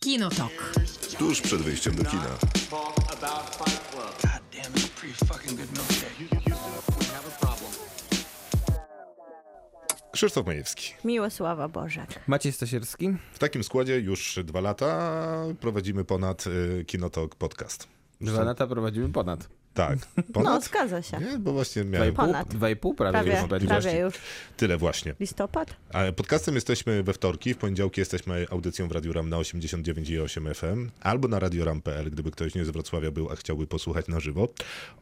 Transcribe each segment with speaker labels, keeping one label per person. Speaker 1: Kinotok.
Speaker 2: Tuż przed wyjściem do kina.
Speaker 3: Damn, it's a pretty fucking good milkshake.
Speaker 2: Krzysztof Majewski.
Speaker 4: Miłosława Bożek.
Speaker 5: Maciej Stasierski.
Speaker 2: W takim składzie już dwa lata prowadzimy ponad y, Kinotok podcast.
Speaker 5: Dwa lata prowadzimy ponad.
Speaker 2: Tak.
Speaker 4: No,
Speaker 2: Ponad?
Speaker 4: zgadza się.
Speaker 2: Nie, bo właśnie
Speaker 5: Dwa i
Speaker 2: miałem
Speaker 5: pół,
Speaker 4: Ponad.
Speaker 5: dwa i pół prawie,
Speaker 4: Prawie,
Speaker 5: już będzie.
Speaker 4: prawie już.
Speaker 2: tyle właśnie.
Speaker 4: Listopad?
Speaker 2: Ale Podcastem jesteśmy we wtorki, w poniedziałki jesteśmy audycją w Radiu Ram na 89,8 FM albo na radioram.pl, gdyby ktoś nie z Wrocławia był, a chciałby posłuchać na żywo.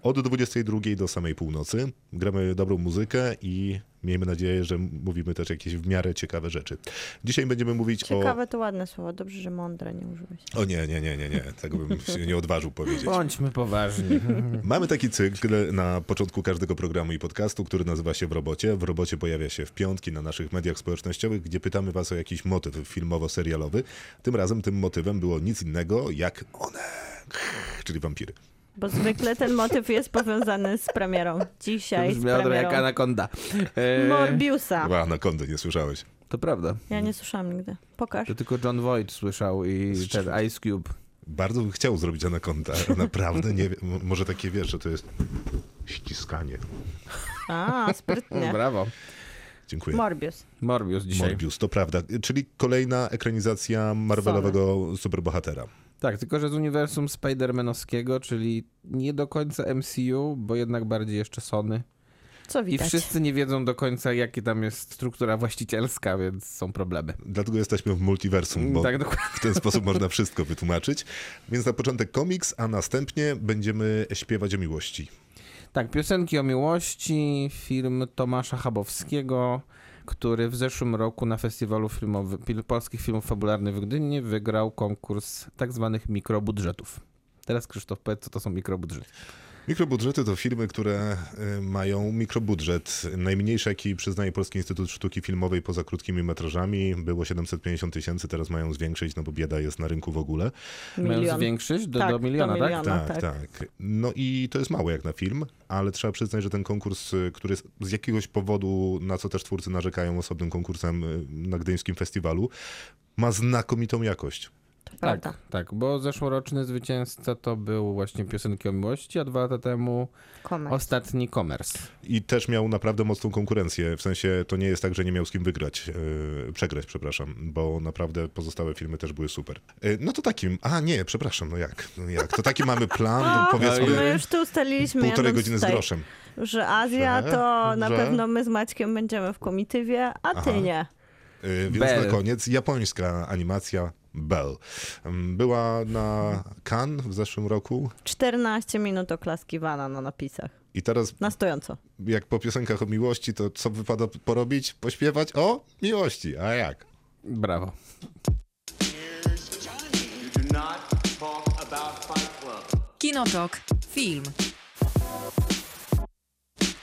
Speaker 2: Od 22 do samej północy gramy dobrą muzykę i miejmy nadzieję, że mówimy też jakieś w miarę ciekawe rzeczy. Dzisiaj będziemy mówić
Speaker 4: Ciekawe to ładne słowo. Dobrze, że mądre nie użyłeś.
Speaker 2: o... O nie, nie, nie, nie, nie, tego bym się nie odważył powiedzieć.
Speaker 5: Bądźmy poważni.
Speaker 2: Mamy taki cykl na początku każdego programu i podcastu, który nazywa się W robocie. W robocie pojawia się w piątki na naszych mediach społecznościowych, gdzie pytamy was o jakiś motyw filmowo-serialowy. Tym razem tym motywem było nic innego jak one, czyli wampiry.
Speaker 4: Bo zwykle ten motyw jest powiązany z premierą. Dzisiaj z
Speaker 5: Brzmiało trochę jak
Speaker 4: premierą
Speaker 5: anakonda. E,
Speaker 4: Morbiusa.
Speaker 2: Chyba anakondy nie słyszałeś.
Speaker 5: to prawda.
Speaker 4: Ja nie słyszałam nigdy. Pokaż.
Speaker 5: To tylko John Voight słyszał i ten Ice Cube.
Speaker 2: Bardzo bym chciał zrobić anakonda, ale naprawdę nie wiem. M- Może takie wiesz, że to jest ściskanie.
Speaker 4: A, sprytnie.
Speaker 5: No, Brawo.
Speaker 2: Dziękuję.
Speaker 4: Morbius.
Speaker 5: Morbius dzisiaj.
Speaker 2: Morbius, to prawda. Czyli kolejna ekranizacja Marvelowego superbohatera.
Speaker 5: Tak, tylko że z uniwersum Spidermanowskiego, czyli nie do końca MCU, bo jednak bardziej jeszcze Sony.
Speaker 4: Co
Speaker 5: I
Speaker 4: widać?
Speaker 5: wszyscy nie wiedzą do końca, jakie tam jest struktura właścicielska, więc są problemy.
Speaker 2: Dlatego jesteśmy w multiversum, bo
Speaker 5: Tak, dokładnie.
Speaker 2: W ten sposób można wszystko wytłumaczyć. Więc na początek komiks, a następnie będziemy śpiewać o miłości.
Speaker 5: Tak, piosenki o miłości, film Tomasza Chabowskiego, który w zeszłym roku na festiwalu filmowy, fil- polskich filmów fabularnych w Gdyni wygrał konkurs tak zwanych mikrobudżetów. Teraz Krzysztof, powiedz, co to są mikrobudżety.
Speaker 2: Mikrobudżety to filmy, które y, mają mikrobudżet. Najmniejszy, jaki przyznaje Polski Instytut Sztuki Filmowej poza krótkimi metrażami, było 750 tysięcy, teraz mają zwiększyć, no bo bieda jest na rynku w ogóle.
Speaker 5: Mają
Speaker 4: Milion.
Speaker 5: zwiększyć do,
Speaker 4: Tak,
Speaker 5: do miliona,
Speaker 4: do
Speaker 5: tak?
Speaker 4: miliona. No
Speaker 2: tak, tak, No i to jest mało jak na film, ale trzeba przyznać, że ten konkurs, y, który jest z jakiegoś powodu, na co też twórcy narzekają osobnym konkursem y, na Gdyńskim Festiwalu, ma znakomitą jakość.
Speaker 4: To prawda.
Speaker 5: Tak, tak, bo zeszłoroczny zwycięzca to był właśnie piosenki o miłości, a dwa lata temu
Speaker 4: Komet.
Speaker 5: ostatni komers.
Speaker 2: I też miał naprawdę mocną konkurencję. W sensie to nie jest tak, że nie miał z kim wygrać, yy, przegrać, przepraszam, bo naprawdę pozostałe filmy też były super. Yy, no to takim, a nie, przepraszam, no jak, no jak? To taki mamy plan, no
Speaker 4: My
Speaker 2: powiedzmy
Speaker 4: już tu ustaliliśmy,
Speaker 2: półtorej
Speaker 4: Janusz,
Speaker 2: godziny z
Speaker 4: tutaj,
Speaker 2: groszem.
Speaker 4: że Azja
Speaker 2: Że-
Speaker 4: to na
Speaker 2: że-
Speaker 4: pewno my z Maćkiem będziemy w komitywie, a
Speaker 2: Aha.
Speaker 4: ty nie.
Speaker 2: Yy, więc
Speaker 5: Bell.
Speaker 2: na koniec japońska animacja Bell. Ym, Była na Cannes w zeszłym roku
Speaker 4: 14 minut oklaskiwana na napisach.
Speaker 2: i teraz
Speaker 4: Na stojąco.
Speaker 2: jak po piosenkach o miłości, to co wypada porobić? Pośpiewać o miłości, a jak?
Speaker 5: Brawo.
Speaker 3: You do not talk about Fight Club.
Speaker 1: Kinotok. Film.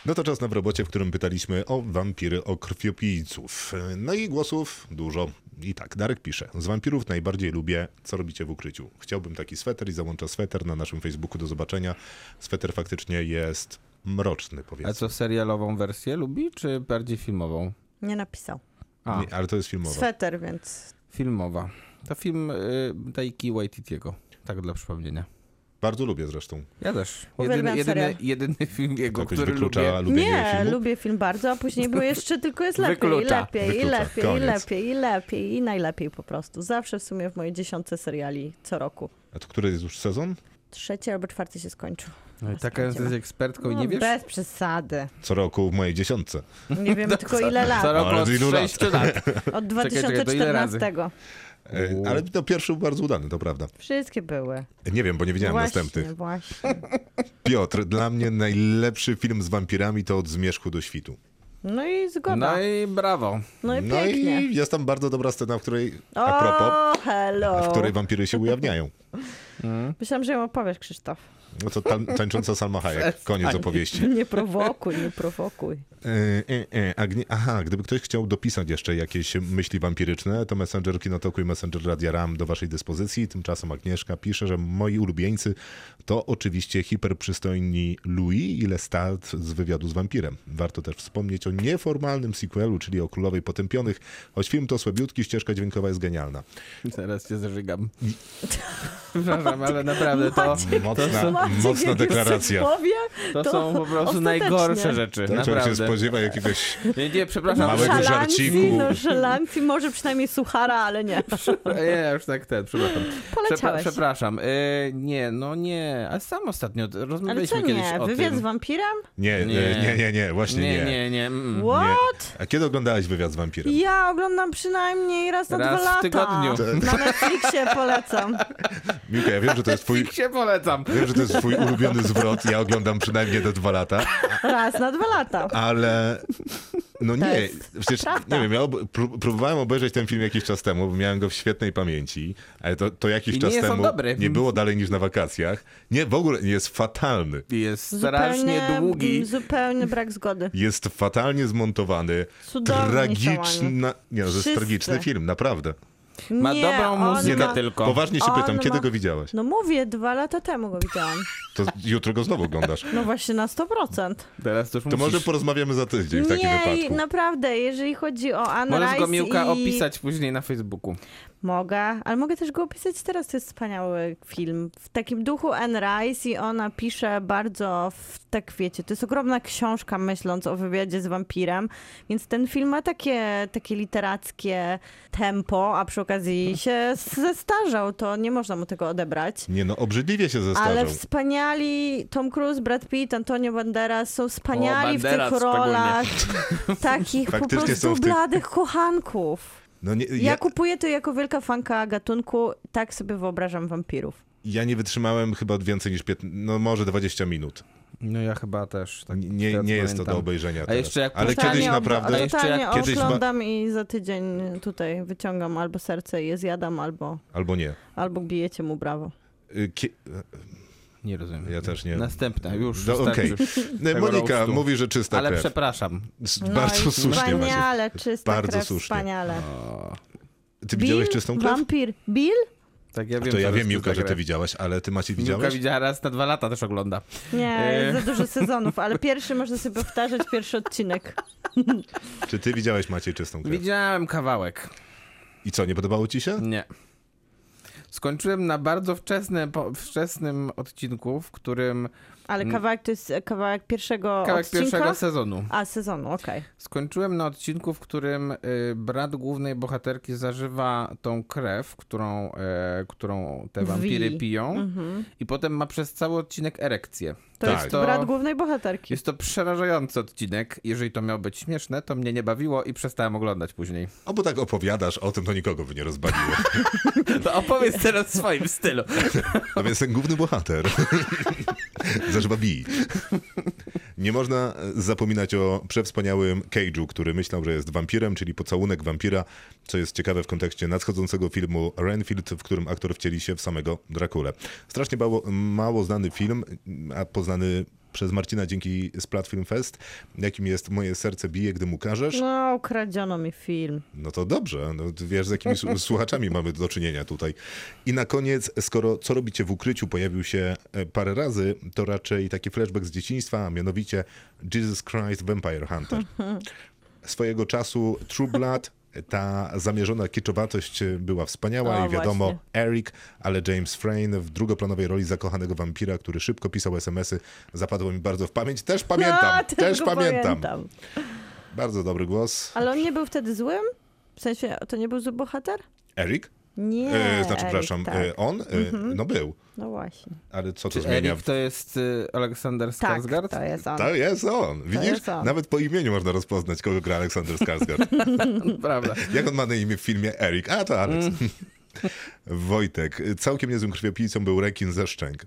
Speaker 2: No to czas na w robocie, w którym pytaliśmy o wampiry, o krwiopijców. E, No i głosów dużo. I tak, Darek pisze. Z wampirów najbardziej lubię, co robicie w ukryciu. Chciałbym taki sweter i załącza sweter na naszym Facebooku do zobaczenia. Sweter faktycznie jest mroczny,
Speaker 5: A
Speaker 2: powiedzmy.
Speaker 5: co, serialową wersję lubi, czy bardziej filmową?
Speaker 4: Nie napisał.
Speaker 5: A,
Speaker 2: Nie, ale to jest filmowe.
Speaker 4: Sweter, więc
Speaker 5: Filmowa. To film y, Taiki Waititiego. Tak dla przypomnienia.
Speaker 2: Bardzo lubię zresztą.
Speaker 5: Ja też.
Speaker 4: Uwielbiam
Speaker 5: Jedyny, jedyny,
Speaker 4: serial.
Speaker 5: jedyny film jego,
Speaker 2: Jakoś
Speaker 5: który
Speaker 2: wyklucza
Speaker 5: lubię.
Speaker 2: lubienie
Speaker 4: nie,
Speaker 2: filmu.
Speaker 4: lubię film bardzo, a później był jeszcze tylko jest lepiej
Speaker 5: Wyklucza.
Speaker 4: i lepiej, i
Speaker 2: Wyklucza.
Speaker 4: lepiej,
Speaker 2: Koniec.
Speaker 4: i lepiej, i lepiej, i najlepiej po prostu. Zawsze w sumie w mojej dziesiątce seriali co roku.
Speaker 2: A to który jest już sezon?
Speaker 4: Trzeci albo czwarty się skończył.
Speaker 5: No i taka jesteś ekspertką i
Speaker 4: No,
Speaker 5: nie wiesz?
Speaker 4: Bez przesady.
Speaker 2: Co roku w mojej dziesiątce.
Speaker 4: Nie wiem tylko ile
Speaker 5: Co
Speaker 4: lat.
Speaker 5: roku
Speaker 2: Ale
Speaker 5: od
Speaker 2: to ilu lat?
Speaker 5: 6 lat. No
Speaker 4: Od
Speaker 5: Czekaj, czekaj, to ile razy?
Speaker 4: 2014.
Speaker 2: E,
Speaker 5: Uuu.
Speaker 2: Ale no, pierwszy był bardzo udany, to prawda.
Speaker 4: Wszystkie były.
Speaker 2: Nie wiem, bo nie widziałem
Speaker 4: właśnie,
Speaker 2: następnych.
Speaker 4: właśnie.
Speaker 2: Piotr, dla mnie najlepszy film z wampirami to Od zmierzchu do świtu.
Speaker 4: No i zgoda.
Speaker 5: No i brawo.
Speaker 4: No i
Speaker 2: No
Speaker 4: pięknie.
Speaker 2: i jest tam bardzo dobra scena, w której, a propos,
Speaker 4: O, hello.
Speaker 2: w której wampiry się ujawniają.
Speaker 4: Myślałam, że ją opowiesz, Krzysztof.
Speaker 2: No to tam, tańcząca Salma Hayek, koniec opowieści.
Speaker 4: Nie prowokuj, nie prowokuj.
Speaker 2: E, e, e, a gnie- aha, gdyby ktoś chciał dopisać jeszcze jakieś myśli wampiryczne, to Messenger Kinotoku i Messenger Radia RAM do waszej dyspozycji. Tymczasem Agnieszka pisze, że moi ulubieńcy to oczywiście hiperprzystojni Louis i Lestat z wywiadu z wampirem. Warto też wspomnieć o nieformalnym sequelu, czyli o Królowej Potępionych, choć film to słabiutki, ścieżka dźwiękowa jest genialna.
Speaker 5: Zaraz cię zażygam. Przepraszam, ale naprawdę to,
Speaker 4: Maciek,
Speaker 2: Mocna,
Speaker 4: Maciek,
Speaker 2: mocna
Speaker 4: jak już
Speaker 2: deklaracja.
Speaker 4: coś Powie,
Speaker 5: to są po prostu
Speaker 4: ostatecznie.
Speaker 5: najgorsze rzeczy.
Speaker 2: Tak, człowiek się
Speaker 5: Naprawdę.
Speaker 2: spodziewa jakiegoś
Speaker 5: Nie, nie, przepraszam.
Speaker 2: Małego
Speaker 4: Nonszalancji,
Speaker 2: żarciku.
Speaker 4: nonszalancji, no, może przynajmniej suchara, ale nie.
Speaker 5: Nie, ja już tak ten, przepraszam.
Speaker 4: Poleciałeś.
Speaker 5: przepraszam. Y, nie, no nie. A sam ostatnio d-
Speaker 4: Ale
Speaker 5: rozmawialiśmy
Speaker 4: co
Speaker 5: kiedyś
Speaker 4: nie?
Speaker 5: o
Speaker 4: Wywiad
Speaker 5: tym.
Speaker 4: z wampirem?
Speaker 2: Nie,
Speaker 5: Nie.
Speaker 2: nie, nie, nie, nie właśnie nie.
Speaker 5: nie, nie, nie. Mm.
Speaker 4: What?
Speaker 2: A kiedy oglądałeś wywiad z wampirem?
Speaker 4: Ja oglądam przynajmniej raz na
Speaker 5: Raz
Speaker 4: dwa
Speaker 5: w
Speaker 4: lata.
Speaker 5: tygodniu.
Speaker 4: Na Netflixie polecam.
Speaker 2: Miłka, ja wiem, że to jest twój...
Speaker 5: Fik się polecam.
Speaker 2: Wiem, że to jest twój ulubiony zwrot, ja oglądam przynajmniej te dwa lata,
Speaker 4: Raz na dwa lata.
Speaker 2: ale no nie,
Speaker 4: jest
Speaker 2: przecież
Speaker 4: prawda.
Speaker 2: nie wiem, ja ob- pró- próbowałem obejrzeć ten film jakiś czas temu, bo miałem go w świetnej pamięci, ale to, to jakiś
Speaker 5: I
Speaker 2: czas
Speaker 5: nie jest on
Speaker 2: temu
Speaker 5: dobry.
Speaker 2: nie było dalej niż na wakacjach. Nie, w ogóle jest fatalny.
Speaker 5: Jest strasznie
Speaker 4: Zupełnie,
Speaker 5: długi.
Speaker 4: mm, zupełny brak zgody.
Speaker 2: Jest fatalnie zmontowany,
Speaker 4: Cudownie działanie.
Speaker 2: tragiczna, nie no, to jest
Speaker 4: Wszyscy.
Speaker 2: tragiczny film, naprawdę. no,
Speaker 5: Ma
Speaker 4: nie,
Speaker 5: dobrą
Speaker 4: on
Speaker 5: muzykę
Speaker 4: ma...
Speaker 5: tylko.
Speaker 2: Poważnie się
Speaker 4: On
Speaker 2: pytam, kiedy
Speaker 4: ma-
Speaker 2: go widziałeś?
Speaker 4: No mówię, dwa lata temu go widziałam.
Speaker 2: To jutro go znowu oglądasz.
Speaker 4: No właśnie na 100%.
Speaker 5: Teraz to już
Speaker 2: To
Speaker 5: musisz...
Speaker 2: może porozmawiamy za tydzień w takim
Speaker 4: No Nie,
Speaker 2: wypadku.
Speaker 4: naprawdę, jeżeli chodzi o Anne
Speaker 5: Możesz go
Speaker 4: Rice
Speaker 5: Miłka
Speaker 4: i...
Speaker 5: opisać później na Facebooku.
Speaker 4: Mogę, ale mogę też go opisać teraz. To jest wspaniały film. W takim duchu Anne Rice i ona pisze bardzo, w, tak wiecie, to jest ogromna książka myśląc o wywiadzie z wampirem, więc ten film ma takie, takie literackie tempo, a przy okazji
Speaker 2: Tak.
Speaker 4: się zestarzał, to nie można mu tego odebrać.
Speaker 2: Nie no, obrzydliwie się
Speaker 4: Ale
Speaker 2: zestarzał.
Speaker 4: wspaniali Tom Cruise, Brad Pitt, Antonio Banderas są wspaniali
Speaker 5: O, Banderas
Speaker 4: w tych rolach. Takich po
Speaker 2: Faktycznie są
Speaker 4: prostu
Speaker 2: w tych-
Speaker 4: bladych kochanków.
Speaker 2: No nie, ja,
Speaker 4: Ja kupuję to jako wielka fanka gatunku, tak sobie wyobrażam wampirów.
Speaker 2: ja nie wytrzymałem chyba więcej niż 15, no może 20 minut.
Speaker 5: No ja chyba też. Tak
Speaker 2: Nie,
Speaker 5: teraz
Speaker 2: nie jest to
Speaker 5: pamiętam.
Speaker 2: do obejrzenia
Speaker 5: A
Speaker 2: teraz.
Speaker 5: jeszcze jak
Speaker 2: Ale
Speaker 5: puszczanie
Speaker 2: kiedyś
Speaker 5: ob-
Speaker 2: naprawdę...
Speaker 5: ale jeszcze
Speaker 4: totalnie
Speaker 5: jak Mm.
Speaker 2: kiedyś ba-
Speaker 4: oglądam i za tydzień tutaj wyciągam albo serce i je zjadam, albo,
Speaker 2: Albo nie.
Speaker 4: albo bijecie mu brawo.
Speaker 2: Y, Ki...
Speaker 5: Nie rozumiem.
Speaker 2: Ja też nie.
Speaker 5: Następna, już.
Speaker 2: Do-
Speaker 5: wystarczy. Tego
Speaker 2: Monika
Speaker 5: roastu.
Speaker 2: mówi, że czysta
Speaker 5: Ale
Speaker 2: krew.
Speaker 5: przepraszam.
Speaker 2: S-
Speaker 4: No
Speaker 2: Bardzo
Speaker 4: i
Speaker 2: słusznie Maciek.
Speaker 4: Wspaniale, czysta
Speaker 2: Bardzo
Speaker 4: krew,
Speaker 2: słusznie.
Speaker 4: wspaniale.
Speaker 2: Ty widziałeś czystą krew?
Speaker 4: Wampir. Bill?
Speaker 5: Tak, ja wiem,
Speaker 2: To ja
Speaker 5: że
Speaker 2: wiem,
Speaker 5: jest
Speaker 2: Miłka, że
Speaker 5: taka
Speaker 2: ty
Speaker 5: gra.
Speaker 2: widziałaś, ale ty Maciej
Speaker 5: Miłka
Speaker 2: widziałeś?
Speaker 5: widziała raz na dwa lata też ogląda.
Speaker 4: Nie,
Speaker 5: E.
Speaker 4: za dużo sezonów, ale pierwszy można sobie powtarzać, pierwszy odcinek.
Speaker 2: Czy ty widziałeś Maciej czystą krew?
Speaker 5: Widziałem kawałek.
Speaker 2: I co, nie podobało ci się?
Speaker 5: Nie. Skończyłem na bardzo wczesne, po, wczesnym odcinku, w którym
Speaker 4: Ale kawałek to jest e, kawałek pierwszego
Speaker 5: Mm. kawałek
Speaker 4: odcinka?
Speaker 5: pierwszego sezonu.
Speaker 4: A, sezonu, okej.
Speaker 5: Skończyłem na odcinku, w którym y, brat głównej bohaterki zażywa tą krew, którą, e, którą te
Speaker 4: Wi.
Speaker 5: wampiry piją
Speaker 4: Mhm.
Speaker 5: i potem ma przez cały odcinek erekcję.
Speaker 4: To
Speaker 2: Tak.
Speaker 4: jest
Speaker 5: To-
Speaker 4: brat głównej bohaterki.
Speaker 5: Jest to przerażający odcinek. Jeżeli to miało być śmieszne, to mnie nie bawiło i przestałem oglądać później.
Speaker 2: O, bo tak opowiadasz o tym, to nikogo by nie rozbawiło.
Speaker 5: To opowiedz teraz w swoim stylu.
Speaker 2: No więc ten główny bohater zażywa bij. Nie można e, zapominać o przewspaniałym Cage'u, który myślał, że jest wampirem, czyli pocałunek wampira, co jest ciekawe w kontekście nadchodzącego filmu Renfield, w którym aktor wcieli się w samego Drakulę. Strasznie mało, mało znany film, a poznany przez Marcina dzięki Splat Film Fest, jakim jest Moje serce bije, gdy mu każesz.
Speaker 4: No, ukradziono mi film.
Speaker 2: No to dobrze, no, ty wiesz z jakimi su- słuchaczami mamy do czynienia tutaj. I na koniec, skoro Co robicie w ukryciu pojawił się e, parę razy, to raczej taki flashback z dzieciństwa, a mianowicie Jesus Christ Vampire Hunter. Swojego czasu True Blood, ta zamierzona kiczowatość e, była wspaniała
Speaker 4: O,
Speaker 2: i wiadomo,
Speaker 4: właśnie.
Speaker 2: Eric, ale James Frayne w drugoplanowej roli zakochanego wampira, który szybko pisał smsy, zapadło mi bardzo w pamięć. Też pamiętam,
Speaker 4: A,
Speaker 2: też
Speaker 4: go
Speaker 2: pamiętam. Bardzo dobry głos.
Speaker 4: Ale on nie był wtedy złym? W sensie, to nie był zły bohater?
Speaker 2: Eric?
Speaker 4: Nie.
Speaker 2: E, znaczy,
Speaker 4: Erik,
Speaker 2: przepraszam,
Speaker 4: Tak.
Speaker 2: e, on? E, No był,
Speaker 4: No właśnie.
Speaker 2: ale co to
Speaker 5: Czy
Speaker 2: zmienia?
Speaker 5: Erik to jest y, Aleksander
Speaker 4: Tak,
Speaker 5: Skarsgård?
Speaker 4: to jest on.
Speaker 2: To jest on. Widzisz?
Speaker 4: jest on.
Speaker 2: Nawet po imieniu można rozpoznać, kogo gra Aleksander Skarsgård.
Speaker 5: Prawda.
Speaker 2: Jak on ma na imię w filmie? Erik. A, to Aleks.
Speaker 4: Mhm.
Speaker 2: Wojtek. Całkiem niezłym krwiopijcą był rekin ze Szczęk.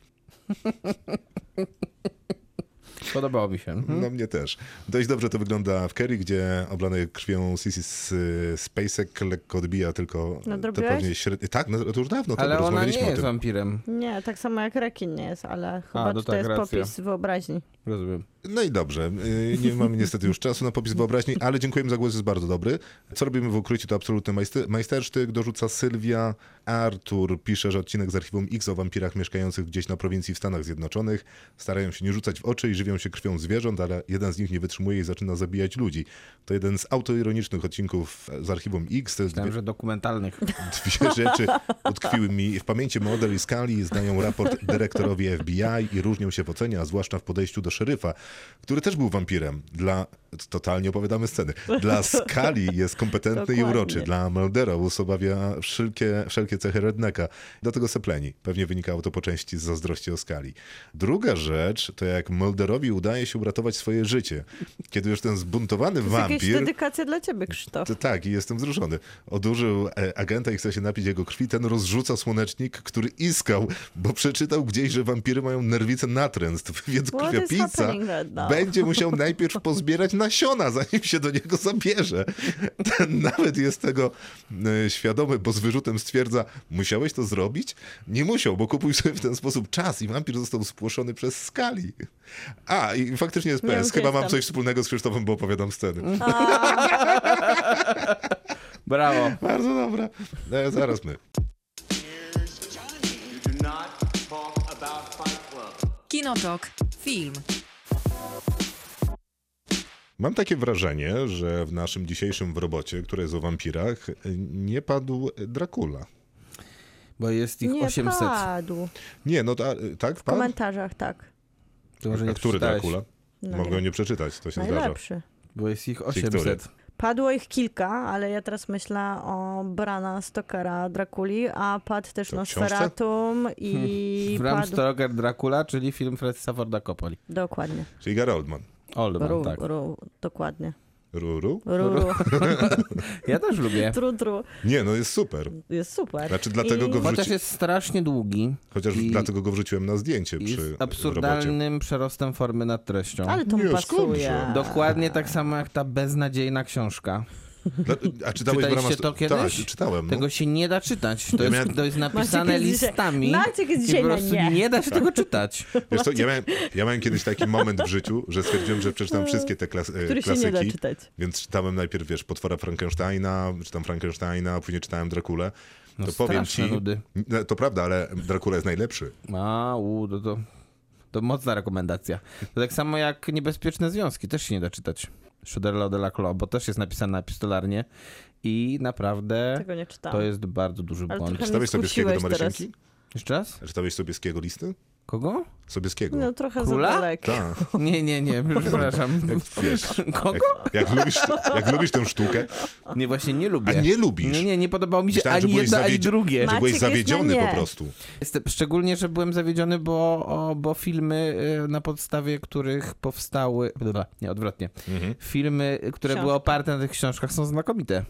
Speaker 5: Podobało mi się. Mhm.
Speaker 2: No mnie też. Dość dobrze to wygląda w Kerry, gdzie oblany krwią Sissy z y, Spacek lekko odbija tylko
Speaker 4: No,
Speaker 2: y, to
Speaker 4: zrobiłeś?
Speaker 2: pewnie średnie. Tak, no, to już dawno
Speaker 5: Ale
Speaker 2: tak
Speaker 5: ona
Speaker 2: rozmawialiśmy
Speaker 5: nie
Speaker 2: o
Speaker 5: jest
Speaker 2: tym.
Speaker 5: wampirem.
Speaker 4: Nie, tak samo jak rekin nie jest, ale chyba
Speaker 5: no
Speaker 4: to
Speaker 5: tak,
Speaker 4: jest
Speaker 5: racja.
Speaker 4: popis wyobraźni.
Speaker 5: Rozumiem.
Speaker 2: No i dobrze. y, Nie mamy niestety już czasu na popis wyobraźni, ale dziękujemy za głos, jest bardzo dobry. Co robimy w ukryciu, to absolutny majster, majstersztyk. Dorzuca Sylwia. Artur pisze, że odcinek z archiwum X o wampirach mieszkających gdzieś na prowincji w Stanach Zjednoczonych. Starają się nie rzucać w oczy i żywią się krwią zwierząt, ale jeden z nich nie wytrzymuje i zaczyna zabijać ludzi. To jeden z autoironicznych odcinków z archiwum X. To jest
Speaker 5: Myślałem, że dokumentalnych.
Speaker 2: dwie rzeczy utkwiły mi w pamięci. Model i Scully znają raport dyrektorowi FBI i różnią się w ocenie, a zwłaszcza w podejściu do szeryfa, który też był wampirem. Dla, totalnie opowiadamy sceny, dla Scully jest kompetentny i
Speaker 4: Dokładnie.
Speaker 2: uroczy, dla Muldera usobawia wszelkie, wszelkie cechy rednecka. Dlatego se pleni. Pewnie wynikało to po części z zazdrości o Skali. Druga rzecz to jak Mulderowi udaje się uratować swoje życie. Kiedy już ten zbuntowany
Speaker 4: To jest jakaś
Speaker 2: wampir...
Speaker 4: dedykacja dla ciebie, Krzysztof.
Speaker 2: To tak, i jestem wzruszony. Odurzył e, agenta i chce się napić jego krwi. Ten rozrzuca słonecznik, który iskał, bo przeczytał gdzieś, że wampiry mają nerwice natręstw, więc
Speaker 4: What is
Speaker 2: krwiopijca
Speaker 4: happening right now?
Speaker 2: będzie musiał najpierw pozbierać nasiona, zanim się do niego zabierze. Ten nawet jest tego e, świadomy, bo z wyrzutem stwierdza, musiałeś to zrobić? Nie musiał, bo kupuj sobie w ten sposób czas i wampir został spłoszony przez skali. A, i faktycznie jest
Speaker 4: Nie wiem,
Speaker 2: PS.
Speaker 4: gdzie
Speaker 2: Chyba mam
Speaker 4: jestem. Mhm.
Speaker 2: coś wspólnego z Krzysztofem, bo opowiadam sceny.
Speaker 5: Brawo.
Speaker 2: Bardzo dobra. E, zaraz my.
Speaker 3: You do not talk about Fight Club.
Speaker 1: Kinotok. Film.
Speaker 2: Mam takie wrażenie, że w naszym dzisiejszym w robocie, które jest o wampirach, e, nie padł Dracula.
Speaker 5: Bo jest ich
Speaker 4: nie tak.
Speaker 5: 800.
Speaker 4: padł.
Speaker 2: Nie, no ta, tak,
Speaker 4: W
Speaker 2: padł?
Speaker 4: komentarzach, tak.
Speaker 5: To może
Speaker 2: A
Speaker 5: nie
Speaker 2: który
Speaker 5: przeczytałeś.
Speaker 2: Dracula?
Speaker 4: No
Speaker 2: Mogę
Speaker 4: nie. No
Speaker 2: nie przeczytać, to się zdarza.
Speaker 4: Najlepszy.
Speaker 5: Bo jest ich
Speaker 2: Ci, który?
Speaker 5: 800.
Speaker 4: Padło ich kilka, ale ja teraz myślę o Brana Stokera Drakuli, a padł też
Speaker 2: To w
Speaker 4: Nosferatum i
Speaker 5: Bram
Speaker 4: padł...
Speaker 5: Stoker Dracula, czyli film Francisa Forda Coppoli.
Speaker 4: Dokładnie.
Speaker 2: Czyli Gary Oldman.
Speaker 5: Oldman,
Speaker 4: Ru,
Speaker 5: tak.
Speaker 4: ru, dokładnie.
Speaker 2: Ruru?
Speaker 4: Ru, ru,
Speaker 5: Ja też lubię.
Speaker 4: tru, tru.
Speaker 2: Nie, no jest super.
Speaker 4: Jest super.
Speaker 2: Znaczy, dlatego go
Speaker 5: Chociaż
Speaker 2: Wrzuci-
Speaker 5: jest strasznie długi.
Speaker 2: Chociaż
Speaker 5: I-
Speaker 2: dlatego go wrzuciłem na zdjęcie
Speaker 5: I
Speaker 2: przy
Speaker 5: z
Speaker 2: robocie.
Speaker 5: absurdalnym przerostem formy nad treścią.
Speaker 4: Ale to
Speaker 2: Nie,
Speaker 4: mu pasuje.
Speaker 2: skądże.
Speaker 5: Dokładnie tak samo jak ta beznadziejna książka.
Speaker 2: Dla, a czytałeś
Speaker 5: Czytaliście
Speaker 2: Brama Sto-
Speaker 5: to kiedyś?
Speaker 2: Tak, czytałem.
Speaker 5: Tego
Speaker 2: No.
Speaker 5: się nie da czytać. To
Speaker 2: Ja
Speaker 5: jest,
Speaker 2: miałem-
Speaker 5: to jest napisane
Speaker 4: Maciek jest dzisiaj-
Speaker 5: listami.
Speaker 4: Maciek jest
Speaker 5: i
Speaker 4: dzisiaj
Speaker 5: po
Speaker 4: na
Speaker 5: prostu
Speaker 4: nie.
Speaker 5: nie da się tego czytać.
Speaker 2: Wiesz co, ja, miałem, ja miałem kiedyś taki moment w życiu, że stwierdziłem, że przeczytam wszystkie te klas- e,
Speaker 4: No. Który się
Speaker 2: klasyki.
Speaker 4: nie da czytać.
Speaker 2: Więc czytałem najpierw, wiesz, Potwora Frankensteina, czytam Frankensteina, później czytałem Drakulę.
Speaker 5: No
Speaker 2: to powiem ci,
Speaker 5: straszne nudy.
Speaker 2: No, to prawda, ale Dracula jest najlepszy.
Speaker 5: A, u, to, to, to mocna rekomendacja. To tak samo jak Niebezpieczne Związki, też się nie da czytać. Shuderla de la Clos, bo też jest napisana epistolarnie i naprawdę
Speaker 4: Tego nie czytałam.
Speaker 5: to jest bardzo duży
Speaker 4: Ale
Speaker 5: błąd.
Speaker 4: trochę-
Speaker 2: Czytałeś Sobieskiego do
Speaker 4: skusiłeś teraz.
Speaker 2: Marysienki?
Speaker 5: Jeszcze raz?
Speaker 2: Czytałeś Sobieskiego listy?
Speaker 5: Kogo?
Speaker 2: Sobieskiego.
Speaker 4: No trochę za
Speaker 5: Króla?
Speaker 4: daleko.
Speaker 2: Tak.
Speaker 5: Nie, nie, nie, przepraszam.
Speaker 2: wiesz,
Speaker 5: Kogo?
Speaker 2: Jak, jak, lubisz, jak lubisz tę sztukę,
Speaker 5: Nie, właśnie nie lubię.
Speaker 2: a nie lubisz,
Speaker 5: Nie, nie, nie podobało mi się
Speaker 2: Myślałem, że
Speaker 5: ani
Speaker 2: byłeś
Speaker 5: jedno, ani
Speaker 2: zawiedzi-
Speaker 5: drugie.
Speaker 2: że byłeś
Speaker 4: Maciek jest na
Speaker 2: zawiedziony
Speaker 4: nie.
Speaker 2: po prostu.
Speaker 5: Jestem, szczególnie, że byłem zawiedziony, bo, o, bo filmy, y, na podstawie których powstały. Dobra, nie, odwrotnie.
Speaker 2: Mhm.
Speaker 5: Filmy, które były
Speaker 4: Książki.
Speaker 5: oparte na tych książkach, są znakomite.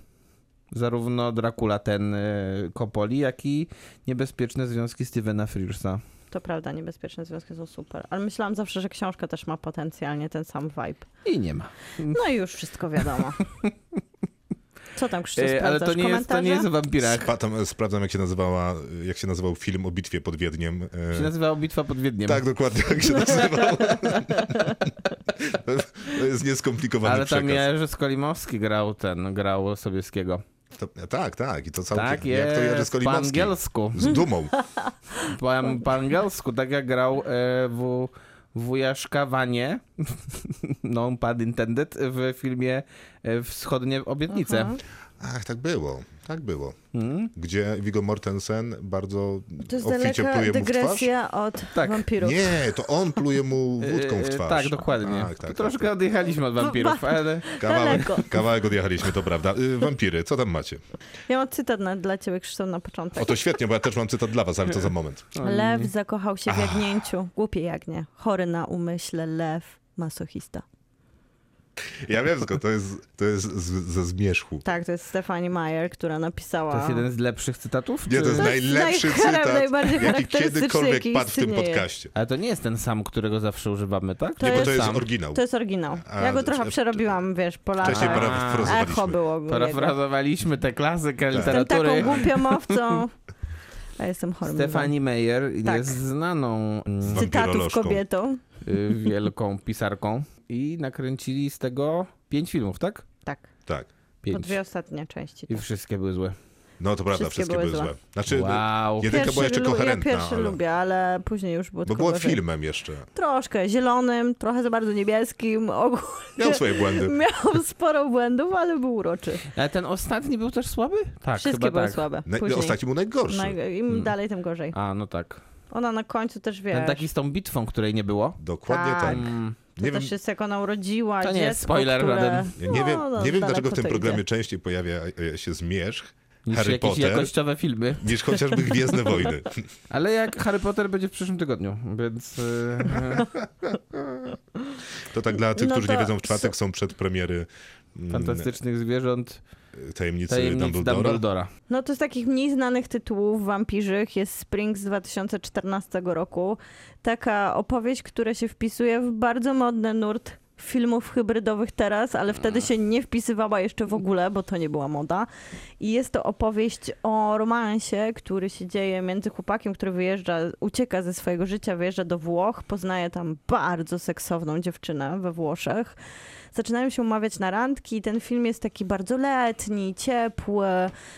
Speaker 5: Zarówno Dracula ten y, Coppoli, jak i niebezpieczne związki Stevena Frearsa.
Speaker 4: To prawda, niebezpieczne związki są super. Ale myślałam zawsze, że książka też ma potencjalnie ten sam vibe.
Speaker 5: I nie ma.
Speaker 4: No i już wszystko wiadomo. Co tam Krzysztof,
Speaker 5: Y,
Speaker 4: sprawdzasz?
Speaker 5: ale to nie, jest, to nie jest o wampirach.
Speaker 2: Spatam, sprawdzam, jak się, nazywała, jak się nazywał film o bitwie pod Wiedniem. E,
Speaker 5: To się nazywało Bitwa pod Wiedniem.
Speaker 2: Tak, dokładnie, jak się nazywał. to jest nieskomplikowany
Speaker 5: Ale tam
Speaker 2: przekaz.
Speaker 5: Jerzy Skolimowski grał ten, grał Sobieskiego.
Speaker 2: To, tak, tak. I to całkiem.
Speaker 5: Tak
Speaker 2: jak to Jerzy
Speaker 5: jest, po
Speaker 2: Skolimowski.
Speaker 5: angielsku.
Speaker 2: Z dumą.
Speaker 5: po, po angielsku, tak jak grał e, w wujaszka Wanie, no pad intended, w filmie e, Wschodnie obietnice.
Speaker 4: Aha.
Speaker 2: Ach, tak było. Tak było.
Speaker 5: Mm?
Speaker 2: Gdzie Viggo Mortensen bardzo
Speaker 4: To jest
Speaker 2: obficie
Speaker 4: daleka
Speaker 2: pluje mu w twarz.
Speaker 4: dygresja od
Speaker 5: Tak.
Speaker 4: wampirów.
Speaker 2: Nie, to on pluje mu wódką w
Speaker 5: E,
Speaker 2: twarz.
Speaker 5: Tak, dokładnie.
Speaker 2: Tak, tak,
Speaker 5: To
Speaker 2: tak,
Speaker 5: troszkę
Speaker 2: tak.
Speaker 5: odjechaliśmy od
Speaker 4: No,
Speaker 5: wampirów, ale
Speaker 2: Kawałek,
Speaker 4: daleko.
Speaker 2: kawałek odjechaliśmy, to prawda. Y, Wampiry, co tam macie?
Speaker 4: Ja mam cytat na, dla ciebie Krzysztof na początek.
Speaker 2: O, to świetnie, bo ja też mam cytat dla was, ale to za moment.
Speaker 4: Lew zakochał się w jagnięciu. Głupie jagnię. Chory na umyśle lew. Masochista.
Speaker 2: Ja wiem, tylko to jest, to jest z, ze zmierzchu.
Speaker 4: Tak, to jest Stefanie Mayer, która napisała...
Speaker 5: To jest jeden z lepszych cytatów?
Speaker 2: Nie, to jest
Speaker 4: To jest
Speaker 2: najlepszy
Speaker 4: najchara-
Speaker 2: cytat,
Speaker 4: najbardziej
Speaker 2: jaki
Speaker 4: charakterystyczny,
Speaker 2: kiedykolwiek
Speaker 4: jaki
Speaker 2: padł w tym
Speaker 4: istnieje.
Speaker 2: podcaście.
Speaker 5: Ale to nie jest ten sam, którego zawsze używamy, tak?
Speaker 4: To
Speaker 2: nie, bo
Speaker 4: jest
Speaker 2: to jest
Speaker 5: sam.
Speaker 2: oryginał.
Speaker 4: To jest oryginał.
Speaker 2: A,
Speaker 4: Ja go
Speaker 2: e,
Speaker 4: trochę przerobiłam, wiesz, po
Speaker 2: Wcześniej
Speaker 5: A.
Speaker 4: latach. Echo
Speaker 2: parafrazowaliśmy.
Speaker 4: było. jego.
Speaker 5: Parafrazowaliśmy tę klasykę
Speaker 2: Tak.
Speaker 4: Jestem taką
Speaker 5: literatury.
Speaker 4: głupiomowcą. Ja jestem chorym.
Speaker 5: Stefani Meyer
Speaker 4: Tak.
Speaker 5: jest znaną mm,
Speaker 4: Cytatów
Speaker 2: Wampirolożką.
Speaker 4: kobietą.
Speaker 5: y, wielką pisarką i nakręcili z tego pięć filmów, tak?
Speaker 4: Tak.
Speaker 2: Tak.
Speaker 4: Po
Speaker 5: Pięć.
Speaker 4: dwie ostatnie części.
Speaker 5: I
Speaker 4: tak.
Speaker 5: wszystkie były złe.
Speaker 2: No to prawda, wszystkie, były złe. Znaczy,
Speaker 5: Wow.
Speaker 2: jedynka była jeszcze
Speaker 4: lu-
Speaker 2: koherentna,
Speaker 4: Ja pierwszy
Speaker 2: ale-
Speaker 4: lubię, ale później już było
Speaker 2: bo
Speaker 4: tylko
Speaker 2: była
Speaker 4: gorzej.
Speaker 2: filmem jeszcze.
Speaker 4: Troszkę zielonym, trochę za bardzo niebieskim. Ogólnie
Speaker 2: Miał swoje błędy.
Speaker 4: miał sporo błędów, ale był uroczy.
Speaker 5: Ale ten ostatni był też słaby? Tak,
Speaker 4: Wszystkie
Speaker 5: chyba
Speaker 4: były
Speaker 5: tak.
Speaker 4: słabe.
Speaker 2: Na,
Speaker 4: Później.
Speaker 2: no, ostatni był najgorszy.
Speaker 4: Naj- Im
Speaker 5: Hmm.
Speaker 4: dalej, tym gorzej.
Speaker 5: A, no tak.
Speaker 4: Ona na końcu też wie.
Speaker 5: Ten taki z tą bitwą, której nie było.
Speaker 2: Dokładnie tak.
Speaker 4: Tak.
Speaker 5: Mm,
Speaker 4: To też jest jak ona urodziła
Speaker 5: To nie
Speaker 4: dziecko,
Speaker 5: jest spoiler
Speaker 4: które...
Speaker 5: żaden.
Speaker 2: Ja nie wiem,
Speaker 4: No, no,
Speaker 2: nie wiem
Speaker 4: daleko
Speaker 2: dlaczego w tym
Speaker 4: to
Speaker 2: programie
Speaker 4: idzie.
Speaker 2: częściej pojawia e, się zmierzch
Speaker 5: niż
Speaker 2: Harry
Speaker 5: jakieś
Speaker 2: Potter.
Speaker 5: jakościowe filmy.
Speaker 2: niż chociażby Gwiezdne Wojny.
Speaker 5: Ale jak Harry Potter będzie w przyszłym tygodniu, więc y,
Speaker 2: To tak dla tych,
Speaker 4: No
Speaker 2: którzy
Speaker 4: to
Speaker 2: nie wiedzą, w czwartek są przedpremiery mm,
Speaker 5: fantastycznych zwierząt,
Speaker 2: tajemnicy,
Speaker 5: tajemnic
Speaker 2: Dumbledora.
Speaker 5: Dumbledora.
Speaker 4: No to z takich mniej znanych tytułów wampirzych jest Spring z 2014 roku. Taka opowieść, która się wpisuje w bardzo modny nurt filmów hybrydowych teraz, ale wtedy
Speaker 5: Hmm.
Speaker 4: się nie wpisywała jeszcze w ogóle, bo to nie była moda. I jest to opowieść o romansie, który się dzieje między chłopakiem, który wyjeżdża, ucieka ze swojego życia, wyjeżdża do Włoch, poznaje tam bardzo seksowną dziewczynę we Włoszech. Zaczynają się umawiać na randki. Ten film jest taki bardzo letni, ciepły,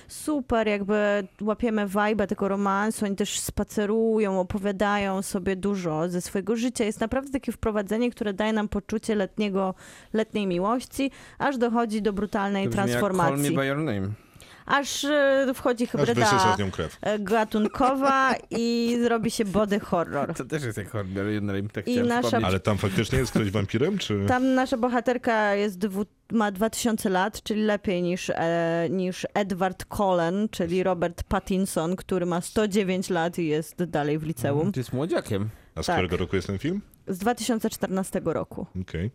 Speaker 4: super, jakby łapiemy vibe tego romansu, oni też spacerują, opowiadają sobie dużo ze swojego życia. Jest naprawdę takie wprowadzenie, które daje nam poczucie letniego, letniej miłości, aż dochodzi do brutalnej
Speaker 5: To brzmi jak Call me
Speaker 4: transformacji.
Speaker 5: by your name.
Speaker 4: Aż e, wchodzi
Speaker 2: Aż
Speaker 4: hybryda
Speaker 2: wysysa z nią krew.
Speaker 4: e, gatunkowa i zrobi się body horror.
Speaker 5: To też jest jak Call me by your name, tak
Speaker 4: I
Speaker 5: chciałem
Speaker 4: nasza-
Speaker 5: wspomnieć.
Speaker 2: Ale tam faktycznie jest ktoś wampirem, czy...
Speaker 4: Tam nasza bohaterka jest dwu, ma 2000 lat, czyli lepiej niż, e, niż Edward Cullen, czyli Robert Pattinson, który ma 109 lat i jest dalej w liceum.
Speaker 5: Ty jest młodziakiem.
Speaker 2: A z
Speaker 4: tak.
Speaker 2: którego roku jest ten film?
Speaker 4: Z 2014 roku.
Speaker 2: Okej.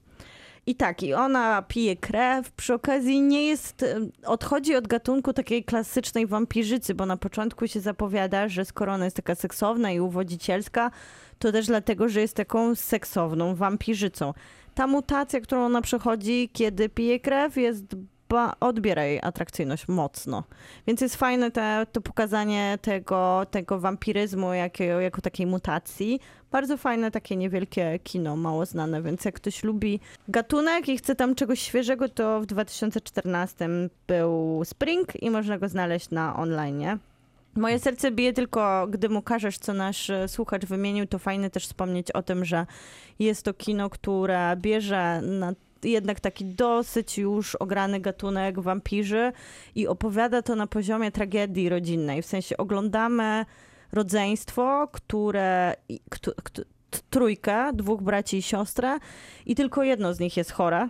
Speaker 4: I tak, i ona pije krew, przy okazji nie jest, em, odchodzi od gatunku takiej klasycznej wampirzycy, bo na początku się zapowiada, że skoro ona jest taka seksowna i uwodzicielska, to też dlatego, że jest taką seksowną wampirzycą. Ta mutacja, którą ona przechodzi, kiedy pije krew, jest ba- odbiera jej atrakcyjność mocno. Więc jest fajne te, to pokazanie tego, tego wampiryzmu jakiego, jako takiej mutacji. Bardzo fajne takie niewielkie kino, mało znane, więc jak ktoś lubi gatunek i chce tam czegoś świeżego, to w 2014 był Spring i można go znaleźć na online. Moje serce bije tylko, gdy mu każesz, co nasz e, słuchacz wymienił, to fajne też wspomnieć o tym, że jest to kino, które bierze na jednak taki dosyć już ograny gatunek wampirzy i opowiada to na poziomie tragedii rodzinnej. W sensie oglądamy rodzeństwo, które, i- któ- któ- t- trójkę, dwóch braci i siostrę, i tylko jedno z nich jest chore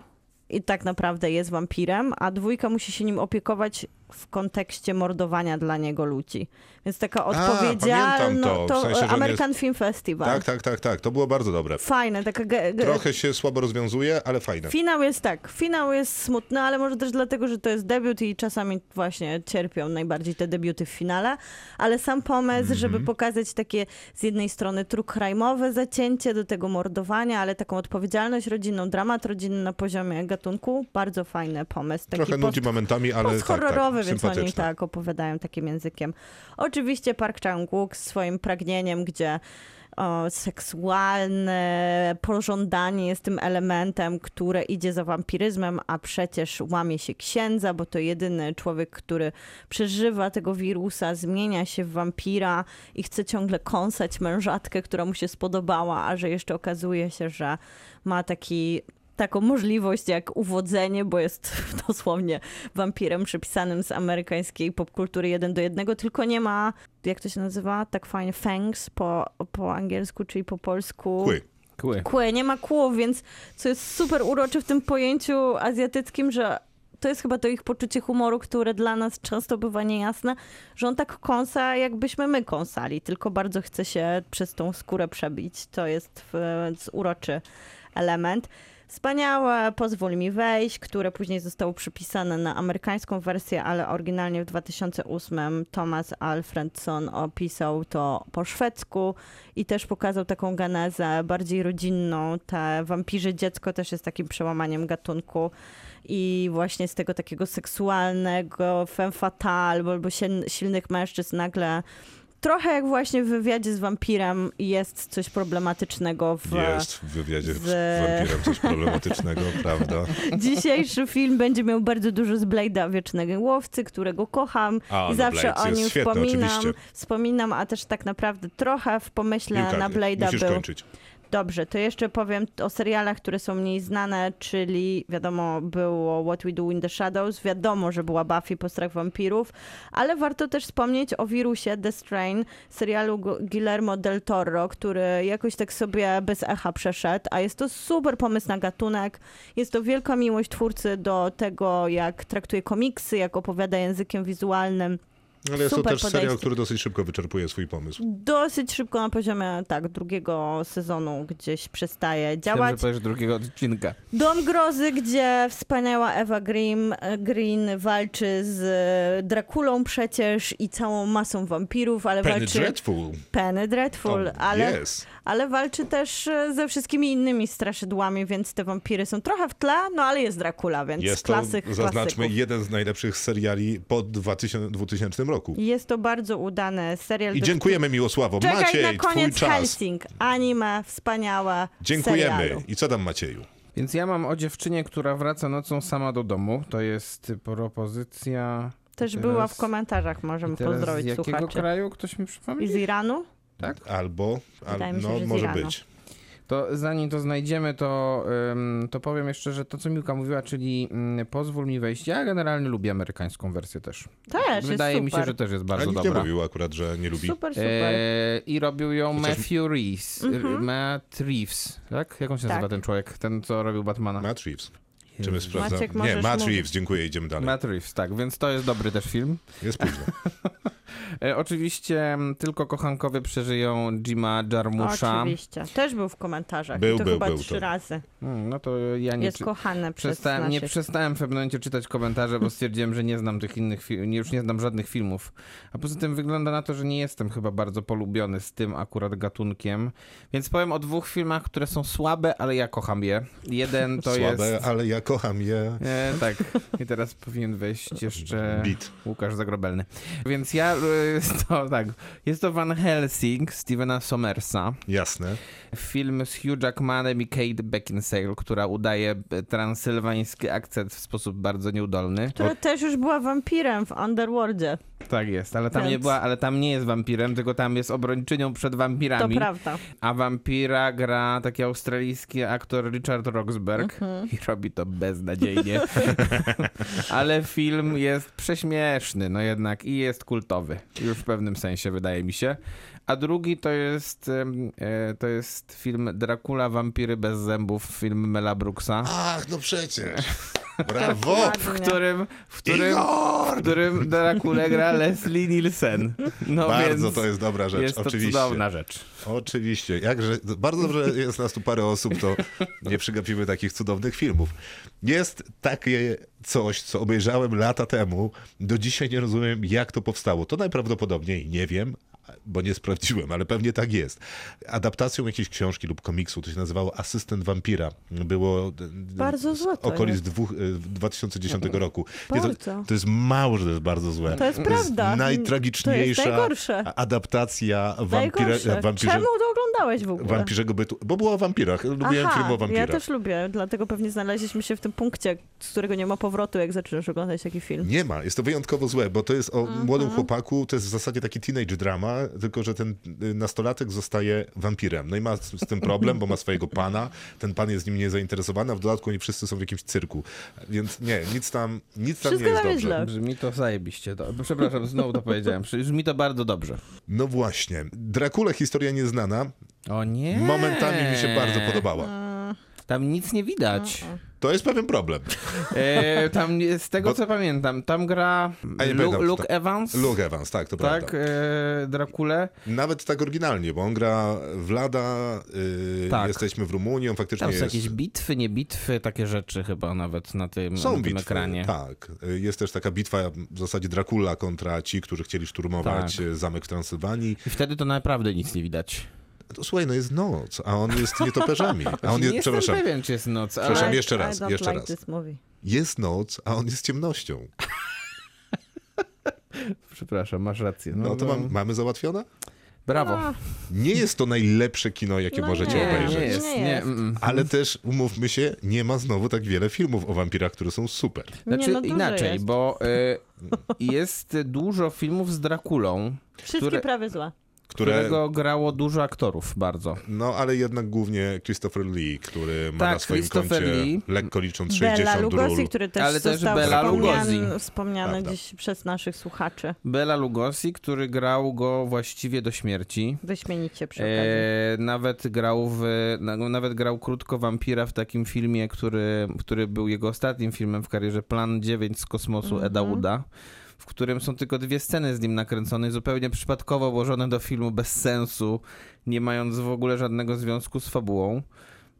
Speaker 4: i tak naprawdę jest wampirem, a dwójka musi się nim opiekować w kontekście mordowania dla niego ludzi. Więc taka
Speaker 2: pamiętam
Speaker 4: odpowiedzialność.
Speaker 2: to, w sensie, że on
Speaker 4: American Film Festival.
Speaker 2: Tak, tak, tak, tak. To było bardzo dobre.
Speaker 4: Fajne, taka ge- ge-
Speaker 2: Trochę się słabo rozwiązuje, ale fajne.
Speaker 4: Finał jest tak, finał jest smutny, ale może też dlatego, że to jest debiut i czasami właśnie cierpią najbardziej te debiuty w finale, ale sam pomysł,
Speaker 2: Mhm.
Speaker 4: żeby pokazać takie z jednej strony true crime'owe zacięcie do tego mordowania, ale taką odpowiedzialność rodzinną, dramat rodzinny na poziomie gatunku, bardzo fajny pomysł. Taki
Speaker 2: Trochę nudzi momentami, ale tak, tak,
Speaker 4: horrorowy, więc oni
Speaker 2: sympatyczne.
Speaker 4: tak opowiadają takim językiem. Oczywiście Park Chang-wook z swoim pragnieniem, gdzie o, seksualne pożądanie jest tym elementem, które idzie za wampiryzmem, a przecież łamie się księdza, bo to jedyny człowiek, który przeżywa tego wirusa, zmienia się w wampira i chce ciągle kąsać mężatkę, która mu się spodobała, a że jeszcze okazuje się, że ma taki taką możliwość jak uwodzenie, bo jest dosłownie wampirem przypisanym z amerykańskiej popkultury jeden do jednego, tylko nie ma, jak to się nazywa, tak fajnie, fangs po, po angielsku, czyli po polsku.
Speaker 2: Kły.
Speaker 5: Kły.
Speaker 4: Kły, nie ma kłów, więc co jest super urocze w tym pojęciu azjatyckim, że to jest chyba to ich poczucie humoru, które dla nas często bywa niejasne, że on tak kąsa, jakbyśmy my kąsali, tylko bardzo chce się przez tą skórę przebić. To jest e, uroczy element. Wspaniałe, pozwól mi wejść, które później zostało przypisane na amerykańską wersję, ale oryginalnie w 2008 Thomas Alfredson opisał to po szwedzku i też pokazał taką genezę bardziej rodzinną. Te wampirze dziecko też jest takim przełamaniem gatunku i właśnie z tego takiego seksualnego femme fatale albo si- silnych mężczyzn nagle trochę jak właśnie w wywiadzie z wampirem jest coś problematycznego w...
Speaker 2: Jest w wywiadzie z
Speaker 4: w-
Speaker 2: wampirem coś problematycznego, prawda?
Speaker 4: Dzisiejszy film będzie miał bardzo dużo z Blade'a Wiecznego Łowcy, którego kocham.
Speaker 2: A,
Speaker 4: I
Speaker 2: no
Speaker 4: zawsze
Speaker 2: Blades
Speaker 4: o
Speaker 2: jest
Speaker 4: nim
Speaker 2: świetny,
Speaker 4: wspominam,
Speaker 2: oczywiście.
Speaker 4: wspominam, a też tak naprawdę trochę w pomyśle
Speaker 2: Piłka,
Speaker 4: na Blade'a
Speaker 2: musisz
Speaker 4: był.
Speaker 2: kończyć.
Speaker 4: Dobrze, to jeszcze powiem o serialach, które są mniej znane, czyli wiadomo było What We Do in the Shadows, wiadomo, że była Buffy po strach wampirów, ale warto też wspomnieć o wirusie The Strain, serialu Gu- Guillermo del Toro, który jakoś tak sobie bez echa przeszedł, a jest to super pomysł na gatunek, jest to wielka miłość twórcy do tego, jak traktuje komiksy, jak opowiada językiem wizualnym.
Speaker 2: Ale jest to
Speaker 4: Super
Speaker 2: też serial,
Speaker 4: podejście.
Speaker 2: który dosyć szybko wyczerpuje swój pomysł.
Speaker 4: Dosyć szybko na poziomie, tak, drugiego sezonu gdzieś przestaje
Speaker 5: Chciałem,
Speaker 4: działać.
Speaker 5: że powiesz drugiego odcinka.
Speaker 4: Dom Grozy, gdzie wspaniała Eva Green, Green walczy z e, Drakulą przecież i całą masą wampirów, ale
Speaker 2: Penny
Speaker 4: walczy...
Speaker 2: Dreadful.
Speaker 4: Penny Dreadful, ale,
Speaker 2: Yes.
Speaker 4: ale walczy też e, ze wszystkimi innymi straszydłami, więc te wampiry są trochę w tle, no ale jest Dracula, więc
Speaker 2: Jest to,
Speaker 4: klasyk
Speaker 2: zaznaczmy,
Speaker 4: klasyków.
Speaker 2: jeden z najlepszych seriali po 2000, 2000 roku.
Speaker 4: Jest to bardzo udany serial.
Speaker 2: I
Speaker 4: do-
Speaker 2: dziękujemy Miłosławo.
Speaker 4: Czekaj
Speaker 2: Maciej,
Speaker 4: na koniec
Speaker 2: twój czas.
Speaker 4: Helsing, anime, wspaniałe
Speaker 2: Dziękujemy.
Speaker 4: serialu.
Speaker 2: I co tam Macieju?
Speaker 5: Więc ja mam o dziewczynie, która wraca nocą sama do domu. To jest propozycja.
Speaker 4: Też
Speaker 5: I
Speaker 4: była
Speaker 5: teraz-
Speaker 4: w komentarzach,
Speaker 5: i
Speaker 4: możemy
Speaker 5: teraz z
Speaker 4: pozdrowić
Speaker 5: jakiego
Speaker 4: słuchaczy.
Speaker 5: kraju ktoś mi przypomni?
Speaker 4: I z Iranu?
Speaker 5: Tak.
Speaker 2: Albo,
Speaker 4: Wydaje
Speaker 2: al,
Speaker 4: mi się,
Speaker 2: no
Speaker 4: że z
Speaker 2: może
Speaker 4: Iranu.
Speaker 2: być.
Speaker 5: To zanim to znajdziemy, to, ym, to powiem jeszcze, że to co Miłka mówiła, czyli mm, pozwól mi wejść. Ja generalnie lubię amerykańską wersję też.
Speaker 4: Też,
Speaker 5: Wydaje
Speaker 4: jest
Speaker 5: mi
Speaker 4: super.
Speaker 5: się, że też jest
Speaker 2: Ale
Speaker 5: bardzo
Speaker 2: nikt nie
Speaker 5: dobra.
Speaker 2: mówił akurat, że nie lubi.
Speaker 4: Super, super.
Speaker 5: E, I robił ją
Speaker 2: Chociaż-
Speaker 5: Matthew Reeves. mm Matt Reeves, tak? Jak on się
Speaker 4: Tak.
Speaker 5: nazywa ten człowiek? Ten, co robił Batmana.
Speaker 2: Matt Reeves. Czy my sprawdzamy?
Speaker 4: Maciek,
Speaker 2: Nie,
Speaker 4: możesz
Speaker 2: Matt
Speaker 4: mówić.
Speaker 2: Reeves, dziękuję, idziemy dalej.
Speaker 5: Matt Reeves, tak, więc to jest dobry też film.
Speaker 2: Jest późno.
Speaker 5: E, oczywiście m, tylko kochankowie przeżyją Jima Jarmusza.
Speaker 4: Oczywiście. Też był w komentarzach.
Speaker 2: Był,
Speaker 4: I to
Speaker 2: był,
Speaker 4: chyba
Speaker 2: był
Speaker 4: trzy
Speaker 2: to.
Speaker 4: razy.
Speaker 5: Mm, No to ja nie,
Speaker 4: Jest
Speaker 5: czy,
Speaker 4: kochany przez
Speaker 5: przestałem,
Speaker 4: naszych...
Speaker 5: nie przestałem w pewnym momencie czytać komentarze, bo stwierdziłem, że nie znam tych innych fi- nie, już nie znam żadnych filmów. A poza tym wygląda na to, że nie jestem chyba bardzo polubiony z tym akurat gatunkiem. Więc powiem o dwóch filmach, które są słabe, ale ja kocham je. Jeden to
Speaker 2: Słabe,
Speaker 5: jest...
Speaker 2: ale ja kocham je.
Speaker 5: E, tak, i teraz powinien wejść jeszcze
Speaker 2: Beat.
Speaker 5: Łukasz Zagrobelny. Więc ja, e, to tak, jest to Van Helsing Stevena Somersa,
Speaker 2: Jasne.
Speaker 5: film z Hugh Jackmanem i Kate Beckinsale, która udaje e, transylwański akcent w sposób bardzo nieudolny.
Speaker 4: Która też już była wampirem w Underworldzie.
Speaker 5: Tak jest, ale tam, nie
Speaker 4: Więc-
Speaker 5: była, ale tam nie jest wampirem, tylko tam jest obrończynią przed
Speaker 4: To
Speaker 5: wampirami.
Speaker 4: prawda.
Speaker 5: A wampira gra taki australijski aktor Richard Roxburgh i robi to beznadziejnie. Ale film jest prześmieszny, no jednak, i jest kultowy. Już w pewnym sensie, wydaje mi się. A drugi to jest, em, e, to jest film Dracula, Wampiry bez zębów, film Mela Brooksa,
Speaker 2: Ach, no przecież. Brawo!
Speaker 5: w którym, w którym,
Speaker 2: Igor!
Speaker 5: w którym Dracula gra Leslie Nielsen. No
Speaker 2: Bardzo
Speaker 5: więc
Speaker 2: to jest dobra rzecz,
Speaker 5: jest to
Speaker 2: oczywiście.
Speaker 5: cudowna rzecz.
Speaker 2: Oczywiście. Jakże, bardzo dobrze jest nas tu parę osób, to nie przegapimy takich cudownych filmów. Jest takie coś, co obejrzałem lata temu. Do dzisiaj nie rozumiem, jak to powstało. To najprawdopodobniej nie wiem, bo nie sprawdziłem, ale pewnie tak jest. Adaptacją jakiejś książki lub komiksu, to się nazywało Asystent Wampira. Było
Speaker 4: Bardzo złe to
Speaker 2: okolic
Speaker 4: jest.
Speaker 2: dwóch, e, 2010 roku. Nie, to,
Speaker 4: Bardzo.
Speaker 2: to jest mało, że to jest bardzo złe.
Speaker 4: To jest prawda.
Speaker 2: najtragiczniejsza
Speaker 4: To jest najgorsze.
Speaker 2: adaptacja wampire,
Speaker 4: Najgorsze.
Speaker 2: wampirze,
Speaker 4: Czemu to oglądałeś w ogóle?
Speaker 2: Wampirzego bytu. Bo było o wampirach. Lubiłem
Speaker 4: Aha,
Speaker 2: film o wampirach.
Speaker 4: ja też lubię, dlatego pewnie znaleźliśmy się w tym punkcie, z którego nie ma powrotu, jak zaczynasz oglądać taki film.
Speaker 2: Nie ma, jest to wyjątkowo złe, bo to jest o
Speaker 4: Mhm.
Speaker 2: młodym chłopaku, to jest w zasadzie taki teenage drama, tylko że ten y, nastolatek zostaje wampirem. No i ma z z tym problem, bo ma swojego pana, ten pan jest nim niezainteresowany, a w dodatku oni wszyscy są w jakimś cyrku. Więc nie, nic tam, nic tam nie
Speaker 4: Wszystko
Speaker 2: jest
Speaker 4: tam jest
Speaker 2: dobrze.
Speaker 4: źle.
Speaker 5: Brzmi to zajebiście. Do... Przepraszam, znowu to powiedziałem. Brzmi to bardzo dobrze.
Speaker 2: No właśnie. Drakule, historia nieznana,
Speaker 5: O nie. Eee.
Speaker 2: momentami mi się bardzo podobała.
Speaker 5: Tam nic nie widać.
Speaker 4: Mhm.
Speaker 2: To jest pewien problem.
Speaker 5: E, tam, nie- z tego
Speaker 2: Bo-
Speaker 5: co pamiętam, tam gra
Speaker 2: A nie
Speaker 5: Lu-
Speaker 2: pamiętam,
Speaker 5: Luke
Speaker 2: tak.
Speaker 5: Evans.
Speaker 2: Luke Evans, tak, to
Speaker 5: tak,
Speaker 2: prawda.
Speaker 5: e, Drakule.
Speaker 2: Nawet tak oryginalnie, bo on gra w Lada, yy,
Speaker 5: Tak.
Speaker 2: jesteśmy w Rumunii, on faktycznie
Speaker 5: Tam są
Speaker 2: jest...
Speaker 5: jakieś bitwy, nie bitwy, takie rzeczy chyba nawet na tym, na
Speaker 2: Są
Speaker 5: tym
Speaker 2: bitwy,
Speaker 5: ekranie.
Speaker 2: tak. Y, Jest też taka bitwa w zasadzie Dracula kontra ci, którzy chcieli szturmować
Speaker 5: Tak.
Speaker 2: y, zamek w Transylwanii.
Speaker 5: I wtedy to naprawdę nic nie widać.
Speaker 2: To, słuchaj, no jest noc, a on jest nietoperzami. A on
Speaker 5: Znaczy, nie
Speaker 2: jest,
Speaker 5: jestem
Speaker 2: przepraszam,
Speaker 5: pewien, czy jest noc, ale...
Speaker 2: Przepraszam,
Speaker 4: I-
Speaker 2: jeszcze raz,
Speaker 4: I don't
Speaker 2: jeszcze
Speaker 4: like
Speaker 2: raz.
Speaker 4: This movie.
Speaker 2: jest noc, a on jest ciemnością.
Speaker 5: Przepraszam, masz rację.
Speaker 2: No to mam, mamy załatwione?
Speaker 5: Brawo.
Speaker 4: No,
Speaker 2: Nie jest to najlepsze kino, jakie
Speaker 4: No
Speaker 2: możecie
Speaker 4: nie,
Speaker 2: obejrzeć.
Speaker 5: nie jest. Nie,
Speaker 4: Nie jest.
Speaker 5: mm, mm.
Speaker 2: Ale też, umówmy się, nie ma znowu tak wiele filmów o wampirach, które są super.
Speaker 5: Znaczy
Speaker 4: nie, no dużo
Speaker 5: inaczej,
Speaker 4: jest.
Speaker 5: bo y, jest dużo filmów z Drakulą,
Speaker 4: Wszystkie
Speaker 5: które-
Speaker 4: prawie złe.
Speaker 2: Które,
Speaker 5: którego grało dużo aktorów bardzo.
Speaker 2: No, ale jednak głównie Christopher Lee, który ma
Speaker 5: Tak,
Speaker 2: na swoim koncie
Speaker 5: Christopher Lee.
Speaker 2: lekko licząc
Speaker 4: Bela
Speaker 2: 60
Speaker 4: Lugosi,
Speaker 2: ról.
Speaker 4: który też
Speaker 5: Ale też
Speaker 4: został
Speaker 5: Bela
Speaker 4: wspomniany,
Speaker 5: Lugosi.
Speaker 4: wspomniany
Speaker 2: Prawda.
Speaker 4: dziś przez naszych słuchaczy.
Speaker 5: Bela Lugosi, który grał go właściwie do śmierci.
Speaker 4: Wyśmienicie przy okazji.
Speaker 5: E, nawet grał w, na, nawet grał krótko wampira w takim filmie, który, który był jego ostatnim filmem w karierze, Plan 9 z kosmosu
Speaker 4: Mhm.
Speaker 5: Eda Wooda, w którym są tylko dwie sceny z nim nakręcone, i zupełnie przypadkowo włożone do filmu bez sensu, nie mając w ogóle żadnego związku z fabułą.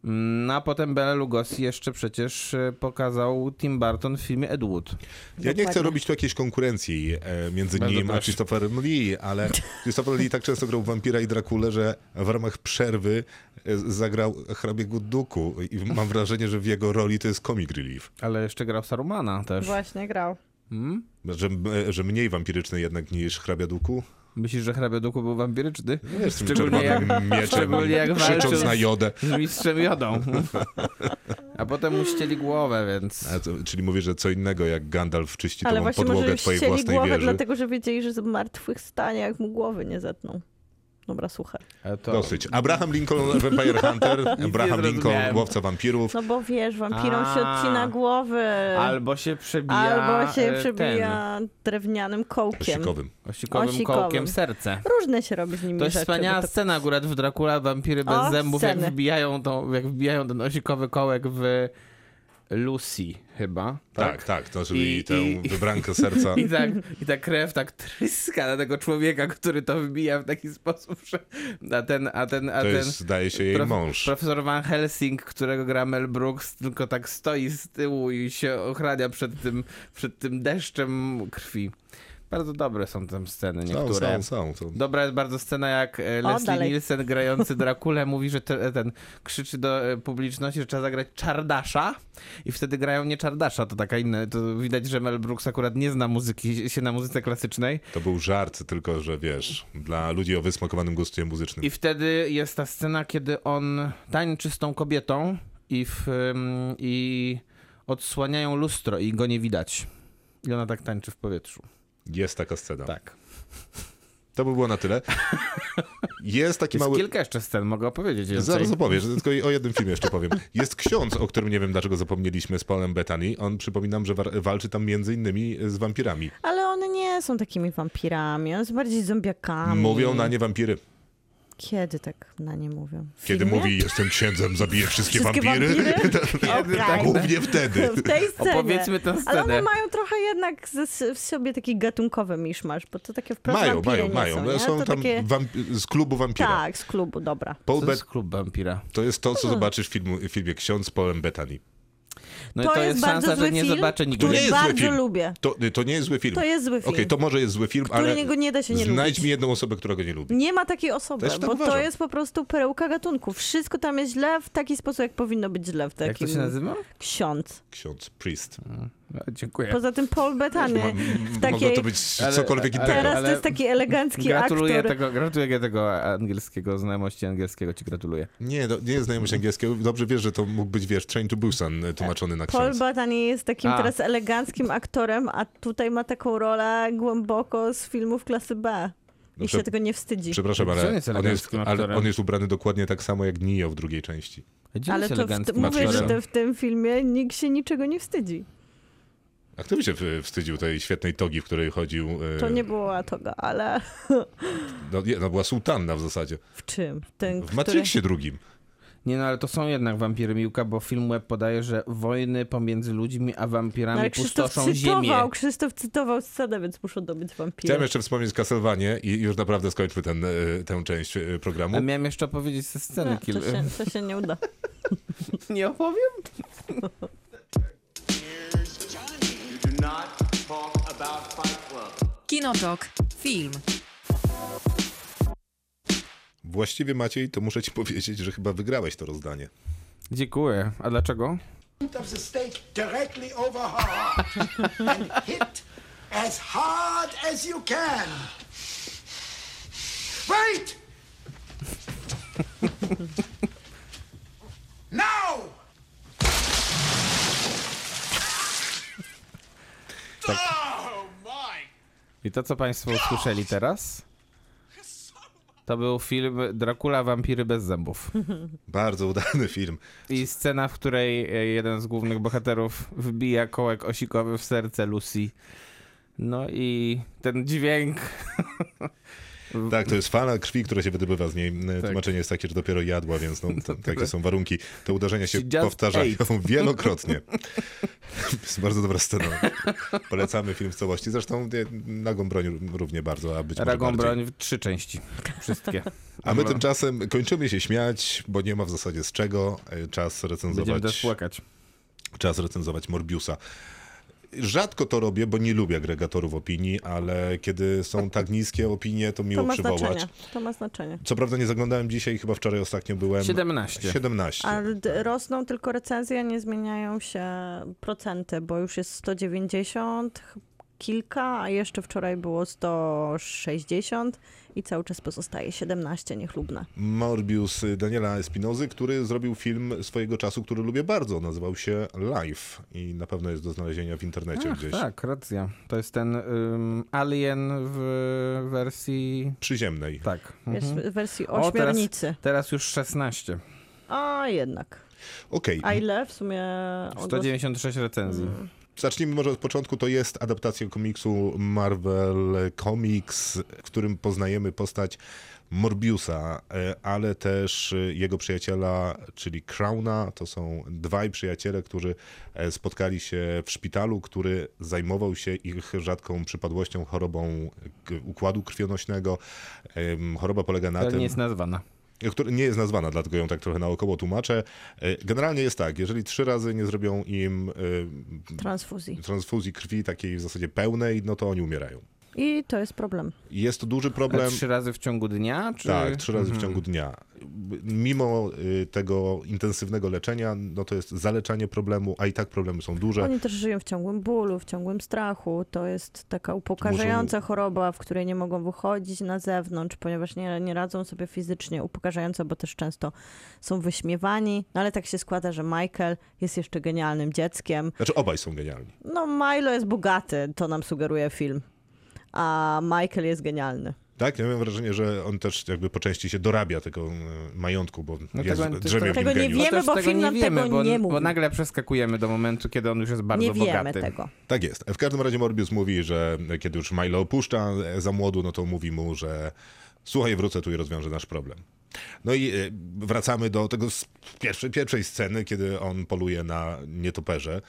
Speaker 5: Mm, No a potem Bela Lugosi jeszcze przecież e, pokazał Tim Burton w filmie Ed Wood.
Speaker 2: Ja nie chcę
Speaker 4: Dokładnie.
Speaker 2: robić tu jakiejś konkurencji e, między
Speaker 5: Bardzo
Speaker 2: nim a
Speaker 5: proszę.
Speaker 2: Christopherem Lee, ale Christopher Lee tak często grał w Wampira i Drakulę, że w ramach przerwy e, zagrał hrabiego Duku i mam wrażenie, że w jego roli to jest comic relief,
Speaker 5: Ale jeszcze grał Sarumana też.
Speaker 4: Właśnie grał.
Speaker 5: Hmm?
Speaker 2: że, e, że mniej wampiryczny jednak niż hrabia Duku.
Speaker 5: Myślisz, że hrabia duku był wampiryczny?
Speaker 2: Wiesz, z tym
Speaker 5: Szczególnie
Speaker 2: czerwonym mieczem,
Speaker 5: szczególnie jak
Speaker 2: krzycząc
Speaker 5: walczył
Speaker 2: na
Speaker 5: z-
Speaker 2: jodę.
Speaker 5: Z mistrzem jodą. A potem mu ścieli głowę, więc.
Speaker 2: A E, co, czyli mówię, że co innego jak Gandalf czyści
Speaker 4: Ale
Speaker 2: tobą
Speaker 4: właśnie
Speaker 2: podłogę
Speaker 4: może
Speaker 2: twojej
Speaker 4: chcieli
Speaker 2: własnej
Speaker 4: głowę,
Speaker 2: wieży.
Speaker 4: dlatego że wiedzieli, że z martwych stanie, jak mu głowy nie zetną. Dobra, słuchaj.
Speaker 5: A to...
Speaker 2: Dosyć. Abraham Lincoln, Vampire Hunter, Abraham Lincoln,
Speaker 5: zrozumiałem.
Speaker 2: łowca wampirów.
Speaker 4: No bo wiesz, wampirom
Speaker 5: A.
Speaker 4: się odcina głowy.
Speaker 5: Albo się przebija.
Speaker 4: Albo się
Speaker 5: e,
Speaker 4: przebija drewnianym kołkiem.
Speaker 2: Sikowym.
Speaker 5: Ten, osikowym,
Speaker 4: Osikowym.
Speaker 5: kołkiem serce.
Speaker 4: Różne się robi z nimi
Speaker 5: To jest
Speaker 4: rzeczy.
Speaker 5: wspaniała
Speaker 4: bo to-
Speaker 5: scena akurat w Dracula, wampiry bez
Speaker 4: O,
Speaker 5: zębów,
Speaker 4: sceny.
Speaker 5: jak wbijają, tą, jak wbijają ten osikowy kołek w Lucy chyba.
Speaker 2: Tak, tak, to czyli
Speaker 5: I-
Speaker 2: tę
Speaker 5: i-
Speaker 2: wybrankę serca.
Speaker 5: I, tak, I ta krew tak tryska na tego człowieka, który to wybija w taki sposób, że... A ten, a ten, a
Speaker 2: To
Speaker 5: ten...
Speaker 2: jest, zdaje się, jej
Speaker 5: Prof-
Speaker 2: mąż.
Speaker 5: Profesor Van Helsing, którego gra Mel Brooks, tylko tak stoi z tyłu i się ochrania przed tym, przed tym deszczem krwi. Bardzo dobre są tam sceny
Speaker 2: Są,
Speaker 5: niektóre.
Speaker 2: są, są. są.
Speaker 5: Dobra jest bardzo scena, jak e, Leslie
Speaker 4: dalej.
Speaker 5: Nielsen grający Drakulę mówi, że te, ten krzyczy do e, publiczności, że trzeba zagrać Czardasza i wtedy grają nie Czardasza, to taka inna, to widać, że Mel Brooks akurat nie zna muzyki, się na muzyce klasycznej
Speaker 2: To był żart, tylko że wiesz, dla ludzi o wysmakowanym guście muzycznym.
Speaker 5: I wtedy jest ta scena, kiedy on tańczy z tą kobietą i, w, ym, i odsłaniają lustro i go nie widać. I ona tak tańczy w powietrzu.
Speaker 2: Jest taka scena.
Speaker 5: Tak.
Speaker 2: To by było na tyle. Jest taki
Speaker 5: Jest
Speaker 2: mały...
Speaker 5: kilka jeszcze scen, mogę opowiedzieć więcej.
Speaker 2: Zaraz opowiesz, tylko o jednym filmie jeszcze powiem. Jest ksiądz, o którym nie wiem dlaczego zapomnieliśmy, z Paulem Bettany. On, przypominam, że war- walczy tam między innymi z wampirami.
Speaker 4: Ale one nie są takimi wampirami, one są bardziej zombiakami.
Speaker 2: Mówią na nie wampiry.
Speaker 4: Kiedy tak na nie mówią? W
Speaker 2: Kiedy
Speaker 4: filmie?
Speaker 2: mówi, jestem księdzem, zabiję wszystkie,
Speaker 4: Wszystkie
Speaker 2: wampiry.
Speaker 4: wampiry?
Speaker 2: tak,
Speaker 4: Okej.
Speaker 2: głównie wtedy.
Speaker 4: W tej scenie.
Speaker 5: Opowiedzmy tę
Speaker 4: Ale
Speaker 5: scenę.
Speaker 4: one mają trochę jednak ze, w sobie taki gatunkowy miszmasz, bo to takie wprost
Speaker 2: Mają,
Speaker 4: wampiry
Speaker 2: mają,
Speaker 4: nie
Speaker 2: mają.
Speaker 4: Są, nie?
Speaker 2: No, Są
Speaker 4: to
Speaker 2: tam
Speaker 4: takie...
Speaker 2: wamp- z klubu wampira.
Speaker 4: Tak, Hmm. z klubu, dobra.
Speaker 2: Paul
Speaker 5: To
Speaker 2: Bet-
Speaker 5: jest klub wampira.
Speaker 2: to jest to, co zobaczysz w, filmu, w filmie Ksiądz z Paulem Bettany.
Speaker 5: No
Speaker 4: To
Speaker 5: i to
Speaker 4: jest
Speaker 5: jest,
Speaker 4: bardzo
Speaker 5: szansa, że
Speaker 4: zły
Speaker 5: nie
Speaker 4: film,
Speaker 5: zobaczę nigdy.
Speaker 2: który-
Speaker 4: Który
Speaker 2: nie jest zły
Speaker 4: bardzo
Speaker 2: film.
Speaker 4: lubię.
Speaker 2: To, to nie jest zły film.
Speaker 4: To jest zły film.
Speaker 2: Okej, to może jest zły film, ale
Speaker 4: Którego nie da się nie
Speaker 2: znajdź
Speaker 4: lubić.
Speaker 2: mi jedną osobę, która go nie lubi.
Speaker 4: Nie ma takiej osoby,
Speaker 2: Też tak
Speaker 4: bo to
Speaker 2: uważam.
Speaker 4: jest po prostu perełka gatunku. Wszystko tam jest źle w taki sposób, jak powinno być źle w
Speaker 5: Jak
Speaker 4: takim
Speaker 5: to się nazywa?
Speaker 4: ksiądz.
Speaker 2: Ksiądz, priest.
Speaker 5: A, dziękuję.
Speaker 4: Poza tym Paul Bettany w
Speaker 2: Mogło
Speaker 4: takiej...
Speaker 2: to być
Speaker 5: Ale-
Speaker 2: cokolwiek
Speaker 5: ale-
Speaker 2: innego.
Speaker 4: Teraz
Speaker 5: ale-
Speaker 4: to jest taki elegancki
Speaker 5: Gratuluję
Speaker 4: aktor.
Speaker 5: tego, gratuluję tego angielskiego, znajomości angielskiego ci gratuluję.
Speaker 2: Nie, to nie jest znajomość angielskiego. Dobrze wiesz, że to mógł być, wiesz, Train to Busan e, tłumaczony na
Speaker 4: Paul
Speaker 2: ksiądz.
Speaker 4: Bettany jest takim
Speaker 5: A.
Speaker 4: teraz eleganckim aktorem, a tutaj ma taką rolę głęboko z filmów klasy B. I
Speaker 2: No, prze-
Speaker 4: się tego nie wstydzi.
Speaker 2: Przepraszam,
Speaker 5: Gdzie on
Speaker 2: ale
Speaker 5: jest
Speaker 2: on jest,
Speaker 5: eleganckim
Speaker 2: ale
Speaker 5: aktorem?
Speaker 2: on jest ubrany dokładnie tak samo jak Neo w drugiej części.
Speaker 5: Gdzie
Speaker 4: Ale
Speaker 5: jest
Speaker 4: to w,
Speaker 5: elegancki
Speaker 4: mówię, że
Speaker 5: aktorem?
Speaker 4: to w tym filmie nikt się niczego nie wstydzi.
Speaker 2: A kto by się w- wstydził tej świetnej togi, w której chodził... e,
Speaker 4: To nie była toga, ale
Speaker 2: No, nie, no była sułtanna w zasadzie.
Speaker 4: w czym? Ten,
Speaker 2: W
Speaker 4: który-
Speaker 2: Matrixie drugim.
Speaker 5: Nie no, ale to są jednak wampiry Miłka, bo film web podaje, że wojny pomiędzy ludźmi a wampirami
Speaker 4: No, Ale Krzysztof
Speaker 5: pustoszą ziemię.
Speaker 4: cytował, Krzysztof cytował scenę, więc muszą dobyć wampira.
Speaker 2: Chciałem jeszcze wspomnieć Castlevanię i już naprawdę skończmy ten, e, tę część e, programu.
Speaker 5: A miałem jeszcze opowiedzieć ze sceny
Speaker 4: No,
Speaker 5: kilku.
Speaker 4: to, się, to się nie uda.
Speaker 5: Nie opowiem?
Speaker 3: You do not talk about Fight Club.
Speaker 1: Kinotok. Film.
Speaker 2: Właściwie Maciej, to muszę ci powiedzieć, że chyba wygrałeś to rozdanie.
Speaker 5: Dziękuję. A dlaczego?
Speaker 6: of the stake directly over her heart and hit as hard as you can. Wait! now! Oh,
Speaker 5: I to, co Państwo usłyszeli teraz, to był film Dracula, wampiry bez zębów.
Speaker 2: Bardzo udany film.
Speaker 5: I scena, w której e, jeden z głównych bohaterów wbija kołek osikowy w serce Lucy. No i ten dźwięk.
Speaker 2: Tak, to jest fala krwi, która się wydobywa z niej. E,
Speaker 5: Tak.
Speaker 2: Tłumaczenie jest takie, że dopiero jadła, więc no, to, takie są warunki. Te uderzenia się
Speaker 5: She just
Speaker 2: powtarzają wielokrotnie. jest bardzo dobra scena. Polecamy film w całości. Zresztą e, Nagą Broń równie bardzo, a być może
Speaker 5: Dragą
Speaker 2: bardziej.
Speaker 5: broń w trzy części. Wszystkie.
Speaker 2: A my tymczasem kończymy się śmiać, bo nie ma w zasadzie z czego. E, Czas
Speaker 5: Będziemy
Speaker 2: recenzować,
Speaker 5: też płakać.
Speaker 2: czas recenzować Morbiusa. Rzadko to robię, bo nie lubię agregatorów opinii, ale kiedy są tak niskie opinie, to miło
Speaker 4: To ma
Speaker 2: przywołać.
Speaker 4: znaczenie. To ma znaczenie.
Speaker 2: Co prawda nie zaglądałem dzisiaj, chyba wczoraj ostatnio byłem.
Speaker 5: 17.
Speaker 2: 17.
Speaker 4: Ale d- rosną tylko recenzje, nie zmieniają się procenty, bo już jest 190 ch- kilka, a jeszcze wczoraj było 160 i cały czas pozostaje 17 niechlubne.
Speaker 2: Morbius y, Daniela Espinozy, który zrobił film swojego czasu, który lubię bardzo. Nazywał się Life i na pewno jest do znalezienia w internecie
Speaker 5: Ach,
Speaker 2: gdzieś.
Speaker 5: tak, racja. To jest ten ym, Alien w wersji.
Speaker 2: Przyziemnej.
Speaker 5: Tak.
Speaker 4: Jest
Speaker 5: Mhm.
Speaker 4: w wersji
Speaker 5: teraz-
Speaker 4: ośmiornicy.
Speaker 5: Teraz już 16.
Speaker 4: A jednak.
Speaker 2: Okej,
Speaker 4: A ile w sumie? odgłos-
Speaker 5: 196 recenzji.
Speaker 4: Mm.
Speaker 2: zacznijmy może od początku. To jest adaptacja komiksu Marvel Comics, w którym poznajemy postać Morbiusa, y, ale też y, jego przyjaciela, czyli Crowna. To są dwaj przyjaciele, którzy e, spotkali się w szpitalu, który zajmował się ich rzadką przypadłością, chorobą k- układu krwionośnego. Em, Choroba polega na
Speaker 5: Ale
Speaker 2: tym
Speaker 5: nie jest nazwana.
Speaker 2: która nie jest nazwana, dlatego ją tak trochę naokoło tłumaczę. E, Generalnie jest tak, jeżeli trzy razy nie zrobią im
Speaker 4: Transfuzji.
Speaker 2: e, transfuzji krwi takiej w zasadzie pełnej, no to oni umierają.
Speaker 4: I to jest problem.
Speaker 2: I Jest to duży
Speaker 5: Ale
Speaker 2: problem.
Speaker 5: trzy razy w ciągu dnia? Czy...
Speaker 2: Tak, trzy razy w ciągu dnia. Mimo y, tego intensywnego leczenia, no to jest zaleczanie problemu, a i tak problemy są duże.
Speaker 4: Oni też żyją w ciągłym bólu, w ciągłym strachu. To jest taka upokarzająca choroba, w której nie mogą wychodzić na zewnątrz, ponieważ nie, nie radzą sobie fizycznie. Upokarzająca, bo też często są wyśmiewani. No ale tak się składa, że Michael jest jeszcze genialnym dzieckiem.
Speaker 2: Znaczy obaj są genialni.
Speaker 4: No Milo jest bogaty, to nam sugeruje film. A Michael jest genialny.
Speaker 2: Tak? Ja mam wrażenie, że on też jakby po części się dorabia tego y, majątku, bo
Speaker 5: No
Speaker 2: jest,
Speaker 5: tego-
Speaker 2: drzemie w nim
Speaker 4: tego nie
Speaker 2: geniusz.
Speaker 4: wiemy,
Speaker 5: też
Speaker 4: bo
Speaker 5: No tego
Speaker 4: film
Speaker 5: nie
Speaker 4: nam
Speaker 5: wiemy,
Speaker 4: tego
Speaker 5: bo,
Speaker 4: nie mówi.
Speaker 5: bo nagle przeskakujemy do momentu, kiedy on już jest bardzo
Speaker 4: nie wiemy
Speaker 5: bogaty.
Speaker 4: tego.
Speaker 2: Tak jest. W każdym razie Morbius mówi, że kiedy już Milo opuszcza e, za młodu, no to mówi mu, że słuchaj, wrócę tu i rozwiążę nasz problem. No i e, wracamy do tego z pierwszej, pierwszej sceny, kiedy on poluje na nietoperze,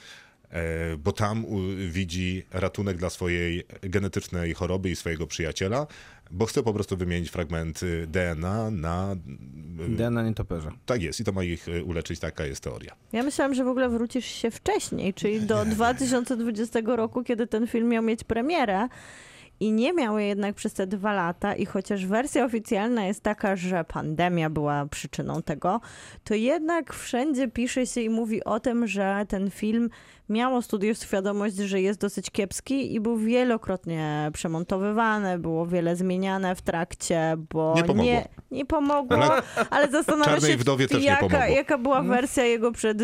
Speaker 2: e, bo tam u, widzi ratunek dla swojej genetycznej choroby i swojego przyjaciela, bo chce po prostu wymienić fragment y, DNA na... Mm.
Speaker 5: Idę na nietoperze.
Speaker 2: Tak jest i to ma ich y, uleczyć, taka jest teoria.
Speaker 4: Ja myślałam, że w ogóle wrócisz się wcześniej, czyli do 2020 roku, kiedy ten film miał mieć premierę. I nie miał jej jednak przez te dwa lata, i chociaż wersja oficjalna jest taka, że pandemia była przyczyną tego, to jednak wszędzie pisze się i mówi o tym, że ten film miało studio świadomość, że jest dosyć kiepski i był wielokrotnie przemontowywany, było wiele zmieniane w trakcie, bo
Speaker 2: Nie pomogło.
Speaker 4: nie, nie pomogło, ale zastanawiam
Speaker 2: Czarnej
Speaker 4: się,
Speaker 2: Wdowie też nie
Speaker 4: jaka,
Speaker 2: pomogło.
Speaker 4: jaka była wersja jego przed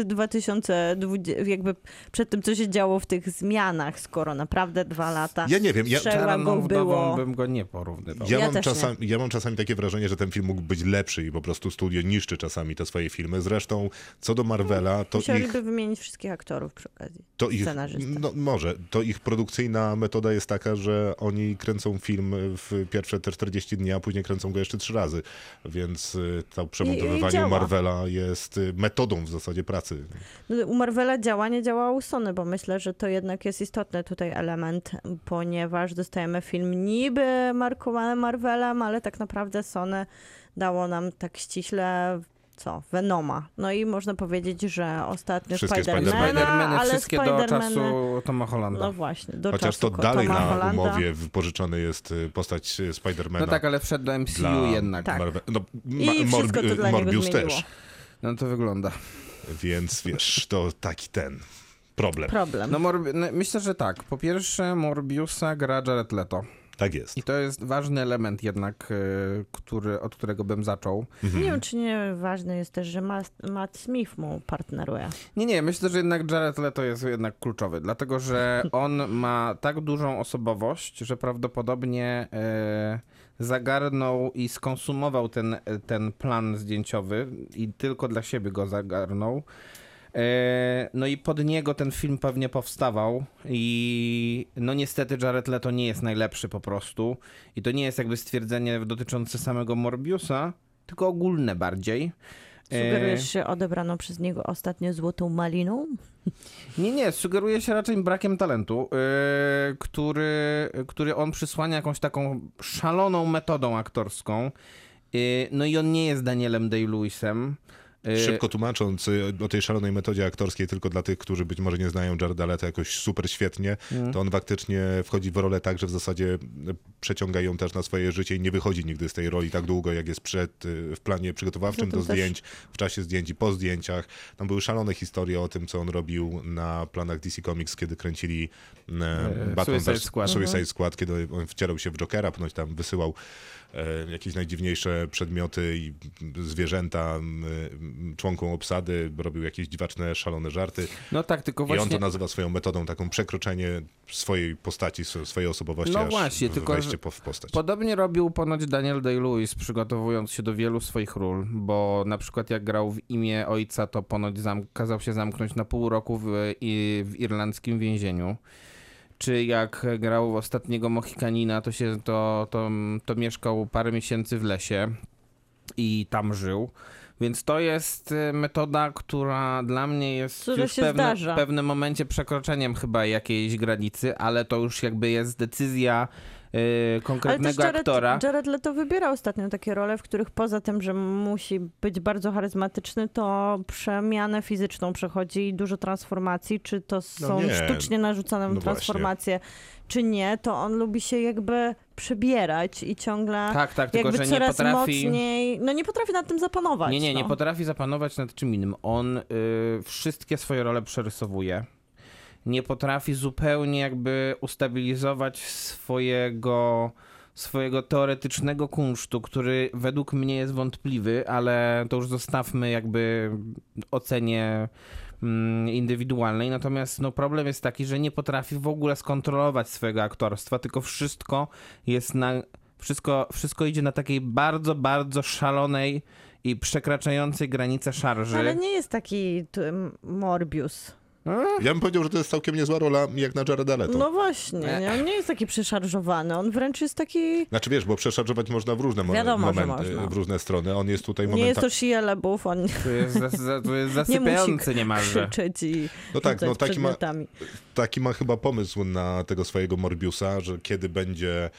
Speaker 4: 2020, jakby przed tym, co się działo w tych zmianach, skoro naprawdę dwa lata.
Speaker 2: Ja nie wiem, ja,
Speaker 4: Prze- Czarną
Speaker 5: Czarną
Speaker 4: było.
Speaker 5: wdową bym go nie porównywał.
Speaker 2: Ja,
Speaker 4: Ja
Speaker 2: mam
Speaker 4: też
Speaker 2: czasami, ja mam czasami takie wrażenie, że ten film mógł być lepszy i po prostu studio niszczy czasami te swoje filmy. Zresztą co do Marvela, to ich
Speaker 4: Musieliby wymienić wszystkich aktorów przy okazji. okazji.
Speaker 2: To ich,
Speaker 4: Scenarzysta.
Speaker 2: no, może. To ich produkcyjna metoda jest taka, że oni kręcą film w pierwsze te 40 dni, a później kręcą go jeszcze trzy razy. Więc y, to przemontowywanie
Speaker 4: działa.
Speaker 2: Marvela jest y, metodą w zasadzie pracy.
Speaker 4: No, U Marvela działa, nie działa u Sony, bo myślę, że to jednak jest istotny tutaj element, ponieważ dostajemy film niby markowany Marvelem, ale tak naprawdę Sony dało nam tak ściśle co? Venoma. No i można powiedzieć, że ostatnio
Speaker 2: Wszystkie
Speaker 4: Spidermana,
Speaker 5: Spidermany
Speaker 4: ale
Speaker 5: wszystkie do czasu
Speaker 4: Spidermany...
Speaker 5: Toma Hollanda.
Speaker 4: No
Speaker 5: No,
Speaker 4: właśnie, do
Speaker 2: Chociaż
Speaker 4: czasu
Speaker 2: to dalej
Speaker 4: Toma
Speaker 2: na
Speaker 4: Hollanda.
Speaker 2: umowie wypożyczony jest y, postać y, Spidermana.
Speaker 5: tak, ale wszedł do MCU
Speaker 2: dla
Speaker 5: jednak.
Speaker 4: Tak.
Speaker 2: Marve- No,
Speaker 4: I
Speaker 2: ma-
Speaker 4: wszystko to
Speaker 2: Morb-
Speaker 4: dla niego
Speaker 2: Morbius
Speaker 4: zmieniło.
Speaker 2: też.
Speaker 5: No to wygląda.
Speaker 2: Więc wiesz, to taki ten problem.
Speaker 4: Problem.
Speaker 5: No, Morbi- no myślę, że tak. Po pierwsze Morbiusa gra Jared Leto.
Speaker 2: tak jest.
Speaker 5: I to jest ważny element jednak, y, który, od którego bym zaczął.
Speaker 2: mhm.
Speaker 4: Nie wiem, czy nie ważne jest też, że Ma- Matt Smith mu partneruje.
Speaker 5: Nie, nie, myślę, że jednak Jared Leto jest jednak kluczowy, dlatego że on ma tak dużą osobowość, że prawdopodobnie e, zagarnął i skonsumował ten, e, ten plan zdjęciowy i tylko dla siebie go zagarnął. E, No i pod niego ten film pewnie powstawał i no niestety Jared Leto nie jest najlepszy po prostu i to nie jest jakby stwierdzenie dotyczące samego Morbiusa, tylko ogólne bardziej. E,
Speaker 4: Sugerujesz się odebraną przez niego ostatnio złotą maliną?
Speaker 5: Nie, nie, sugeruje się raczej brakiem talentu, yy, który, który on przysłania jakąś taką szaloną metodą aktorską. Yy, no i on nie jest Danielem Day-Lewisem. Yy,
Speaker 2: Szybko tłumacząc y, o tej szalonej metodzie aktorskiej, tylko dla tych, którzy być może nie znają Jareda Leto jakoś super świetnie,
Speaker 5: Mm.
Speaker 2: to on faktycznie wchodzi w rolę tak, że w zasadzie y, przeciąga ją też na swoje życie i nie wychodzi nigdy z tej roli tak długo, jak jest przed, y, w planie przygotowawczym do
Speaker 4: Zatem też-
Speaker 2: zdjęć, w czasie zdjęć i po zdjęciach. Tam były szalone historie o tym, co on robił na planach DC Comics, kiedy kręcili e, Batman
Speaker 5: Y, Suicide
Speaker 2: vs.
Speaker 5: Squad.
Speaker 2: Suicide Squad, kiedy on wcierał się w Jokera, ponoć tam wysyłał e, jakieś najdziwniejsze przedmioty i zwierzęta m, m, członkom obsady, robił jakieś dziwaczne, szalone żarty.
Speaker 5: No tak, tylko
Speaker 2: I on
Speaker 5: właśnie.
Speaker 2: to nazywa swoją metodą, taką przekroczenie swojej postaci, swo- swojej osobowości,
Speaker 5: No
Speaker 2: aż
Speaker 5: właśnie,
Speaker 2: w-
Speaker 5: tylko
Speaker 2: wejście
Speaker 5: że-
Speaker 2: po, w postać.
Speaker 5: Podobnie robił ponoć Daniel Day-Lewis, przygotowując się do wielu swoich ról, bo na przykład jak grał w imię ojca, to ponoć zam- kazał się zamknąć na pół roku w, i- w irlandzkim więzieniu. Czy jak grał w ostatniego Mohikanina, to, się, to, to, to mieszkał parę miesięcy w lesie i tam żył. Więc to jest y, metoda, która dla mnie jest
Speaker 4: Która
Speaker 5: już w
Speaker 4: się
Speaker 5: pewne,
Speaker 4: zdarza.
Speaker 5: pewnym momencie przekroczeniem chyba jakiejś granicy, ale to już jakby jest decyzja y,
Speaker 4: Ale też
Speaker 5: konkretnego
Speaker 4: Jared,
Speaker 5: aktora.
Speaker 4: Jared Leto wybiera ostatnio takie role, w których poza tym, że musi być bardzo charyzmatyczny, to przemianę fizyczną przechodzi i dużo transformacji, czy to są
Speaker 2: No nie.
Speaker 4: sztucznie narzucane mu
Speaker 2: No właśnie.
Speaker 4: transformacje, czy nie, to on lubi się jakby przebierać i ciągle
Speaker 5: Tak, tak, tylko
Speaker 4: jakby
Speaker 5: że nie
Speaker 4: coraz
Speaker 5: potrafi.
Speaker 4: mocniej, no nie potrafi nad tym zapanować.
Speaker 5: Nie, nie, nie
Speaker 4: no.
Speaker 5: potrafi zapanować nad czym innym. On y, wszystkie swoje role przerysowuje. Nie potrafi zupełnie jakby ustabilizować swojego, swojego teoretycznego kunsztu, który według mnie jest wątpliwy, ale to już zostawmy jakby ocenie mm, indywidualnej. Natomiast no, problem jest taki, że nie potrafi w ogóle skontrolować swojego aktorstwa, tylko wszystko jest na. Wszystko, wszystko idzie na takiej bardzo, bardzo szalonej i przekraczającej granice szarży.
Speaker 4: Ale nie jest taki tu, Morbius.
Speaker 2: Ja bym powiedział, że to jest całkiem niezła rola, jak na Jareda Leto.
Speaker 4: No właśnie, nie? on nie jest taki przeszarżowany, on wręcz jest taki...
Speaker 2: Znaczy wiesz, bo przeszarżować można w różne mo-
Speaker 4: Wiadomo, że
Speaker 2: momenty,
Speaker 4: można.
Speaker 2: w różne strony. On jest tutaj
Speaker 4: Nie jest
Speaker 2: momentami...
Speaker 4: to Shia LaBeouf, on
Speaker 5: To jest, zas- za, to jest
Speaker 4: nie musi
Speaker 5: zasypiające niemalże.
Speaker 4: krzyczeć i
Speaker 2: No tak,
Speaker 4: rzucać
Speaker 2: no taki ma-
Speaker 4: przedmiotami.
Speaker 2: taki ma chyba pomysł na tego swojego Morbiusa, że kiedy będzie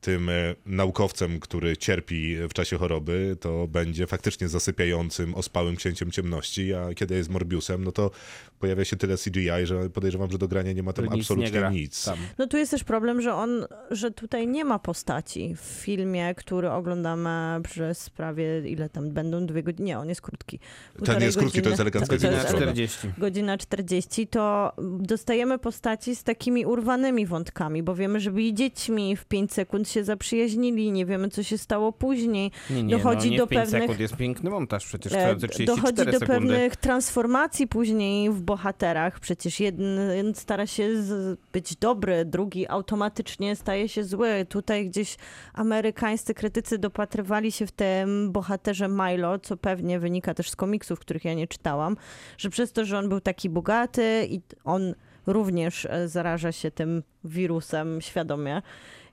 Speaker 2: tym e, naukowcem, który cierpi w czasie choroby, to będzie faktycznie zasypiającym, ospałym księciem ciemności, a kiedy jest Morbiusem, no to pojawia się tyle CGI, że podejrzewam, że do grania nie ma tam
Speaker 5: To nic nie
Speaker 2: absolutnie
Speaker 5: gra.
Speaker 2: nic.
Speaker 5: Tam.
Speaker 4: No tu jest też problem, że on, że tutaj nie ma postaci w filmie, który oglądamy przez prawie, ile tam będą, dwie godziny, nie, on jest krótki. Półtorej
Speaker 2: jest krótki, to jest
Speaker 4: godziny.
Speaker 2: elegancko
Speaker 4: To- to jest
Speaker 2: zilustrowane.
Speaker 4: elegancko.
Speaker 5: 40.
Speaker 4: godzina 40, to dostajemy postaci z takimi urwanymi wątkami, bo wiemy, że byli dziećmi w 5 sekund, się zaprzyjaźnili, nie wiemy, co się stało później.
Speaker 5: Nie, nie,
Speaker 4: Dochodzi
Speaker 5: no, nie
Speaker 4: do
Speaker 5: w pięć
Speaker 4: pewnych-
Speaker 5: sekund jest piękny montaż przecież,
Speaker 4: E,
Speaker 5: trwający 34
Speaker 4: Dochodzi do
Speaker 5: sekundy.
Speaker 4: pewnych transformacji później w bohaterach. Przecież jeden stara się z- być dobry, drugi automatycznie staje się zły. Tutaj gdzieś amerykańscy krytycy dopatrywali się w tym bohaterze Milo, co pewnie wynika też z komiksów, których ja nie czytałam, że przez to, że on był taki bogaty i on również e, zaraża się tym wirusem świadomie.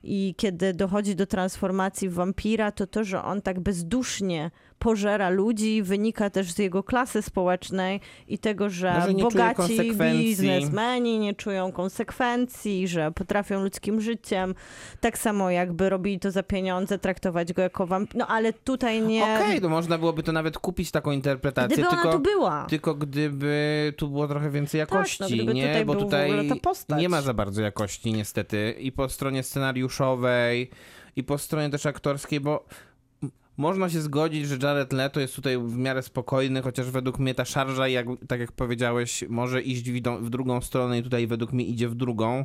Speaker 4: I kiedy dochodzi do transformacji w wampira, to to, że on tak bezdusznie pożera ludzi, wynika też z jego klasy społecznej i tego, że
Speaker 5: No, że nie czuje
Speaker 4: bogaci
Speaker 5: konsekwencji.
Speaker 4: biznesmeni nie czują konsekwencji, że potrafią ludzkim życiem, tak samo jakby robili to za pieniądze, traktować go jako wampir. No ale tutaj nie...
Speaker 5: Okej, no można byłoby to nawet kupić taką interpretację,
Speaker 4: Gdyby
Speaker 5: tylko...
Speaker 4: ona tu była.
Speaker 5: Tylko gdyby tu było trochę więcej
Speaker 4: no,
Speaker 5: jakości,
Speaker 4: gdyby
Speaker 5: nie?
Speaker 4: tutaj
Speaker 5: Bo
Speaker 4: był w
Speaker 5: tutaj
Speaker 4: ogóle ta postać.
Speaker 5: nie ma za bardzo jakości niestety i po stronie scenariuszowej i po stronie też aktorskiej, bo m- można się zgodzić, że Jared Leto jest tutaj w miarę spokojny, chociaż według mnie ta szarża, jak, tak jak powiedziałeś, może iść w, dą- w drugą stronę i tutaj według mnie idzie w drugą.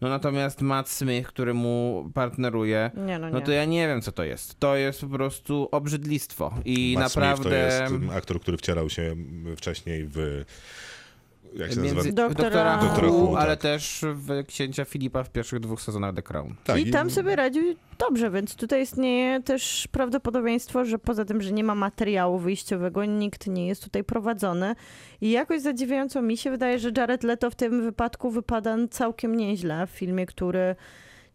Speaker 5: No natomiast Matt Smith, który mu partneruje,
Speaker 4: Nie, no nie.
Speaker 5: no to ja nie wiem co to jest. To jest po prostu obrzydlistwo i
Speaker 2: Matt
Speaker 5: naprawdę...
Speaker 2: Smith to jest mm, aktor, który wcierał się mm, wcześniej w... Jak się nazywa?
Speaker 5: Między
Speaker 4: Doktora-
Speaker 5: doktora,
Speaker 2: Doktora
Speaker 5: Who,
Speaker 2: Who,
Speaker 5: ale
Speaker 2: tak.
Speaker 5: też w księcia Filipa w pierwszych dwóch sezonach The Crown.
Speaker 2: Tak,
Speaker 4: I tam sobie radził dobrze, więc tutaj istnieje też prawdopodobieństwo, że poza tym, że nie ma materiału wyjściowego, nikt nie jest tutaj prowadzony. I jakoś zadziwiająco mi się wydaje, że Jared Leto w tym wypadku wypada całkiem nieźle w filmie, który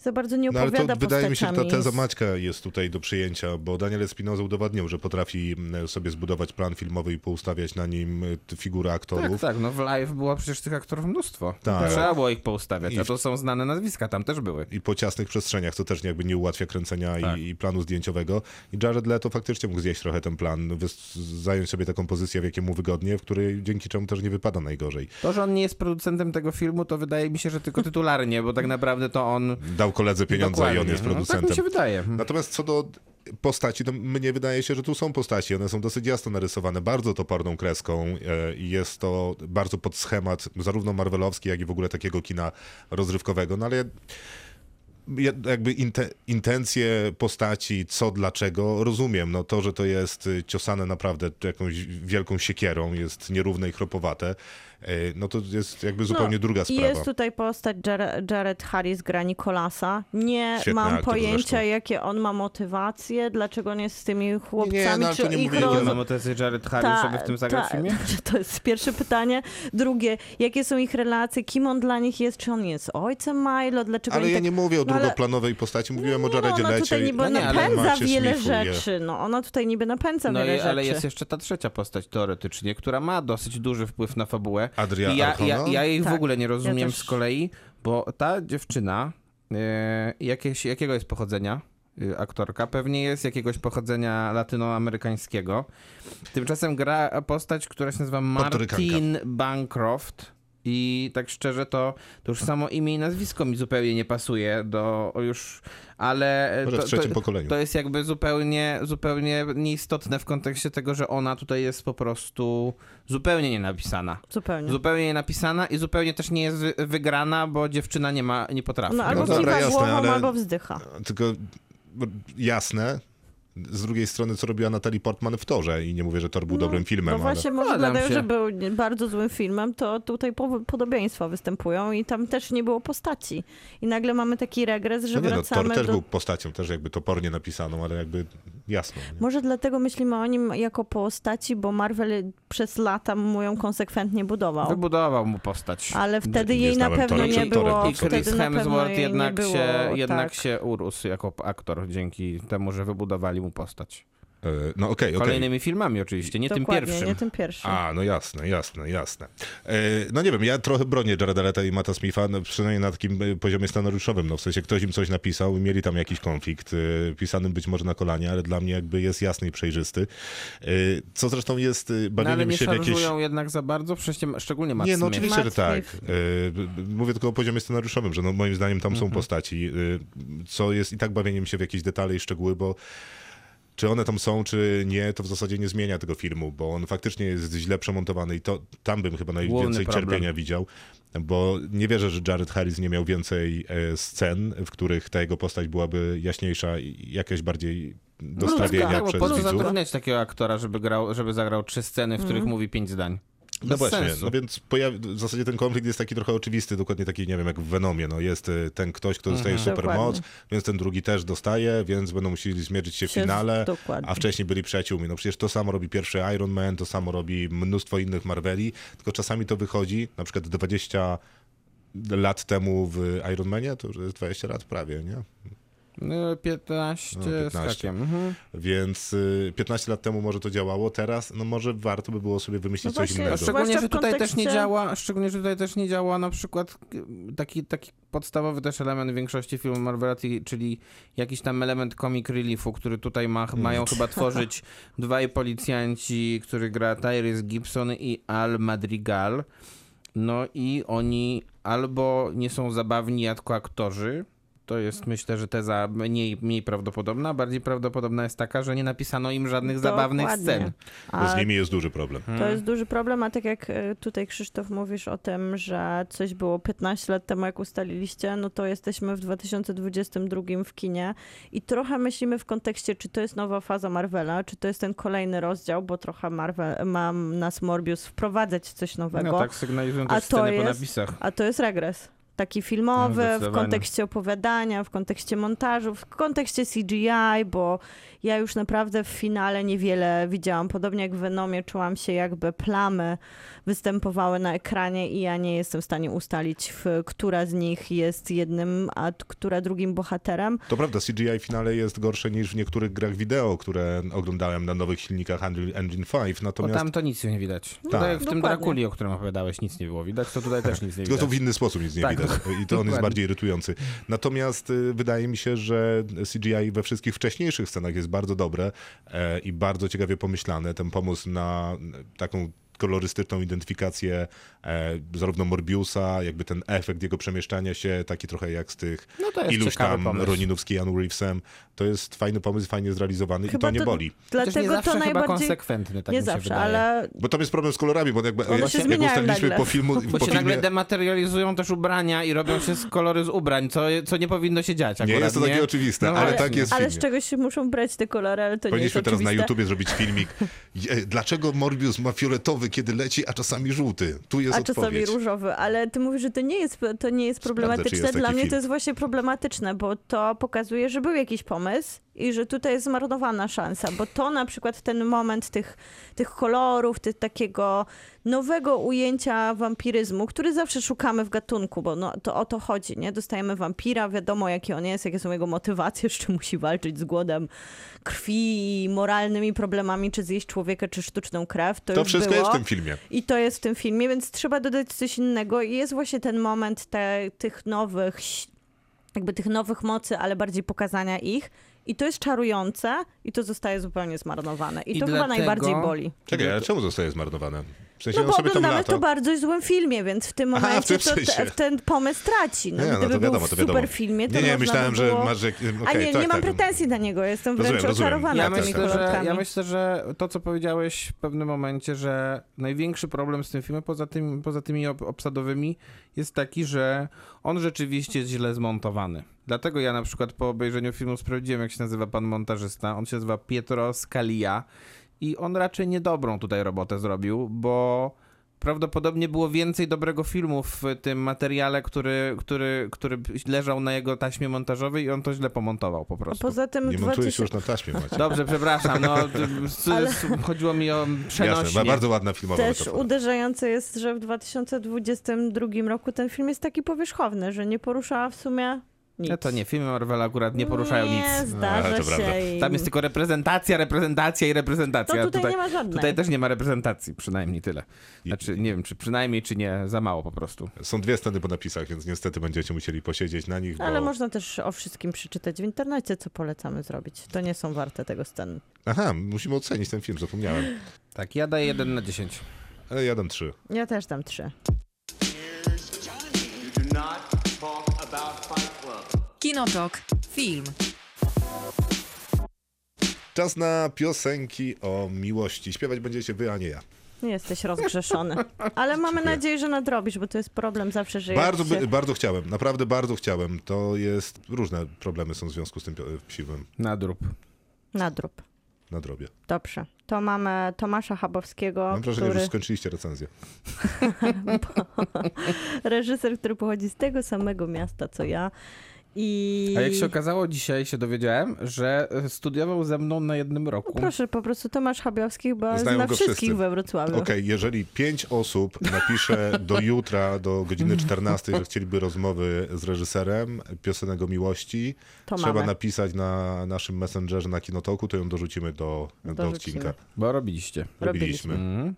Speaker 4: za bardzo nie
Speaker 2: No ale
Speaker 4: opowiada
Speaker 2: to wydaje mi się, że ta
Speaker 4: postaciami.
Speaker 2: teza Maćka jest tutaj do przyjęcia, bo Daniel Espinoza udowadniał, że potrafi mm, sobie zbudować plan filmowy i poustawiać na nim y, t- figury
Speaker 5: Tak,
Speaker 2: aktorów.
Speaker 5: tak, no w live było przecież tych aktorów mnóstwo.
Speaker 2: Tak.
Speaker 5: Trzeba było ich poustawiać,
Speaker 2: I-
Speaker 5: a to są znane nazwiska, tam też były.
Speaker 2: I po ciasnych przestrzeniach, co też jakby nie ułatwia kręcenia
Speaker 5: Tak.
Speaker 2: i, i planu zdjęciowego. I Jared Leto faktycznie mógł zjeść trochę ten plan, wys- zająć sobie taką pozycję, w jakiej mu wygodnie, w której dzięki czemu też nie wypada najgorzej.
Speaker 5: To, że on nie jest producentem tego filmu, to wydaje mi się, że tylko tytularnie, bo tak naprawdę to on...
Speaker 2: Dał koledze pieniądze
Speaker 5: Dokładnie.
Speaker 2: i on jest
Speaker 5: No, tak
Speaker 2: producentem.
Speaker 5: mi się wydaje.
Speaker 4: Mhm.
Speaker 2: Natomiast co do postaci, to mnie wydaje się, że tu są postaci. One są dosyć jasno narysowane, bardzo toporną kreską e, i jest to bardzo pod schemat zarówno marvelowski, jak i w ogóle takiego kina rozrywkowego. No ale ja- ja jakby inte, intencje postaci, co, dlaczego, rozumiem. No to, że to jest y, ciosane naprawdę jakąś wielką siekierą, jest nierówne i chropowate, e, no to jest jakby zupełnie druga
Speaker 4: No, I
Speaker 2: sprawa.
Speaker 4: jest tutaj postać Jar- Jared Harris gra Nicolasa. Nie
Speaker 2: Świetny
Speaker 4: mam
Speaker 2: aktor
Speaker 4: pojęcia,
Speaker 2: zresztą. no,
Speaker 4: jakie on ma motywacje, dlaczego on jest z tymi chłopcami,
Speaker 2: ale
Speaker 4: czy
Speaker 2: to nie
Speaker 4: ich
Speaker 2: mówimy,
Speaker 4: roz...
Speaker 2: no,
Speaker 5: Mamy motywację Jared Harris, żeby w tym zagrać w filmie?
Speaker 4: Dobrze, to jest pierwsze pytanie. Drugie, jakie są ich relacje, kim on dla nich jest, czy on jest ojcem Milo, dlaczego
Speaker 2: Ale
Speaker 4: oni
Speaker 2: ja
Speaker 4: tak...
Speaker 2: nie mówię o
Speaker 4: No, ale-
Speaker 2: drugoplanowej postaci, mówiłem
Speaker 4: no,
Speaker 2: o Jaredzie
Speaker 4: ona
Speaker 2: Lecie.
Speaker 4: tutaj niby
Speaker 5: No nie, ale
Speaker 4: napędza
Speaker 2: Macie
Speaker 4: wiele
Speaker 2: szlifuje.
Speaker 4: rzeczy, no ona tutaj niby napędza
Speaker 5: No
Speaker 4: wiele
Speaker 5: i,
Speaker 4: rzeczy.
Speaker 5: ale jest jeszcze ta trzecia postać teoretycznie, która ma dosyć duży wpływ na fabułę.
Speaker 2: Adria
Speaker 5: I ja, ja,
Speaker 2: Archona?
Speaker 5: ja jej
Speaker 4: Tak,
Speaker 5: w ogóle nie rozumiem
Speaker 4: też.
Speaker 5: z kolei, bo ta dziewczyna, e, jakieś, jakiego jest pochodzenia? E, Aktorka pewnie jest jakiegoś pochodzenia latynoamerykańskiego. Tymczasem gra postać, która się nazywa Martin Bancroft. I tak szczerze, to, to już samo imię i nazwisko mi zupełnie nie pasuje do o już, ale. e,
Speaker 2: Może w
Speaker 5: to,
Speaker 2: trzecim
Speaker 5: to,
Speaker 2: pokoleniu.
Speaker 5: To jest jakby zupełnie, zupełnie nieistotne w kontekście tego, że ona tutaj jest po prostu zupełnie nienapisana.
Speaker 4: Zupełnie.
Speaker 5: Zupełnie nienapisana i zupełnie też nie jest wy- wygrana, bo dziewczyna nie ma, nie potrafi.
Speaker 4: No albo
Speaker 2: dobra,
Speaker 4: kiwa
Speaker 2: jasne,
Speaker 4: głową,
Speaker 2: ale-
Speaker 4: albo wzdycha.
Speaker 2: Tylko jasne. Z drugiej strony, co robiła Natalie Portman w Torze i nie mówię, że Tor był dobrym filmem,
Speaker 4: No właśnie,
Speaker 2: ale...
Speaker 4: może
Speaker 5: Zgadzam
Speaker 4: dlatego,
Speaker 5: się.
Speaker 4: że był nie- bardzo złym filmem, to tutaj po- podobieństwa występują i tam też nie było postaci. I nagle mamy taki regres, że
Speaker 2: No nie, no,
Speaker 4: wracamy
Speaker 2: Tor też
Speaker 4: do
Speaker 2: był postacią, też jakby topornie napisaną, ale jakby jasno. nie?
Speaker 4: Może dlatego myślimy o nim jako postaci, bo Marvel przez lata mu ją konsekwentnie budował.
Speaker 5: Wybudował mu postać.
Speaker 4: Ale wtedy
Speaker 2: Nie
Speaker 4: jej na
Speaker 2: znałem
Speaker 4: pewno
Speaker 2: Tora
Speaker 4: nie
Speaker 2: przed Torem,
Speaker 4: było.
Speaker 2: to
Speaker 5: I
Speaker 2: wtedy
Speaker 5: Chris
Speaker 4: Wtedy na pewno
Speaker 5: Hemsworth
Speaker 4: jej nie
Speaker 5: jednak,
Speaker 4: było.
Speaker 5: się,
Speaker 4: tak.
Speaker 5: jednak się urósł jako aktor dzięki temu, że wybudowali mu postać.
Speaker 2: E, No okej, okej.
Speaker 5: Kolejnymi filmami oczywiście, nie
Speaker 4: Dokładnie,
Speaker 5: tym pierwszym.
Speaker 4: Nie tym pierwszym.
Speaker 2: A, no jasne, jasne, jasne. E, no nie wiem, ja trochę bronię Jareda Leta i Mata Smitha, no, przynajmniej na takim e, poziomie scenariuszowym. No w sensie ktoś im coś napisał i mieli tam jakiś konflikt, e, pisany być może na kolanie, ale dla mnie jakby jest jasny i przejrzysty. E, co zresztą jest e,
Speaker 5: No, ale
Speaker 2: bawieniem
Speaker 5: nie
Speaker 2: się w
Speaker 5: szarżują
Speaker 2: jakieś...
Speaker 5: jednak za bardzo, przecież- szczególnie Matt
Speaker 2: Nie, no
Speaker 5: Smith.
Speaker 2: oczywiście, że
Speaker 4: Matt
Speaker 2: tak.
Speaker 4: Smith.
Speaker 2: E, b- b- Mówię tylko o poziomie scenariuszowym, że no, moim y, zdaniem tam są postaci, e, co jest i tak bawieniem się w jakieś detale i szczegóły, bo Czy one tam są, czy nie, to w zasadzie nie zmienia tego filmu, bo on faktycznie jest źle przemontowany i to tam bym chyba najwięcej
Speaker 5: problem.
Speaker 2: cierpienia widział, bo nie wierzę, że Jared Harris nie miał więcej e, scen, w których ta jego postać byłaby jaśniejsza i jakaś bardziej do stawienia
Speaker 5: Tak, bo po
Speaker 2: przez
Speaker 5: co
Speaker 2: widzów.
Speaker 5: zatrudniać takiego aktora, żeby, grał, żeby zagrał trzy sceny, w których mówi pięć zdań?
Speaker 2: No
Speaker 5: Bez
Speaker 2: właśnie,
Speaker 5: sensu.
Speaker 2: no więc pojawi- w zasadzie ten konflikt jest taki trochę oczywisty, dokładnie taki, nie wiem, jak w Venomie, no jest y, ten ktoś, kto dostaje supermoc,
Speaker 4: Mhm. Dokładnie.
Speaker 2: więc ten drugi też dostaje, więc będą musieli zmierzyć się w
Speaker 4: Się z-
Speaker 2: finale,
Speaker 4: dokładnie.
Speaker 2: a wcześniej byli przyjaciółmi. No przecież to samo robi pierwszy Iron Man, to samo robi mnóstwo innych Marveli, tylko czasami to wychodzi, na przykład 20 lat temu w Iron Manie, to już jest 20 lat prawie, nie?
Speaker 5: No, 15,
Speaker 2: No,
Speaker 5: z
Speaker 2: 15.
Speaker 5: hakiem. Mhm.
Speaker 2: Więc y, 15 lat temu może to działało, teraz no może warto by było sobie wymyślić
Speaker 4: No
Speaker 2: coś
Speaker 4: właśnie,
Speaker 2: innego.
Speaker 4: szczególnie-
Speaker 5: Szczególnie,
Speaker 4: Zwłaszcza w
Speaker 5: że tutaj też nie
Speaker 4: kontekście-
Speaker 5: działa, szczególnie, że tutaj też nie działa na przykład y, taki, taki podstawowy też element większości filmów Marvela, ty- czyli jakiś tam element comic reliefu, który tutaj ma, mają chyba tworzyć dwaj policjanci, który gra Tyrese Gibson i Al Madrigal. No i oni albo nie są zabawni jako aktorzy, to jest myślę, że teza mniej, mniej prawdopodobna. Bardziej prawdopodobna jest taka, że nie napisano im żadnych zabawnych
Speaker 4: Dokładnie.
Speaker 5: scen.
Speaker 2: Bo z
Speaker 4: A
Speaker 2: nimi jest duży problem.
Speaker 5: Mm.
Speaker 4: To jest duży problem, a tak jak e, tutaj Krzysztof mówisz o tym, że coś było 15 lat temu, jak ustaliliście, no to jesteśmy w 2022 w kinie i trochę myślimy w kontekście, czy to jest nowa faza Marvela, czy to jest ten kolejny rozdział, bo trochę Marvel ma nas Morbius wprowadzać w coś nowego.
Speaker 5: No tak sygnalizują
Speaker 4: A
Speaker 5: też
Speaker 4: to
Speaker 5: sceny po
Speaker 4: jest-
Speaker 5: napisach.
Speaker 4: A to jest regres. Taki
Speaker 5: No,
Speaker 4: filmowy, w
Speaker 5: zdecydowanie.
Speaker 4: kontekście opowiadania, w kontekście montażu, w kontekście CGI, bo ja już naprawdę w finale niewiele widziałam. Podobnie jak w Venomie czułam się jakby plamy występowały na ekranie i ja nie jestem w stanie ustalić, w, która z nich jest jednym, a t- która drugim bohaterem.
Speaker 2: To prawda, CGI w finale jest gorsze niż w niektórych grach wideo, które oglądałem na nowych silnikach Unreal Engine 5,
Speaker 5: Bo
Speaker 2: natomiast
Speaker 5: tam to nic nie widać. Tak,
Speaker 2: tak.
Speaker 5: jak w tym
Speaker 4: Dokładnie.
Speaker 5: Drakuli, o którym opowiadałeś, nic nie było widać, to tutaj też nic nie
Speaker 2: tylko no to
Speaker 5: widać.
Speaker 2: w inny sposób nic nie
Speaker 5: Tak,
Speaker 2: widać i to on jest
Speaker 5: dokładnie.
Speaker 2: bardziej irytujący. Natomiast y, wydaje mi się, że CGI we wszystkich wcześniejszych scenach jest bardzo dobre e, i bardzo ciekawie pomyślane. Ten pomysł na e, taką kolorystyczną identyfikację e, zarówno Morbiusa, jakby ten efekt jego przemieszczania się, taki trochę jak z tych
Speaker 5: No to jest
Speaker 2: iluś
Speaker 5: ciekawy
Speaker 2: tam
Speaker 5: pomysł.
Speaker 2: Roninów z Keanu Reevesem. To jest fajny pomysł, fajnie zrealizowany i
Speaker 4: Chyba
Speaker 2: to nie
Speaker 4: to-
Speaker 2: boli.
Speaker 5: Chociaż
Speaker 4: Dlatego
Speaker 5: nie
Speaker 4: to
Speaker 5: zawsze chyba
Speaker 4: najbardziej.
Speaker 5: konsekwentny, tak
Speaker 4: nie
Speaker 5: mi się
Speaker 4: zawsze,
Speaker 5: wydaje.
Speaker 4: ale
Speaker 2: Bo tam jest problem z kolorami, bo jakby,
Speaker 4: One
Speaker 2: jak
Speaker 4: się zmieniają
Speaker 2: ustaliliśmy
Speaker 4: nagle.
Speaker 2: po filmu...
Speaker 5: Bo
Speaker 2: po
Speaker 5: się
Speaker 2: filmie...
Speaker 5: nagle dematerializują też ubrania i robią się z kolory z ubrań, co, co nie powinno się dziać
Speaker 2: Nie
Speaker 5: akurat,
Speaker 2: jest to takie oczywiste,
Speaker 5: No
Speaker 2: ale,
Speaker 5: właśnie.
Speaker 2: tak jest w
Speaker 4: ale z
Speaker 2: filmie.
Speaker 4: czegoś się muszą brać te kolory, ale to nie jest
Speaker 2: Powinniśmy teraz na
Speaker 4: oczywiste.
Speaker 2: YouTubie zrobić filmik. Je- Dlaczego Morbius ma fioletowy, kiedy leci, a czasami żółty? Tu jest
Speaker 4: a czasami
Speaker 2: odpowiedź.
Speaker 4: różowy, ale ty mówisz, że to nie jest, to nie jest
Speaker 2: Sprawdzę,
Speaker 4: problematyczne.
Speaker 2: czy jest
Speaker 4: Dla
Speaker 2: taki
Speaker 4: mnie
Speaker 2: film.
Speaker 4: to jest właśnie problematyczne, bo to pokazuje, że był jakiś pomysł i że tutaj jest zmarnowana szansa, bo to na przykład ten moment tych, tych kolorów, tych takiego nowego ujęcia wampiryzmu, który zawsze szukamy w gatunku, bo no, to o to chodzi, nie? Dostajemy wampira, wiadomo jaki on jest, jakie są jego motywacje, z czym musi walczyć z głodem krwi i moralnymi problemami, czy zjeść człowieka, czy sztuczną krew. To,
Speaker 2: To
Speaker 4: już
Speaker 2: wszystko
Speaker 4: było.
Speaker 2: jest w tym filmie.
Speaker 4: I to jest w tym filmie, więc trzeba dodać coś innego. I jest właśnie ten moment te, tych nowych, ś- jakby tych nowych mocy, ale bardziej pokazania ich. I to jest czarujące i to zostaje zupełnie zmarnowane. I,
Speaker 5: I
Speaker 4: to
Speaker 5: dlatego-
Speaker 4: chyba najbardziej boli.
Speaker 2: Czekaj, ale czemu zostaje zmarnowane? W sensie
Speaker 4: No
Speaker 2: on
Speaker 4: bo
Speaker 2: sobie tam
Speaker 4: oglądamy
Speaker 2: lata.
Speaker 4: to w bardzo złym filmie, więc w tym
Speaker 2: Aha, w
Speaker 4: momencie
Speaker 2: tym
Speaker 4: to, te,
Speaker 2: sensie.
Speaker 4: ten pomysł traci. No,
Speaker 2: Nie, no
Speaker 4: gdyby
Speaker 2: to wiadomo,
Speaker 4: był
Speaker 2: to
Speaker 4: w
Speaker 2: wiadomo.
Speaker 4: super filmie, to
Speaker 2: Nie, nie,
Speaker 4: można
Speaker 2: myślałem,
Speaker 4: by
Speaker 2: że
Speaker 4: było...
Speaker 2: masz... Że... okej,
Speaker 4: A nie,
Speaker 2: tak,
Speaker 4: nie
Speaker 2: tak.
Speaker 4: mam pretensji do niego, jestem wręcz
Speaker 2: Rozumiem, rozumiem.
Speaker 4: oczarowana
Speaker 5: Ja
Speaker 2: Tak,
Speaker 4: tymi
Speaker 5: myślę,
Speaker 2: tak.
Speaker 5: że,
Speaker 4: kolonkami.
Speaker 5: ja myślę, że to, co powiedziałeś w pewnym momencie, że największy problem z tym filmem, poza, tym, poza tymi ob- obsadowymi, jest taki, że on rzeczywiście jest źle zmontowany. Dlatego ja na przykład po obejrzeniu filmu sprawdziłem, jak się nazywa pan montażysta. On się nazywa Pietro Scalia i on raczej niedobrą tutaj robotę zrobił, bo prawdopodobnie było więcej dobrego filmu w tym materiale, który, który, który leżał na jego taśmie montażowej i on to źle pomontował po prostu.
Speaker 4: Poza tym
Speaker 2: Nie
Speaker 4: 2000...
Speaker 2: montujesz już na taśmie, Macie.
Speaker 5: Dobrze, przepraszam, no d- s-
Speaker 4: Ale-
Speaker 5: s- chodziło mi o
Speaker 2: Jasne,
Speaker 5: przenośnie.
Speaker 2: ma bardzo ładna filmowa
Speaker 4: Też
Speaker 2: metafora.
Speaker 4: uderzające jest, że w 2022 roku ten film jest taki powierzchowny, że nie poruszała w sumie nic.
Speaker 5: No to nie, filmy Marvela akurat nie poruszają
Speaker 4: nie
Speaker 5: nic. No,
Speaker 2: Ale
Speaker 4: zdarza
Speaker 2: to prawda.
Speaker 4: się. im.
Speaker 5: Tam jest tylko reprezentacja, reprezentacja i
Speaker 4: to
Speaker 5: reprezentacja.
Speaker 4: tutaj,
Speaker 5: tutaj,
Speaker 4: nie ma żadnej.
Speaker 5: tutaj też nie ma reprezentacji, przynajmniej tyle. Znaczy, nie wiem, czy przynajmniej, czy nie, za mało po prostu.
Speaker 2: Są dwie sceny po napisach, więc niestety będziecie musieli posiedzieć na nich, bo...
Speaker 4: Ale można też o wszystkim przeczytać w internecie, co polecamy zrobić. To nie są warte tego sceny.
Speaker 2: Aha, musimy ocenić ten film, zapomniałem.
Speaker 5: Tak, ja daję 1 na 10.
Speaker 2: Ale ja dam trzy.
Speaker 4: Ja też dam trzy.
Speaker 3: You do not talk about Fight Club.
Speaker 1: Kinotok. Film.
Speaker 2: Czas na piosenki o miłości. Śpiewać będziecie wy, a nie ja.
Speaker 4: Jesteś rozgrzeszony. Ale mamy nadzieję, że nadrobisz, bo to jest problem zawsze, że
Speaker 2: Bardzo,
Speaker 4: jak się...
Speaker 2: by, bardzo chciałem, naprawdę bardzo chciałem. To jest, różne problemy są w związku z tym pio- psiwym
Speaker 5: Nadrób.
Speaker 4: nadrób.
Speaker 2: na drobie.
Speaker 4: Dobrze. To mamy Tomasza Chabowskiego,
Speaker 2: Mam wrażenie,
Speaker 4: który...
Speaker 2: że już skończyliście recenzję.
Speaker 4: reżyser, który pochodzi z tego samego miasta co ja. I.
Speaker 5: A jak się okazało, dzisiaj się dowiedziałem, że e, studiował ze mną na jednym roku.
Speaker 4: No Proszę, po prostu Tomasz Chabiowski chyba
Speaker 2: Znają
Speaker 4: zna
Speaker 2: go
Speaker 4: wszystkich
Speaker 2: wszyscy.
Speaker 4: we Wrocławiu.
Speaker 2: Okej, jeżeli pięć osób napisze do jutra, do godziny 14, że chcieliby rozmowy z reżyserem piosenek o miłości,
Speaker 4: To
Speaker 2: trzeba
Speaker 4: mamy.
Speaker 2: napisać na naszym messengerze na Kinotoku, to ją dorzucimy do, do
Speaker 4: Dorzucimy.
Speaker 2: odcinka.
Speaker 5: Bo robiliście.
Speaker 2: Robiliśmy.
Speaker 5: Mhm.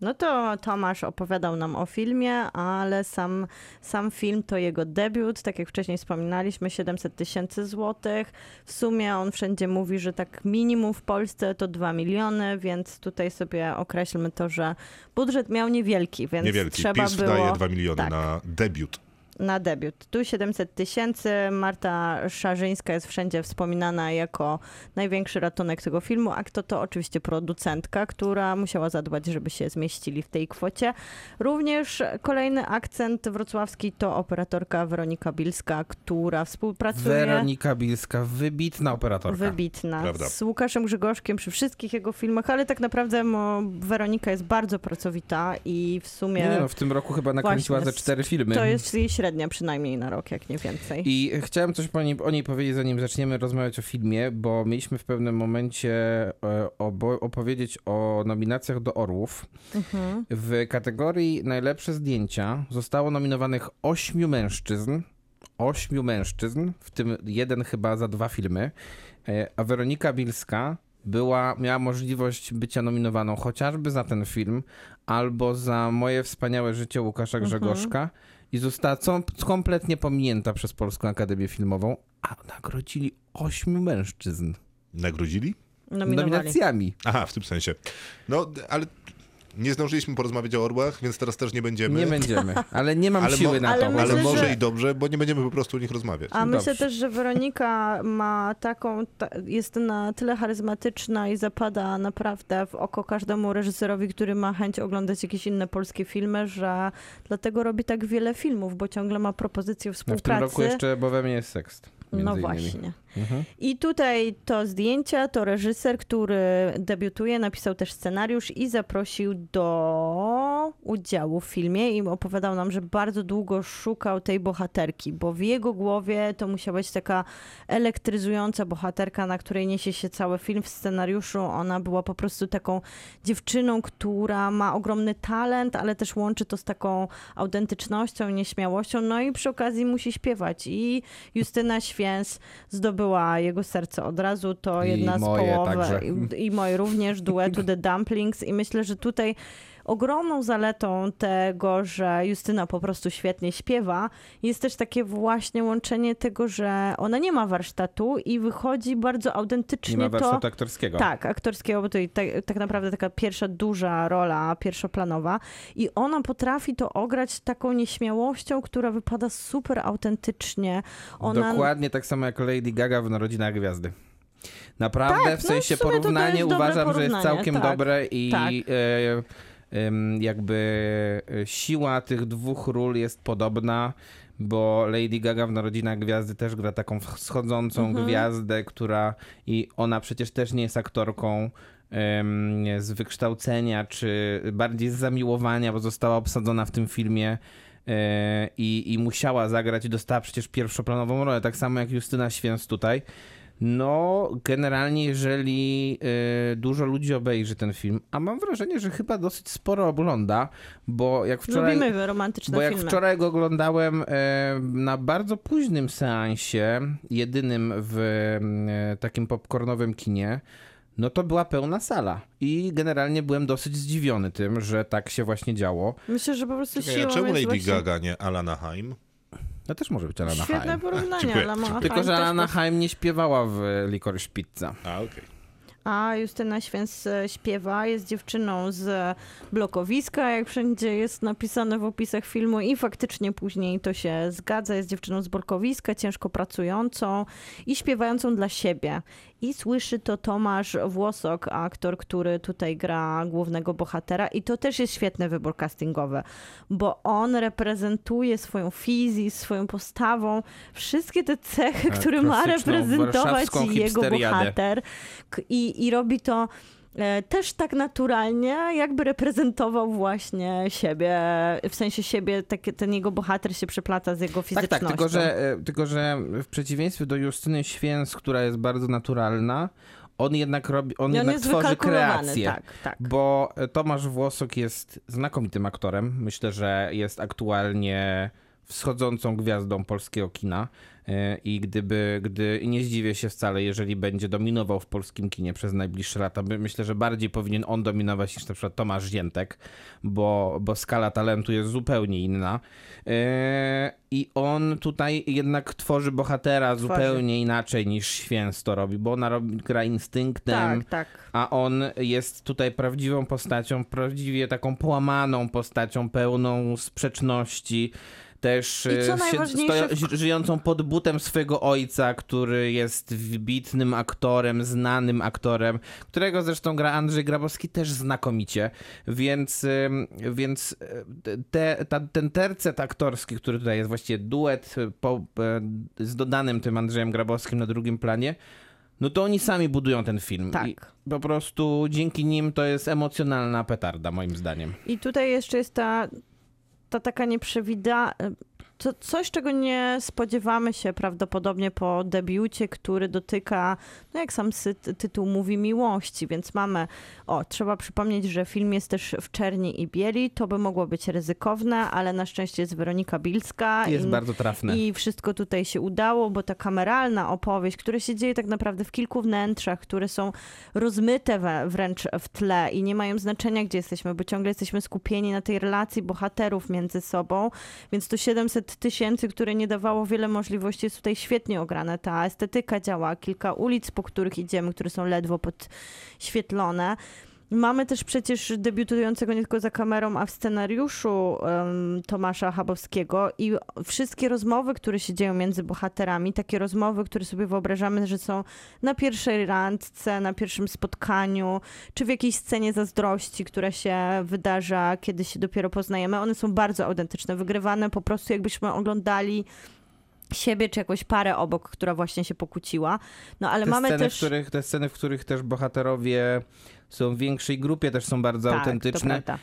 Speaker 4: No to Tomasz opowiadał nam o filmie, ale sam, sam film to jego debiut, tak jak wcześniej wspominaliśmy, 700 tysięcy złotych. W sumie on wszędzie mówi, że tak minimum w Polsce to 2 miliony, więc tutaj sobie określmy to, że budżet miał niewielki, więc
Speaker 2: Niewielki.
Speaker 4: trzeba
Speaker 2: PiS
Speaker 4: było...
Speaker 2: daje 2 miliony
Speaker 4: tak.
Speaker 2: na debiut.
Speaker 4: na debiut. Tu 700 tysięcy. Marta Szarzyńska jest wszędzie wspominana jako największy ratunek tego filmu, a kto to? Oczywiście producentka, która musiała zadbać, żeby się zmieścili w tej kwocie. Również kolejny akcent wrocławski to operatorka Weronika Bilska, która współpracuje...
Speaker 5: Weronika Bilska, wybitna operatorka.
Speaker 4: Wybitna.
Speaker 2: Prawda.
Speaker 4: Z Łukaszem Grzegorzkiem przy wszystkich jego filmach, ale tak naprawdę mo, Weronika jest bardzo pracowita i w sumie
Speaker 5: Nie, no, w tym roku chyba nakręciła
Speaker 4: Właśnie,
Speaker 5: ze cztery filmy.
Speaker 4: to jest jej średnia przynajmniej na rok, jak nie więcej.
Speaker 5: I chciałem coś po niej, o niej powiedzieć, zanim zaczniemy rozmawiać o filmie, bo mieliśmy w pewnym momencie e, obo, opowiedzieć o nominacjach do Orłów. W kategorii najlepsze zdjęcia zostało nominowanych ośmiu mężczyzn. Ośmiu mężczyzn, w tym jeden chyba za dwa filmy. E, A Weronika Bilska była, miała możliwość bycia nominowaną chociażby za ten film, albo za Moje wspaniałe życie Łukasza
Speaker 4: Mhm.
Speaker 5: Grzegorzka i została co, kompletnie pominięta przez Polską Akademię Filmową, a nagrodzili ośmiu mężczyzn
Speaker 2: Nagrodzili?
Speaker 4: Nominowali.
Speaker 5: nominacjami.
Speaker 2: Aha, w tym sensie. No, d- ale nie zdążyliśmy porozmawiać o orłach, więc teraz też nie będziemy.
Speaker 5: Nie będziemy, ale nie mam
Speaker 2: Ale mo-
Speaker 5: siły na
Speaker 4: Ale
Speaker 5: to.
Speaker 2: ale
Speaker 4: Myślę,
Speaker 2: może
Speaker 4: że-
Speaker 2: i dobrze, bo nie będziemy po prostu o nich rozmawiać.
Speaker 4: A myślę
Speaker 5: no Dobrze.
Speaker 4: też, że Weronika ma taką, ta, jest na tyle charyzmatyczna i zapada naprawdę w oko każdemu reżyserowi, który ma chęć oglądać jakieś inne polskie filmy, że dlatego robi tak wiele filmów, bo ciągle ma propozycje
Speaker 5: No w tym
Speaker 4: współpracy.
Speaker 5: roku jeszcze, bo we mnie jest sekst. między
Speaker 4: No
Speaker 5: innymi.
Speaker 4: właśnie.
Speaker 5: Mhm.
Speaker 4: I tutaj to zdjęcia, to reżyser, który debiutuje, napisał też scenariusz i zaprosił do udziału w filmie i opowiadał nam, że bardzo długo szukał tej bohaterki, bo w jego głowie to musiała być taka elektryzująca bohaterka, na której niesie się cały film w scenariuszu. Ona była po prostu taką dziewczyną, która ma ogromny talent, ale też łączy to z taką autentycznością, nieśmiałością, no i przy okazji musi śpiewać. I Justyna Święs zdobyła jego serce od razu, to
Speaker 5: I
Speaker 4: jedna z
Speaker 5: moje
Speaker 4: połowy
Speaker 5: także.
Speaker 4: i, i moje również duetu The Dumplings i myślę, że tutaj ogromną zaletą tego, że Justyna po prostu świetnie śpiewa, jest też takie właśnie łączenie tego, że ona nie ma warsztatu i wychodzi bardzo autentycznie
Speaker 5: Nie
Speaker 4: to...
Speaker 5: ma warsztatu aktorskiego.
Speaker 4: Tak, aktorskiego, bo to i tak, tak naprawdę taka pierwsza duża rola, pierwszoplanowa. I ona potrafi to ograć taką nieśmiałością, która wypada super autentycznie. Ona...
Speaker 5: Dokładnie tak samo jak Lady Gaga w Narodzinach Gwiazdy. Naprawdę,
Speaker 4: Tak,
Speaker 5: w
Speaker 4: no
Speaker 5: sensie
Speaker 4: w sumie to to
Speaker 5: porównanie
Speaker 4: jest dobre
Speaker 5: uważam, że jest
Speaker 4: porównanie,
Speaker 5: całkiem
Speaker 4: tak.
Speaker 5: dobre i
Speaker 4: Tak.
Speaker 5: e, em, jakby e, siła tych dwóch ról jest podobna, bo Lady Gaga w Narodzinach Gwiazdy też gra taką wschodzącą gwiazdę, która i ona przecież też nie jest aktorką em, z wykształcenia, czy bardziej z zamiłowania, bo została obsadzona w tym filmie e, i, i musiała zagrać i dostała przecież pierwszoplanową rolę, tak samo jak Justyna Święc tutaj. No, generalnie, jeżeli y, dużo ludzi obejrzy ten film, a mam wrażenie, że chyba dosyć sporo ogląda, bo jak wczoraj.
Speaker 4: Lubimy romantyczne
Speaker 5: Bo jak
Speaker 4: filmy.
Speaker 5: wczoraj go oglądałem e, na bardzo późnym seansie, jedynym w e, takim popcornowym kinie, no to była pełna sala. I generalnie byłem dosyć zdziwiony tym, że tak się właśnie działo.
Speaker 4: Myślę, że po prostu
Speaker 2: Czekaj, a
Speaker 4: siłą
Speaker 2: czemu
Speaker 4: jest
Speaker 2: Lady
Speaker 4: właśnie...
Speaker 2: Gaga, nie Alana Haim?
Speaker 5: No też może być Alana
Speaker 4: Świetne
Speaker 5: Haim.
Speaker 4: porównanie,
Speaker 2: Dziękuję.
Speaker 4: ale ma
Speaker 5: Tylko,
Speaker 4: Haim
Speaker 5: że
Speaker 4: też
Speaker 5: Alana
Speaker 4: pas-
Speaker 5: Haim nie śpiewała w Licorice Pizza.
Speaker 2: A, okej.
Speaker 4: a Justyna Święc e, śpiewa, jest dziewczyną z blokowiska, jak wszędzie jest napisane w opisach filmu i faktycznie później to się zgadza, jest dziewczyną z blokowiska, ciężko pracującą i śpiewającą dla siebie. I słyszy to Tomasz Włosok, aktor, który tutaj gra głównego bohatera i to też jest świetny wybór castingowy, bo on reprezentuje swoją fizję, swoją postawą, wszystkie te cechy,
Speaker 5: Tak,
Speaker 4: które ma
Speaker 5: klasyczną
Speaker 4: reprezentować
Speaker 5: warszawską
Speaker 4: jego
Speaker 5: hipsteriadę.
Speaker 4: bohater K- i, i robi to e, też tak naturalnie, jakby reprezentował właśnie siebie, w sensie siebie, takie, ten jego bohater się przeplata z jego
Speaker 5: Tak,
Speaker 4: fizycznością.
Speaker 5: tak, tylko że, e, tylko że w przeciwieństwie do Justyny Święc, która jest bardzo naturalna, on jednak robi,
Speaker 4: I
Speaker 5: on
Speaker 4: on
Speaker 5: jednak
Speaker 4: jest
Speaker 5: tworzy
Speaker 4: wykalkulowany,
Speaker 5: kreację.
Speaker 4: tak, tak.
Speaker 5: Bo e, Tomasz Włosok jest znakomitym aktorem. Myślę, że jest aktualnie wschodzącą gwiazdą polskiego kina. E, I gdyby, gdy i nie zdziwię się wcale, jeżeli będzie dominował w polskim kinie przez najbliższe lata. My- Myślę, że bardziej powinien on dominować niż na przykład Tomasz Ziętek, bo, bo skala talentu jest zupełnie inna. E, I on tutaj jednak tworzy bohatera zupełnie inaczej niż Święc to robi, bo ona robi, gra instynktem,
Speaker 4: Tak, tak.
Speaker 5: a on jest tutaj prawdziwą postacią, prawdziwie taką połamaną postacią, pełną sprzeczności. Też
Speaker 4: I co
Speaker 5: e,
Speaker 4: najważniejsze
Speaker 5: ży- żyjącą pod butem swojego ojca, który jest wybitnym aktorem, znanym aktorem, którego zresztą gra Andrzej Grabowski też znakomicie. Więc, ym, więc e, te, ta, ten tercet aktorski, który tutaj jest właściwie duet e, po, e, z dodanym tym Andrzejem Grabowskim na drugim planie, no to oni sami budują ten film.
Speaker 4: Tak.
Speaker 5: I po prostu dzięki nim to jest emocjonalna petarda, moim zdaniem.
Speaker 4: I tutaj jeszcze jest ta, ta taka nieprzewida... To coś, czego nie spodziewamy się prawdopodobnie po debiucie, który dotyka, no jak sam sy- tytuł mówi, miłości, więc mamy, o, trzeba przypomnieć, że film jest też w czerni i bieli, to by mogło być ryzykowne, ale na szczęście jest Weronika Bilska.
Speaker 5: Jest
Speaker 4: i-
Speaker 5: bardzo trafne.
Speaker 4: I wszystko tutaj się udało, bo ta kameralna opowieść, która się dzieje tak naprawdę w kilku wnętrzach, które są rozmyte we, wręcz w tle i nie mają znaczenia, gdzie jesteśmy, bo ciągle jesteśmy skupieni na tej relacji bohaterów między sobą, więc to 700 tysięcy, które nie dawało wiele możliwości, jest tutaj świetnie ograne. Ta estetyka działa, kilka ulic, po których idziemy, które są ledwo podświetlone. Mamy też przecież debiutującego nie tylko za kamerą, a w scenariuszu em, Tomasza Chabowskiego i wszystkie rozmowy, które się dzieją między bohaterami, takie rozmowy, które sobie wyobrażamy, że są na pierwszej randce, na pierwszym spotkaniu, czy w jakiejś scenie zazdrości, która się wydarza, kiedy się dopiero poznajemy, one są bardzo autentyczne, wygrywane po prostu jakbyśmy oglądali siebie czy jakąś parę obok, która właśnie się pokłóciła. No ale
Speaker 5: Te
Speaker 4: mamy
Speaker 5: sceny,
Speaker 4: też...
Speaker 5: w których, te sceny, w których też bohaterowie są w większej grupie, też są bardzo
Speaker 4: Tak, to
Speaker 5: autentyczne.
Speaker 4: prawda.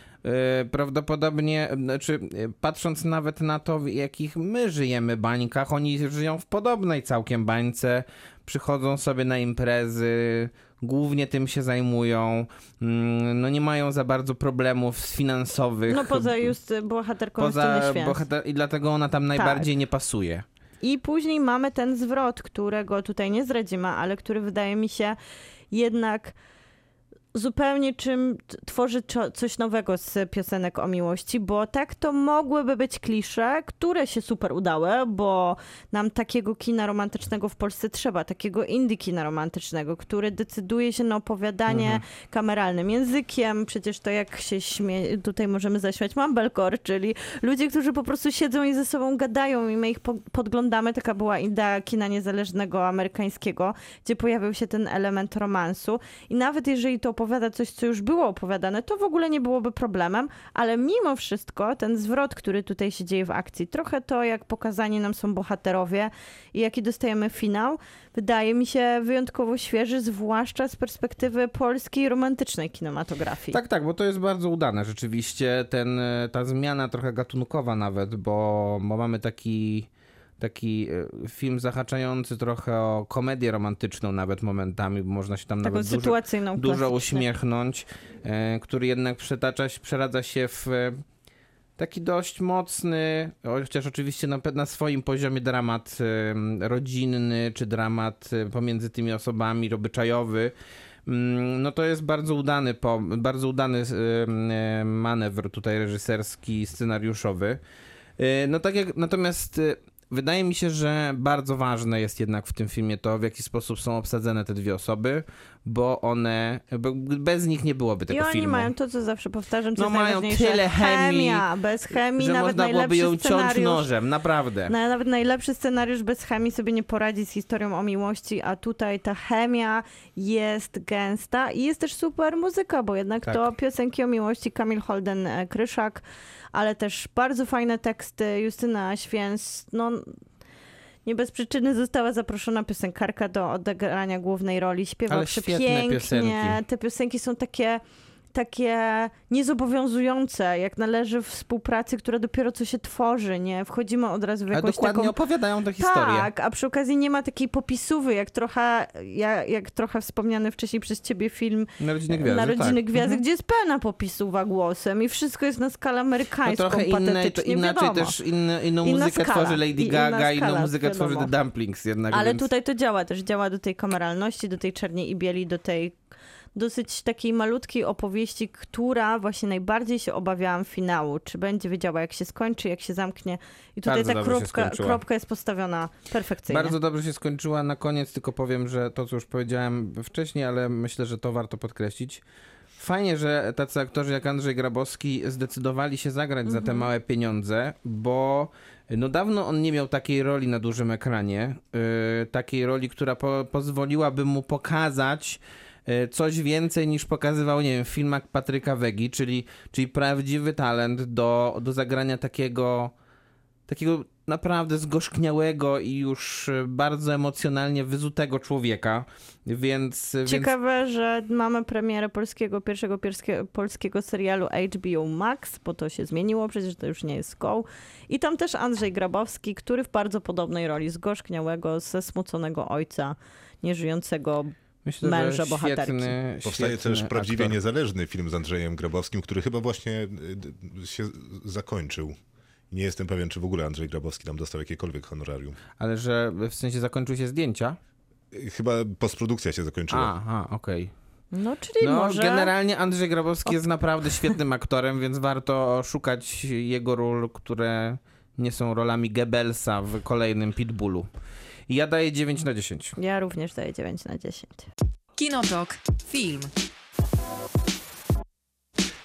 Speaker 5: E, Prawdopodobnie, znaczy, e, patrząc nawet na to, w jakich my żyjemy bańkach, oni żyją w podobnej całkiem bańce, przychodzą sobie na imprezy, głównie tym się zajmują, mm, no nie mają za bardzo problemów z finansowych.
Speaker 4: No poza just bohaterką
Speaker 5: Poza
Speaker 4: Justyny Święc.
Speaker 5: bohater- I dlatego ona tam najbardziej nie pasuje.
Speaker 4: I później mamy ten zwrot, którego tutaj nie zdradzimy, ale który wydaje mi się jednak zupełnie czym t- tworzy czo- coś nowego z piosenek o miłości, bo tak to mogłyby być klisze, które się super udały, bo nam takiego kina romantycznego w Polsce trzeba, takiego indie kina romantycznego, który decyduje się na opowiadanie kameralnym językiem, przecież to jak się śmie... tutaj możemy zaśmiać mumblecore, czyli ludzie, którzy po prostu siedzą i ze sobą gadają i my ich po- podglądamy, taka była idea kina niezależnego amerykańskiego, gdzie pojawił się ten element romansu i nawet jeżeli to opowiada coś, co już było opowiadane, to w ogóle nie byłoby problemem, ale mimo wszystko ten zwrot, który tutaj się dzieje w akcji, trochę to jak pokazani nam są bohaterowie i jaki dostajemy finał, wydaje mi się wyjątkowo świeży, zwłaszcza z perspektywy polskiej romantycznej kinematografii.
Speaker 5: Tak, tak, bo to jest bardzo udane rzeczywiście. Ten, e, ta zmiana trochę gatunkowa nawet, bo, bo mamy taki, taki e, film zahaczający trochę o komedię romantyczną nawet momentami, bo można się tam
Speaker 4: Taką
Speaker 5: nawet dużo,
Speaker 4: sytuacyjną
Speaker 5: dużo
Speaker 4: klasyczną.
Speaker 5: uśmiechnąć, e, który jednak przetacza, się- przeradza się w e, taki dość mocny, o- chociaż oczywiście na, pe- na swoim poziomie dramat em, rodzinny, czy dramat e, pomiędzy tymi osobami, obyczajowy. Mm, No to jest bardzo udany, po, bardzo udany y, em, e, Y, manewr tutaj reżyserski, scenariuszowy. E, No tak jak, natomiast e, Wydaje mi się, że bardzo ważne jest jednak w tym filmie to, w jaki sposób są obsadzone te dwie osoby, bo one, bo bez nich nie byłoby
Speaker 4: I
Speaker 5: tego
Speaker 4: oni
Speaker 5: filmu.
Speaker 4: mają to, co zawsze powtarzam, co
Speaker 5: No
Speaker 4: jest
Speaker 5: mają
Speaker 4: najważniejsze.
Speaker 5: tyle chemii,
Speaker 4: Chemia. Bez chemii
Speaker 5: że
Speaker 4: nawet
Speaker 5: można byłoby
Speaker 4: najlepszy
Speaker 5: ją ciąć
Speaker 4: scenariusz...
Speaker 5: nożem, naprawdę.
Speaker 4: Na- Nawet najlepszy scenariusz bez chemii sobie nie poradzi z historią o miłości, a tutaj ta chemia jest gęsta i jest też super muzyka, bo jednak
Speaker 5: Tak.
Speaker 4: to piosenki o miłości Kamil Holden e, Kryszak, ale też bardzo fajne teksty Justyna Święc, no nie bez przyczyny została zaproszona piosenkarka do odegrania głównej roli. Śpiewa
Speaker 5: Ale świetne
Speaker 4: przepięknie.
Speaker 5: piosenki.
Speaker 4: Te piosenki są takie takie niezobowiązujące, jak należy współpracy, która dopiero co się tworzy, nie? Wchodzimy od razu w
Speaker 5: Ale
Speaker 4: jakąś
Speaker 5: dokładnie
Speaker 4: taką...
Speaker 5: opowiadają tę historię.
Speaker 4: Tak, a przy okazji nie ma takiej popisówy, jak trochę, jak, jak trochę wspomniany wcześniej przez ciebie film
Speaker 5: Narodziny Gwiazdy,
Speaker 4: Narodziny
Speaker 5: tak.
Speaker 4: Gwiazdy, gdzie jest pełna popisuwa głosem i wszystko jest na skalę
Speaker 5: No
Speaker 4: amerykańską,
Speaker 5: trochę inne, to
Speaker 4: patetycznie,
Speaker 5: inaczej
Speaker 4: wiadomo.
Speaker 5: też inny, inną
Speaker 4: Inna
Speaker 5: muzykę
Speaker 4: skala.
Speaker 5: tworzy Lady
Speaker 4: I- inna
Speaker 5: Gaga, inną
Speaker 4: skala,
Speaker 5: muzykę
Speaker 4: wiadomo.
Speaker 5: tworzy The Dumplings jednak,
Speaker 4: Ale
Speaker 5: Tak, więc...
Speaker 4: tutaj to działa też, działa do tej kameralności, do tej czerni i bieli, do tej dosyć takiej malutkiej opowieści, która właśnie najbardziej się obawiałam finału, czy będzie wiedziała jak się skończy, jak się zamknie i tutaj
Speaker 5: Bardzo
Speaker 4: ta
Speaker 5: dobrze się
Speaker 4: kropka,
Speaker 5: skończyła.
Speaker 4: kropka jest postawiona perfekcyjnie.
Speaker 5: Bardzo dobrze się skończyła. Na koniec tylko powiem, że to, co już powiedziałem wcześniej, ale myślę, że to warto podkreślić. Fajnie, że tacy aktorzy jak Andrzej Grabowski zdecydowali się zagrać za te małe pieniądze, bo no dawno on nie miał takiej roli na dużym ekranie, yy, takiej roli, która po pozwoliłaby mu pokazać yy, coś więcej niż pokazywał, nie wiem, w filmach Patryka Wegi, czyli, czyli prawdziwy talent do, do zagrania takiego takiego naprawdę zgorzkniałego i już y, bardzo emocjonalnie wyzutego człowieka, więc... więc...
Speaker 4: Ciekawe, że mamy premierę polskiego, pierwszego pierskie, polskiego serialu HBO Max, bo to się zmieniło, przecież to już nie jest Go. I tam też Andrzej Grabowski, który w bardzo podobnej roli zgorzkniałego, zesmuconego ojca, nieżyjącego
Speaker 5: Myślę,
Speaker 4: męża bohaterki.
Speaker 5: Świetny,
Speaker 2: Powstaje
Speaker 5: świetny
Speaker 2: też prawdziwie
Speaker 5: aktor.
Speaker 2: niezależny film z Andrzejem Grabowskim, który chyba właśnie y, d- się zakończył. Nie jestem pewien, czy w ogóle Andrzej Grabowski tam dostał jakiekolwiek honorarium.
Speaker 5: Ale że w sensie zakończyły się zdjęcia?
Speaker 2: Y, Chyba postprodukcja się zakończyła.
Speaker 5: Aha, okej.
Speaker 4: No, czyli
Speaker 5: No,
Speaker 4: może...
Speaker 5: generalnie Andrzej Grabowski jest naprawdę świetnym aktorem, więc warto szukać jego ról, które nie są rolami Goebbelsa w kolejnym Pitbullu. I ja daję 9 na 10.
Speaker 4: Ja również daję 9 na 10.
Speaker 1: Kinotok. Film.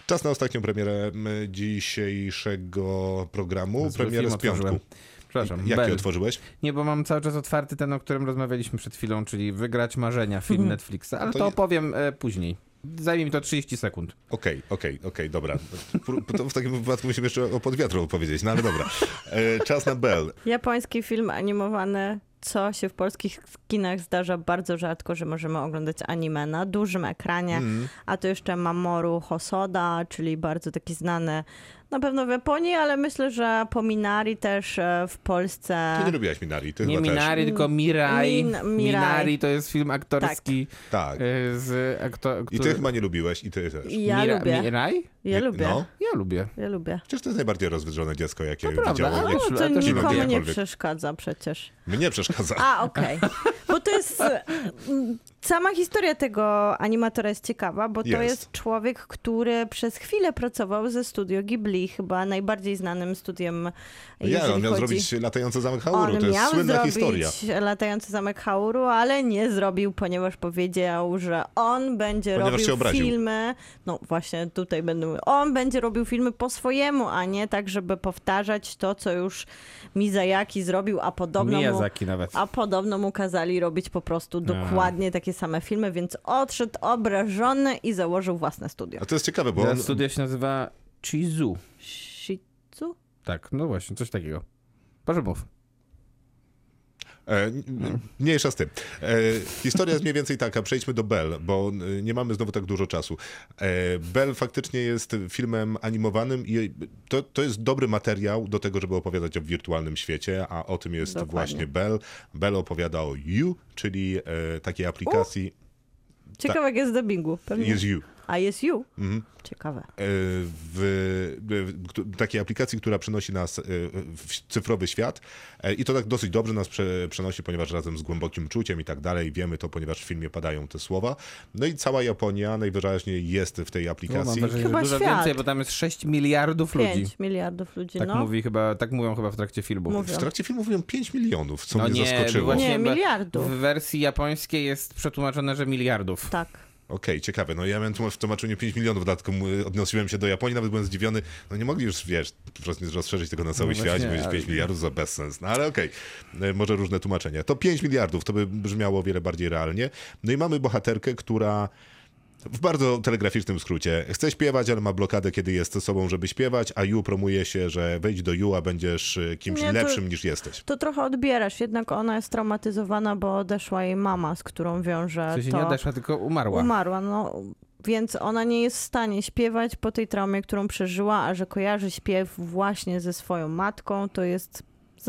Speaker 2: Czas na ostatnią premierę y, dzisiejszego programu.
Speaker 5: Zły
Speaker 2: Premierę
Speaker 5: film
Speaker 2: z piątku.
Speaker 5: otworzyłem. Przepraszam.
Speaker 2: Jaki
Speaker 5: Bell.
Speaker 2: otworzyłeś?
Speaker 5: Nie, bo mam cały czas otwarty ten, o którym rozmawialiśmy przed chwilą, czyli Wygrać Marzenia, film Netflixa, ale
Speaker 2: Mhm. No To
Speaker 5: to,
Speaker 2: je-
Speaker 5: opowiem e, później. Zajmie mi to 30 sekund.
Speaker 2: Okej, okej, okej, dobra. Pró- To w takim wypadku musimy jeszcze o podwiatru opowiedzieć, no ale dobra. E, Czas na Bell.
Speaker 4: Japoński film animowany, co się w polskich kinach zdarza bardzo rzadko, że możemy oglądać anime na dużym ekranie,
Speaker 5: Mm.
Speaker 4: a to jeszcze Mamoru Hosoda, czyli bardzo taki znany na pewno w Japonii, ale myślę, że po Minari też e, w Polsce.
Speaker 2: Ty nie lubiłaś Minari, ty
Speaker 5: Nie
Speaker 2: chyba
Speaker 5: Minari, tylko Mirai.
Speaker 4: Min- Mirai.
Speaker 5: Minari to jest film aktorski
Speaker 2: też. Tak.
Speaker 5: e, z akto...
Speaker 2: I ty chyba nie lubiłeś, i ty też.
Speaker 4: I ja
Speaker 5: Mira-
Speaker 4: lubię.
Speaker 5: Mirai?
Speaker 4: Ja
Speaker 2: Nie-
Speaker 4: lubię.
Speaker 2: No,
Speaker 5: Ja lubię.
Speaker 4: Ja lubię.
Speaker 2: przecież to jest najbardziej rozwydrzone dziecko, jakie
Speaker 5: prawda,
Speaker 2: widziałem.
Speaker 5: ale-
Speaker 2: Jak...
Speaker 4: No,
Speaker 5: lubię,
Speaker 4: to
Speaker 5: ja też lubię
Speaker 4: nikomu nie
Speaker 2: jakkolwiek.
Speaker 4: przeszkadza przecież.
Speaker 2: Mnie przeszkadza.
Speaker 4: A, okej. Bo to jest. mm, Sama historia tego animatora jest ciekawa, bo to
Speaker 2: Jest.
Speaker 4: jest. człowiek, który przez chwilę pracował ze studio Ghibli, chyba najbardziej znanym studiem.
Speaker 2: Ja, on
Speaker 4: jeżeli
Speaker 2: miał
Speaker 4: chodzi-
Speaker 2: zrobić latający zamek
Speaker 4: on
Speaker 2: Hauru, to jest
Speaker 4: miał
Speaker 2: słynna
Speaker 4: zrobić
Speaker 2: historia.
Speaker 4: latający zamek Hauru, ale nie zrobił, ponieważ powiedział, że on będzie
Speaker 2: Ponieważ się
Speaker 4: robił
Speaker 2: obraził.
Speaker 4: filmy. No właśnie tutaj będą. On będzie robił filmy po swojemu, a nie tak, żeby powtarzać to, co już Mizajaki zrobił, a podobno mu
Speaker 5: Miyazaki nawet.
Speaker 4: a podobno mu kazali robić po prostu dokładnie takie same filmy, więc odszedł obrażony i założył własne studio.
Speaker 2: A to jest ciekawe, bo
Speaker 5: Bo
Speaker 2: on...
Speaker 5: Studio się nazywa Chizu.
Speaker 4: Shizu?
Speaker 5: Tak, no właśnie, coś takiego. Proszę mów.
Speaker 2: E, n- n- mniejsza z tym. E, historia jest mniej więcej taka. Przejdźmy do Bell, bo e, nie mamy znowu tak dużo czasu. E, Bell faktycznie jest filmem animowanym i to, to jest dobry materiał do tego, żeby opowiadać o wirtualnym świecie, a o tym jest
Speaker 4: Dokładnie.
Speaker 2: właśnie Bell. Bell opowiada o You, czyli e, takiej aplikacji.
Speaker 5: Tak.
Speaker 4: Ciekawe jak jest z dubbingu. Pewnie.
Speaker 2: Jest You.
Speaker 4: ISU.
Speaker 5: Mhm.
Speaker 4: Ciekawe.
Speaker 2: e, w, w- w takiej aplikacji, która przenosi nas e, w cyfrowy świat E, i to tak dosyć dobrze nas prze, przenosi, ponieważ razem z głębokim czuciem i tak dalej, wiemy to, ponieważ w filmie padają te słowa. No i cała Japonia najwyraźniej jest w tej
Speaker 5: No, mam
Speaker 2: aplikacji.
Speaker 5: wrażenie, że
Speaker 4: Chyba
Speaker 5: dużo
Speaker 4: świat.
Speaker 5: więcej, bo tam jest 6 miliardów ludzi.
Speaker 4: 5 miliardów ludzi,
Speaker 5: Tak
Speaker 4: no.
Speaker 5: mówi chyba, tak mówią chyba w trakcie filmu.
Speaker 4: Mówią.
Speaker 2: w trakcie filmu mówią 5 milionów, co
Speaker 5: No
Speaker 2: mnie zaskoczyło.
Speaker 5: właśnie
Speaker 4: Nie,
Speaker 5: chyba
Speaker 4: miliardów.
Speaker 5: W wersji japońskiej jest przetłumaczone, że miliardów.
Speaker 4: Tak.
Speaker 2: Okej, ciekawe. No ja miałem tłum- w tłumaczeniu 5 milionów, dlatego m- odnosiłem się do Japonii, nawet byłem zdziwiony. No nie mogli już, wiesz, po prostu rozszerzyć tego na cały
Speaker 5: No
Speaker 2: świat i
Speaker 5: właśnie,
Speaker 2: powiedzieć
Speaker 5: ale-
Speaker 2: 5 miliardów za bezsens. No ale okej, E, może różne tłumaczenia. To 5 miliardów, to by brzmiało o wiele bardziej realnie. No i mamy bohaterkę, która w bardzo telegraficznym skrócie. Chce śpiewać, ale ma blokadę, kiedy jest ze sobą, żeby śpiewać, a Ju promuje się, że wejdź do Ju, a będziesz e, kimś
Speaker 4: Nie, to-
Speaker 2: lepszym niż jesteś.
Speaker 4: To trochę odbierasz, jednak ona jest traumatyzowana, bo odeszła jej mama, z którą wiąże
Speaker 5: W sensie
Speaker 4: to.
Speaker 5: nie odeszła, tylko umarła.
Speaker 4: Umarła, no. Więc ona nie jest w stanie śpiewać po tej traumie, którą przeżyła, a że kojarzy śpiew właśnie ze swoją matką, to jest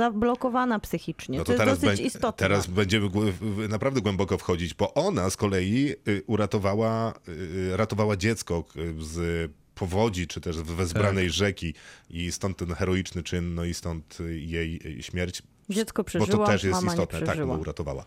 Speaker 4: zablokowana psychicznie. to, jest dosyć
Speaker 2: bę-
Speaker 4: istotne.
Speaker 2: No Teraz będziemy głę- w- naprawdę głęboko wchodzić, bo ona z kolei y, uratowała, y, ratowała dziecko k- z powodzi, czy też wezbranej
Speaker 5: Tak.
Speaker 2: rzeki i stąd ten heroiczny czyn, no i stąd y, jej y, śmierć. Bo
Speaker 4: Dziecko
Speaker 2: to
Speaker 4: przeżyła,
Speaker 2: też jest
Speaker 4: mama nie
Speaker 2: istotne, tak, bo
Speaker 4: przeżyła.
Speaker 2: uratowała.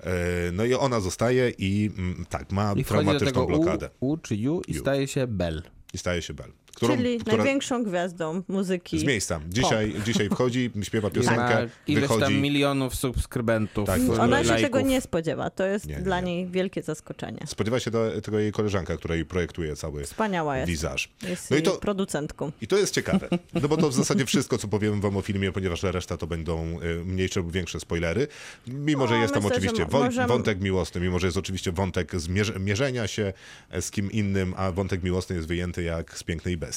Speaker 2: E, No i ona zostaje i mm, tak, ma
Speaker 5: I wchodzi do tego
Speaker 2: traumatyczną blokadę.
Speaker 5: U, U czy U i
Speaker 2: U.
Speaker 5: staje się Bell.
Speaker 2: I staje się Bel.
Speaker 4: Czyli największą gwiazdą muzyki.
Speaker 2: z miejsca. Dzisiaj, dzisiaj wchodzi, śpiewa
Speaker 5: I ma
Speaker 2: piosenkę,
Speaker 5: ileś tam
Speaker 2: wychodzi.
Speaker 5: milionów subskrybentów.
Speaker 2: Tak,
Speaker 5: y,
Speaker 4: Ona się
Speaker 5: lajków.
Speaker 4: tego nie spodziewa. To jest
Speaker 2: Nie, nie,
Speaker 4: dla
Speaker 2: nie.
Speaker 4: niej wielkie zaskoczenie.
Speaker 2: Spodziewa się to- tego jej koleżanka, która jej projektuje cały
Speaker 4: Wspaniała jest.
Speaker 2: wizaż.
Speaker 4: Jest
Speaker 2: No i
Speaker 4: jej
Speaker 2: to-
Speaker 4: producentką.
Speaker 2: I to jest ciekawe, no bo to w zasadzie wszystko, co powiem wam o filmie, ponieważ reszta to będą y, mniejsze lub większe spoilery. Mimo,
Speaker 4: No,
Speaker 2: że jest tam
Speaker 4: myślę, że
Speaker 2: oczywiście
Speaker 4: mo-
Speaker 2: wo-
Speaker 4: możemy-
Speaker 2: wątek miłosny, mimo, że jest oczywiście wątek zmierz- mierzenia się e, z kim innym, a wątek miłosny jest wyjęty jak z Pięknej Bestii.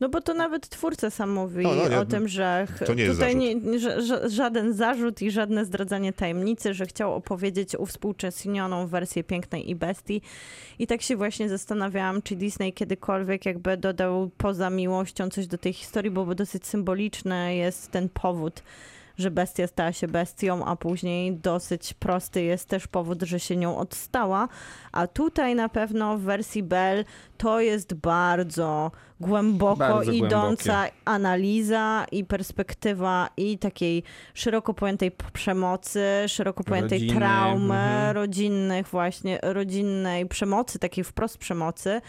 Speaker 4: No bo to nawet twórca sam mówi
Speaker 2: No, no, nie,
Speaker 4: o tym, że ch-
Speaker 2: to nie jest
Speaker 4: tutaj
Speaker 2: zarzut.
Speaker 4: nie- ża- ża- żaden zarzut i żadne zdradzanie tajemnicy, że chciał opowiedzieć uwspółcześnioną wersję Pięknej i Bestii. I tak się właśnie zastanawiałam, czy Disney kiedykolwiek jakby dodał poza miłością coś do tej historii, bo dosyć symboliczny jest ten powód, że bestia stała się bestią, a później dosyć prosty jest też powód, że się nią odstała. A tutaj na pewno w wersji Bell to jest bardzo głęboko
Speaker 5: Bardzo
Speaker 4: idąca analiza i perspektywa i takiej szeroko pojętej p- przemocy, szeroko pojętej
Speaker 5: Rodziny,
Speaker 4: traumy,
Speaker 5: mhm.
Speaker 4: rodzinnych właśnie, rodzinnej przemocy, takiej wprost przemocy.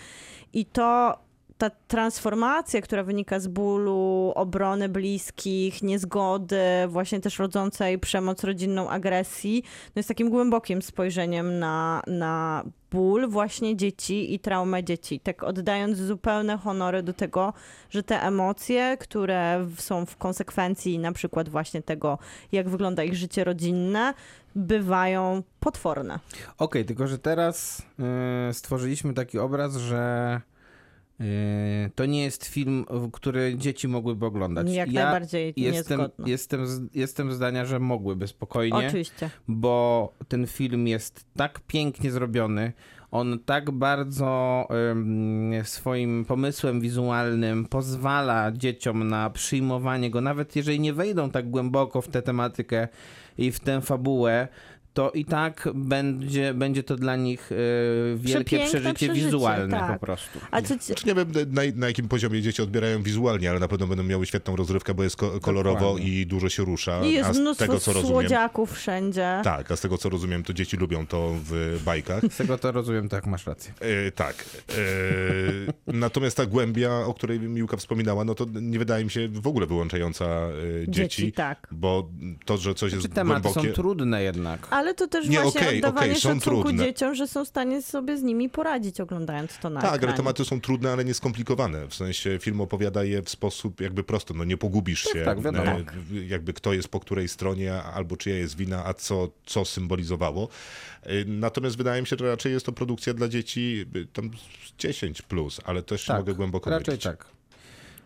Speaker 4: I to ta transformacja, która wynika z bólu, obrony bliskich, niezgody, właśnie też rodzącej przemoc rodzinną, agresji, no jest takim głębokim spojrzeniem na, na ból właśnie dzieci i traumę dzieci. Tak oddając zupełne honory do tego, że te emocje, które w- są w konsekwencji na przykład właśnie tego, jak wygląda ich życie rodzinne, bywają potworne.
Speaker 5: Okej, tylko że teraz y, stworzyliśmy taki obraz, że y, to nie jest film, w- który dzieci mogłyby oglądać.
Speaker 4: Jak
Speaker 5: ja
Speaker 4: najbardziej
Speaker 5: Jestem,
Speaker 4: niezgodne.
Speaker 5: jestem, z- jestem zdania, że mogłyby spokojnie.
Speaker 4: Oczywiście.
Speaker 5: bo ten film jest tak pięknie zrobiony. On tak bardzo ym, swoim pomysłem wizualnym pozwala dzieciom na przyjmowanie go, nawet jeżeli nie wejdą tak głęboko w tę tematykę i w tę fabułę. To i tak będzie, będzie to dla nich y, wielkie
Speaker 4: Przepiękne
Speaker 5: przeżycie,
Speaker 4: przeżycie,
Speaker 5: wizualne
Speaker 4: tak.
Speaker 5: po prostu.
Speaker 4: A co ci...
Speaker 2: Znaczy nie wiem na, na jakim poziomie dzieci odbierają wizualnie, ale na pewno będą miały świetną rozrywkę, bo jest ko- kolorowo
Speaker 5: Dokładnie.
Speaker 2: i dużo się rusza.
Speaker 4: I
Speaker 2: a
Speaker 4: jest
Speaker 2: z
Speaker 4: mnóstwo
Speaker 2: tego, co rozumiem,
Speaker 4: słodziaków wszędzie.
Speaker 2: tak, a z tego, co rozumiem, to dzieci lubią to w bajkach.
Speaker 5: Z tego to rozumiem, tak masz rację.
Speaker 2: E, tak. E, natomiast ta głębia, o której Miłka wspominała, no to nie wydaje mi się w ogóle wyłączająca e, dzieci.
Speaker 4: Dzieci, tak.
Speaker 2: Bo to, że coś
Speaker 5: Czy
Speaker 2: jest
Speaker 5: tematy
Speaker 2: głębokie...
Speaker 5: są trudne jednak?
Speaker 4: Ale to też
Speaker 2: Nie,
Speaker 4: właśnie
Speaker 2: okej,
Speaker 4: oddawanie
Speaker 2: okej, są
Speaker 4: szacunku
Speaker 2: trudne.
Speaker 4: dzieciom, że są w stanie sobie z nimi poradzić, oglądając to na
Speaker 2: tak, ale
Speaker 4: ekranie.
Speaker 2: tematy są trudne, ale nieskomplikowane. W sensie film opowiada je w sposób jakby prosty. No nie pogubisz się,
Speaker 5: tak, wiadomo.
Speaker 2: e, w- jakby kto jest po której stronie, a- albo czyja jest wina, a co, co symbolizowało. E, Natomiast wydaje mi się, że raczej jest to produkcja dla dzieci e, tam z 10+, plus, ale też
Speaker 5: Tak,
Speaker 2: mogę głęboko
Speaker 5: raczej
Speaker 2: mylić.
Speaker 5: tak.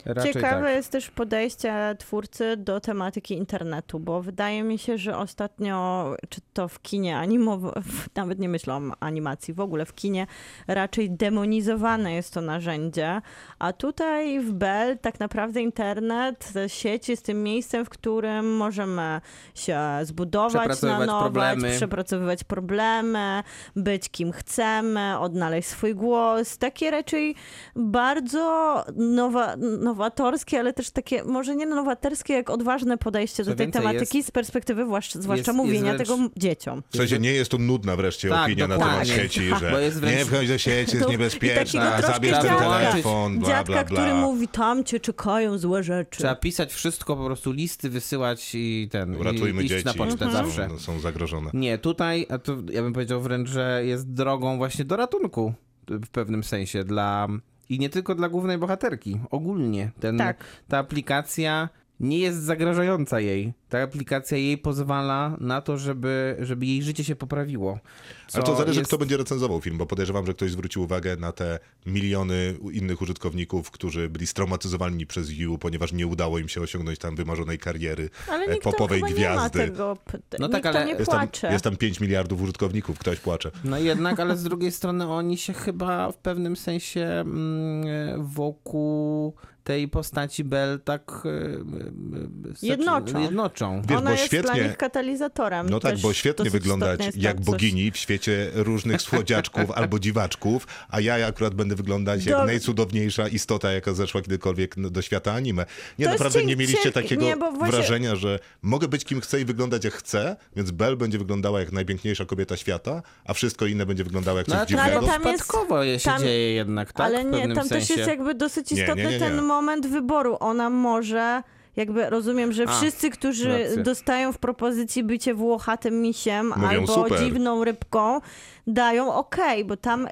Speaker 5: Raczej
Speaker 4: Ciekawe
Speaker 5: tak.
Speaker 4: jest też podejście twórcy do tematyki internetu, bo wydaje mi się, że ostatnio, czy to w kinie animow- nawet nie myślę o animacji, w ogóle w kinie raczej demonizowane jest to narzędzie, a tutaj w Bell tak naprawdę internet, sieć jest tym miejscem, w którym możemy się zbudować na
Speaker 5: Przepracowywać
Speaker 4: nowo,
Speaker 5: problemy.
Speaker 4: przepracowywać problemy, być kim chcemy, odnaleźć swój głos. Takie raczej bardzo nowa, nowatorskie, ale też takie, może nie nowatorskie, jak odważne podejście
Speaker 5: Co
Speaker 4: do tej
Speaker 5: więcej,
Speaker 4: tematyki z perspektywy własz, zwłaszcza
Speaker 5: jest- jest
Speaker 4: mówienia
Speaker 5: wręcz-
Speaker 4: tego m- dzieciom.
Speaker 2: W sensie nie jest to nudna wreszcie
Speaker 5: Tak,
Speaker 2: opinia na temat
Speaker 5: dokładnie.
Speaker 2: sieci,
Speaker 4: Tak,
Speaker 5: Bo
Speaker 2: że
Speaker 5: jest wręcz-
Speaker 2: nie wchodź do sieci, jest
Speaker 4: To- i
Speaker 2: niebezpieczna,
Speaker 4: takiego
Speaker 2: zabierz ten
Speaker 4: troszkę dziadka.
Speaker 2: telefon, bla,
Speaker 4: Dziadka,
Speaker 2: bla,
Speaker 4: który
Speaker 2: bla.
Speaker 4: mówi, tam cię czekają złe rzeczy.
Speaker 5: Trzeba pisać wszystko, po prostu listy wysyłać i ten.
Speaker 2: Ratujmy
Speaker 5: i iść
Speaker 2: dzieci, No,
Speaker 5: na pocztę zawsze.
Speaker 2: są, są zagrożone.
Speaker 5: Nie, tutaj a to ja bym powiedział wręcz, że jest drogą właśnie do ratunku w pewnym sensie dla i nie tylko dla głównej bohaterki, ogólnie. Ten,
Speaker 4: Tak.
Speaker 5: Ta aplikacja nie jest zagrażająca jej. Ta aplikacja jej pozwala na to, żeby, żeby jej życie się poprawiło.
Speaker 2: Ale
Speaker 5: co
Speaker 2: to zależy,
Speaker 5: jest-
Speaker 2: kto będzie recenzował film, bo podejrzewam, że ktoś zwrócił uwagę na te miliony u- innych użytkowników, którzy byli straumatyzowani przez You, ponieważ nie udało im się osiągnąć tam wymarzonej kariery
Speaker 4: ale
Speaker 2: e,
Speaker 4: nikt tam
Speaker 2: popowej
Speaker 4: chyba
Speaker 2: gwiazdy.
Speaker 4: nie ma tego, p-
Speaker 5: No
Speaker 4: nikt
Speaker 5: tak, ale
Speaker 4: tam nie
Speaker 2: Jest tam,
Speaker 4: płacze.
Speaker 2: jest tam 5 miliardów użytkowników, ktoś płacze.
Speaker 5: No jednak, ale z drugiej strony oni się chyba w pewnym sensie mm, wokół tej postaci Bell tak e, e, e, znaczy,
Speaker 4: Jednoczą.
Speaker 5: jednoczą.
Speaker 2: Wiesz,
Speaker 4: Ona
Speaker 2: bo
Speaker 4: jest
Speaker 2: świetnie-
Speaker 4: dla nich katalizatorem.
Speaker 2: No tak,
Speaker 4: też
Speaker 2: bo świetnie
Speaker 4: dosyć
Speaker 2: wyglądać
Speaker 4: istotne jest tam
Speaker 2: jak
Speaker 4: coś-
Speaker 2: bogini w świecie różnych słodziaczków albo dziwaczków, a ja akurat będę wyglądać jak
Speaker 4: Do-
Speaker 2: najcudowniejsza istota, jaka zeszła kiedykolwiek n- do świata anime. Nie,
Speaker 4: To jest
Speaker 2: naprawdę nie
Speaker 4: cienk-
Speaker 2: mieliście
Speaker 4: cienk-
Speaker 2: takiego
Speaker 4: nie, bo właśnie-
Speaker 2: wrażenia, że mogę być kim chcę i wyglądać jak chcę, więc Belle będzie wyglądała jak najpiękniejsza kobieta świata, a wszystko inne będzie wyglądało jak coś
Speaker 5: No, znaczy, ale
Speaker 2: dziwnego.
Speaker 4: No, ale
Speaker 5: to
Speaker 4: tam jest-
Speaker 5: przypadkowo je się
Speaker 4: tam-
Speaker 5: dzieje jednak, tak?
Speaker 4: Ale
Speaker 5: w
Speaker 4: nie,
Speaker 5: pewnym
Speaker 4: tam
Speaker 5: sensie.
Speaker 4: też jest jakby dosyć
Speaker 2: Nie, nie,
Speaker 4: istotny
Speaker 2: nie, nie.
Speaker 4: ten moment wyboru. Ona może. Jakby rozumiem, że
Speaker 5: A,
Speaker 4: wszyscy, którzy
Speaker 5: rację.
Speaker 4: dostają w propozycji bycie włochatym misiem
Speaker 2: Mówią,
Speaker 4: albo
Speaker 2: super.
Speaker 4: dziwną rybką, dają okej, bo tam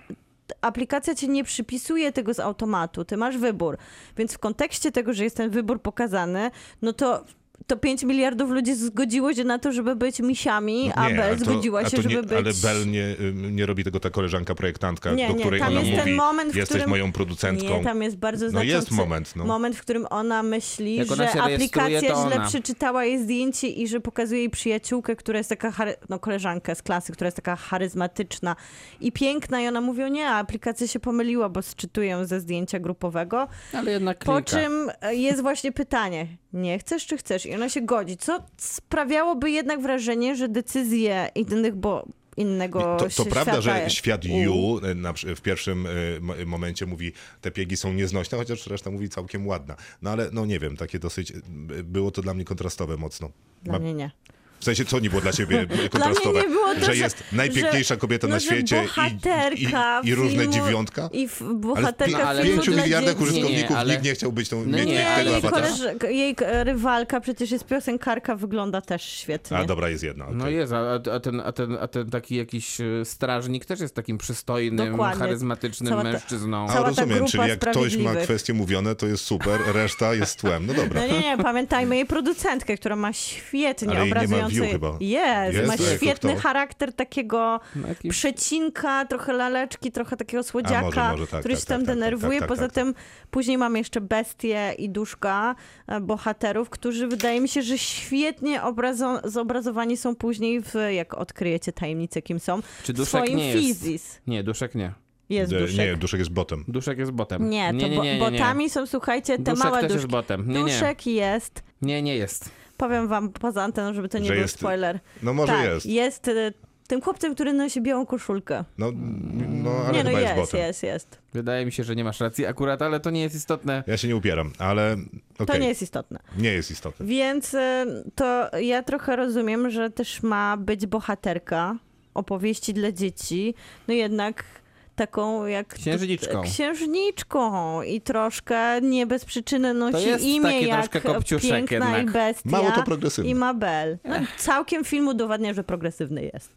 Speaker 4: t- aplikacja ci nie przypisuje tego z automatu, ty masz wybór. Więc w kontekście tego, że jest ten wybór pokazany, no to to 5 miliardów ludzi zgodziło się na to, żeby być misiami,
Speaker 2: No
Speaker 4: a
Speaker 2: nie,
Speaker 4: Bel
Speaker 2: to-
Speaker 4: zgodziła
Speaker 2: a
Speaker 4: się,
Speaker 2: to
Speaker 4: żeby
Speaker 2: nie,
Speaker 4: być...
Speaker 2: Ale Bell nie, ym, nie robi tego ta koleżanka projektantka,
Speaker 4: Nie,
Speaker 2: Tak, do
Speaker 4: nie,
Speaker 2: której
Speaker 4: tam
Speaker 2: ona
Speaker 4: jest ten
Speaker 2: mówi,
Speaker 4: moment, w
Speaker 2: jesteś
Speaker 4: którym-
Speaker 2: moją producentką.
Speaker 4: Nie, tam jest bardzo
Speaker 2: No
Speaker 4: znaczący
Speaker 2: jest moment, no.
Speaker 4: moment, w którym ona myśli,
Speaker 5: Jak ona się
Speaker 4: że
Speaker 5: rejestruje,
Speaker 4: aplikacja
Speaker 5: to
Speaker 4: źle
Speaker 5: ona.
Speaker 4: przeczytała jej zdjęcie i że pokazuje jej przyjaciółkę, która jest taka, chary- no koleżankę z klasy, która jest taka charyzmatyczna i piękna i ona mówi, o nie, aplikacja się pomyliła, bo sczytuje ją ze zdjęcia grupowego.
Speaker 5: Ale jednak
Speaker 4: Po
Speaker 5: klika.
Speaker 4: czym e, jest właśnie pytanie, nie chcesz czy chcesz? I ona się godzi, co sprawiałoby jednak wrażenie, że decyzje innych, bo innego
Speaker 2: To, to
Speaker 4: się
Speaker 2: prawda,
Speaker 4: świata-
Speaker 2: że świat Ju e, na, przy- w pierwszym e, mo- momencie mówi, te piegi są nieznośne, chociaż reszta mówi całkiem ładna. No ale no nie wiem, takie dosyć, e, było to dla mnie kontrastowe mocno.
Speaker 4: Dla
Speaker 2: Ma-
Speaker 4: mnie nie.
Speaker 2: W sensie, co nie było dla ciebie kontrastowe?
Speaker 4: Dla mnie nie było to,
Speaker 2: że jest najpiękniejsza
Speaker 4: że-
Speaker 2: kobieta
Speaker 4: no,
Speaker 2: na
Speaker 4: że
Speaker 2: świecie i,
Speaker 4: bohaterka
Speaker 2: i, i różne
Speaker 4: filmu-
Speaker 2: dziewiątka?
Speaker 4: I w
Speaker 2: Ale w, pi-
Speaker 4: bohaterka
Speaker 5: No, ale
Speaker 2: w pięciu
Speaker 4: filmu dla
Speaker 2: miliardach
Speaker 4: dzieci.
Speaker 5: użytkowników
Speaker 2: użytkowników
Speaker 5: ale-
Speaker 2: nikt nie chciałbyś tą,
Speaker 5: No
Speaker 2: mieć
Speaker 5: nie,
Speaker 2: tego
Speaker 4: Nie, jej,
Speaker 2: awatara.
Speaker 4: koleż- jej e, rywalka przecież jest piosenkarka, wygląda też świetnie.
Speaker 2: A dobra, jest jedna.
Speaker 5: No
Speaker 2: okej.
Speaker 5: jest, a, a, ten, a, ten, a ten taki jakiś e, strażnik też jest takim przystojnym,
Speaker 4: Dokładnie.
Speaker 5: charyzmatycznym
Speaker 4: Cała ta-
Speaker 5: mężczyzną.
Speaker 2: A
Speaker 4: cała ta
Speaker 2: rozumiem,
Speaker 4: grupa
Speaker 2: czyli jak ktoś ma
Speaker 4: sprawiedliwych.
Speaker 2: kwestie mówione, to jest super, reszta jest tłem. No dobra.
Speaker 4: No nie, nie, pamiętajmy jej producentkę, która ma świetnie
Speaker 2: Ale jej nie ma
Speaker 4: obrazujący...
Speaker 2: view chyba.
Speaker 4: Jest,
Speaker 2: Jest,
Speaker 4: ma
Speaker 2: tak,
Speaker 4: świetny
Speaker 2: kto?
Speaker 4: charakter takiego
Speaker 5: No jakiś-
Speaker 4: przecinka, trochę laleczki, trochę takiego słodziaka,
Speaker 2: może, może, tak,
Speaker 4: który
Speaker 2: tak,
Speaker 4: się
Speaker 2: tak,
Speaker 4: tam
Speaker 2: tak, tak,
Speaker 4: denerwuje.
Speaker 2: tak,
Speaker 4: Poza
Speaker 2: tak, tak.
Speaker 4: tym później mamy jeszcze bestie i duszka e, bohaterów, którzy wydaje mi się, że świetnie obrazo- zobrazowani są później, w, jak odkryjecie tajemnicę, kim są,
Speaker 5: Czy
Speaker 4: w
Speaker 5: duszek
Speaker 4: swoim
Speaker 5: nie jest?
Speaker 4: fizis.
Speaker 5: Nie, duszek nie.
Speaker 4: Jest
Speaker 2: Nie,
Speaker 4: duszek.
Speaker 2: E, Nie, duszek jest botem.
Speaker 5: Duszek jest botem.
Speaker 4: Nie, to
Speaker 5: nie, nie, nie, nie,
Speaker 4: bo,
Speaker 5: nie.
Speaker 4: botami są, słuchajcie, te
Speaker 5: Duszek
Speaker 4: małe
Speaker 5: też jest
Speaker 4: duszki.
Speaker 5: botem. Nie, nie.
Speaker 4: Duszek jest,
Speaker 5: Nie, nie jest.
Speaker 4: powiem wam poza anteną, żeby to nie
Speaker 2: Że
Speaker 4: był
Speaker 2: jest-
Speaker 4: spoiler.
Speaker 2: No może
Speaker 4: tak,
Speaker 2: jest.
Speaker 4: jest e, tym chłopcem, który nosi białą koszulkę.
Speaker 2: No, no ale
Speaker 4: nie, no
Speaker 2: chyba jest,
Speaker 4: jest,
Speaker 2: botem.
Speaker 4: jest, jest.
Speaker 5: Wydaje mi się, że nie masz racji akurat, ale to nie jest istotne.
Speaker 2: Ja się nie upieram, ale
Speaker 4: To
Speaker 2: okej,
Speaker 4: nie jest istotne.
Speaker 2: nie jest istotne.
Speaker 4: Więc e, to ja trochę rozumiem, że też ma być bohaterka opowieści dla dzieci, no jednak taką jak...
Speaker 5: Księżniczką.
Speaker 4: Księżniczką i troszkę nie bez przyczyny nosi
Speaker 5: jest
Speaker 4: imię
Speaker 5: taki
Speaker 4: jak
Speaker 5: troszkę kopciuszek
Speaker 4: piękna
Speaker 5: jednak.
Speaker 4: i bestia.
Speaker 2: Mało to progresywne.
Speaker 4: I Mabel. No, całkiem film udowadnia, że progresywny jest.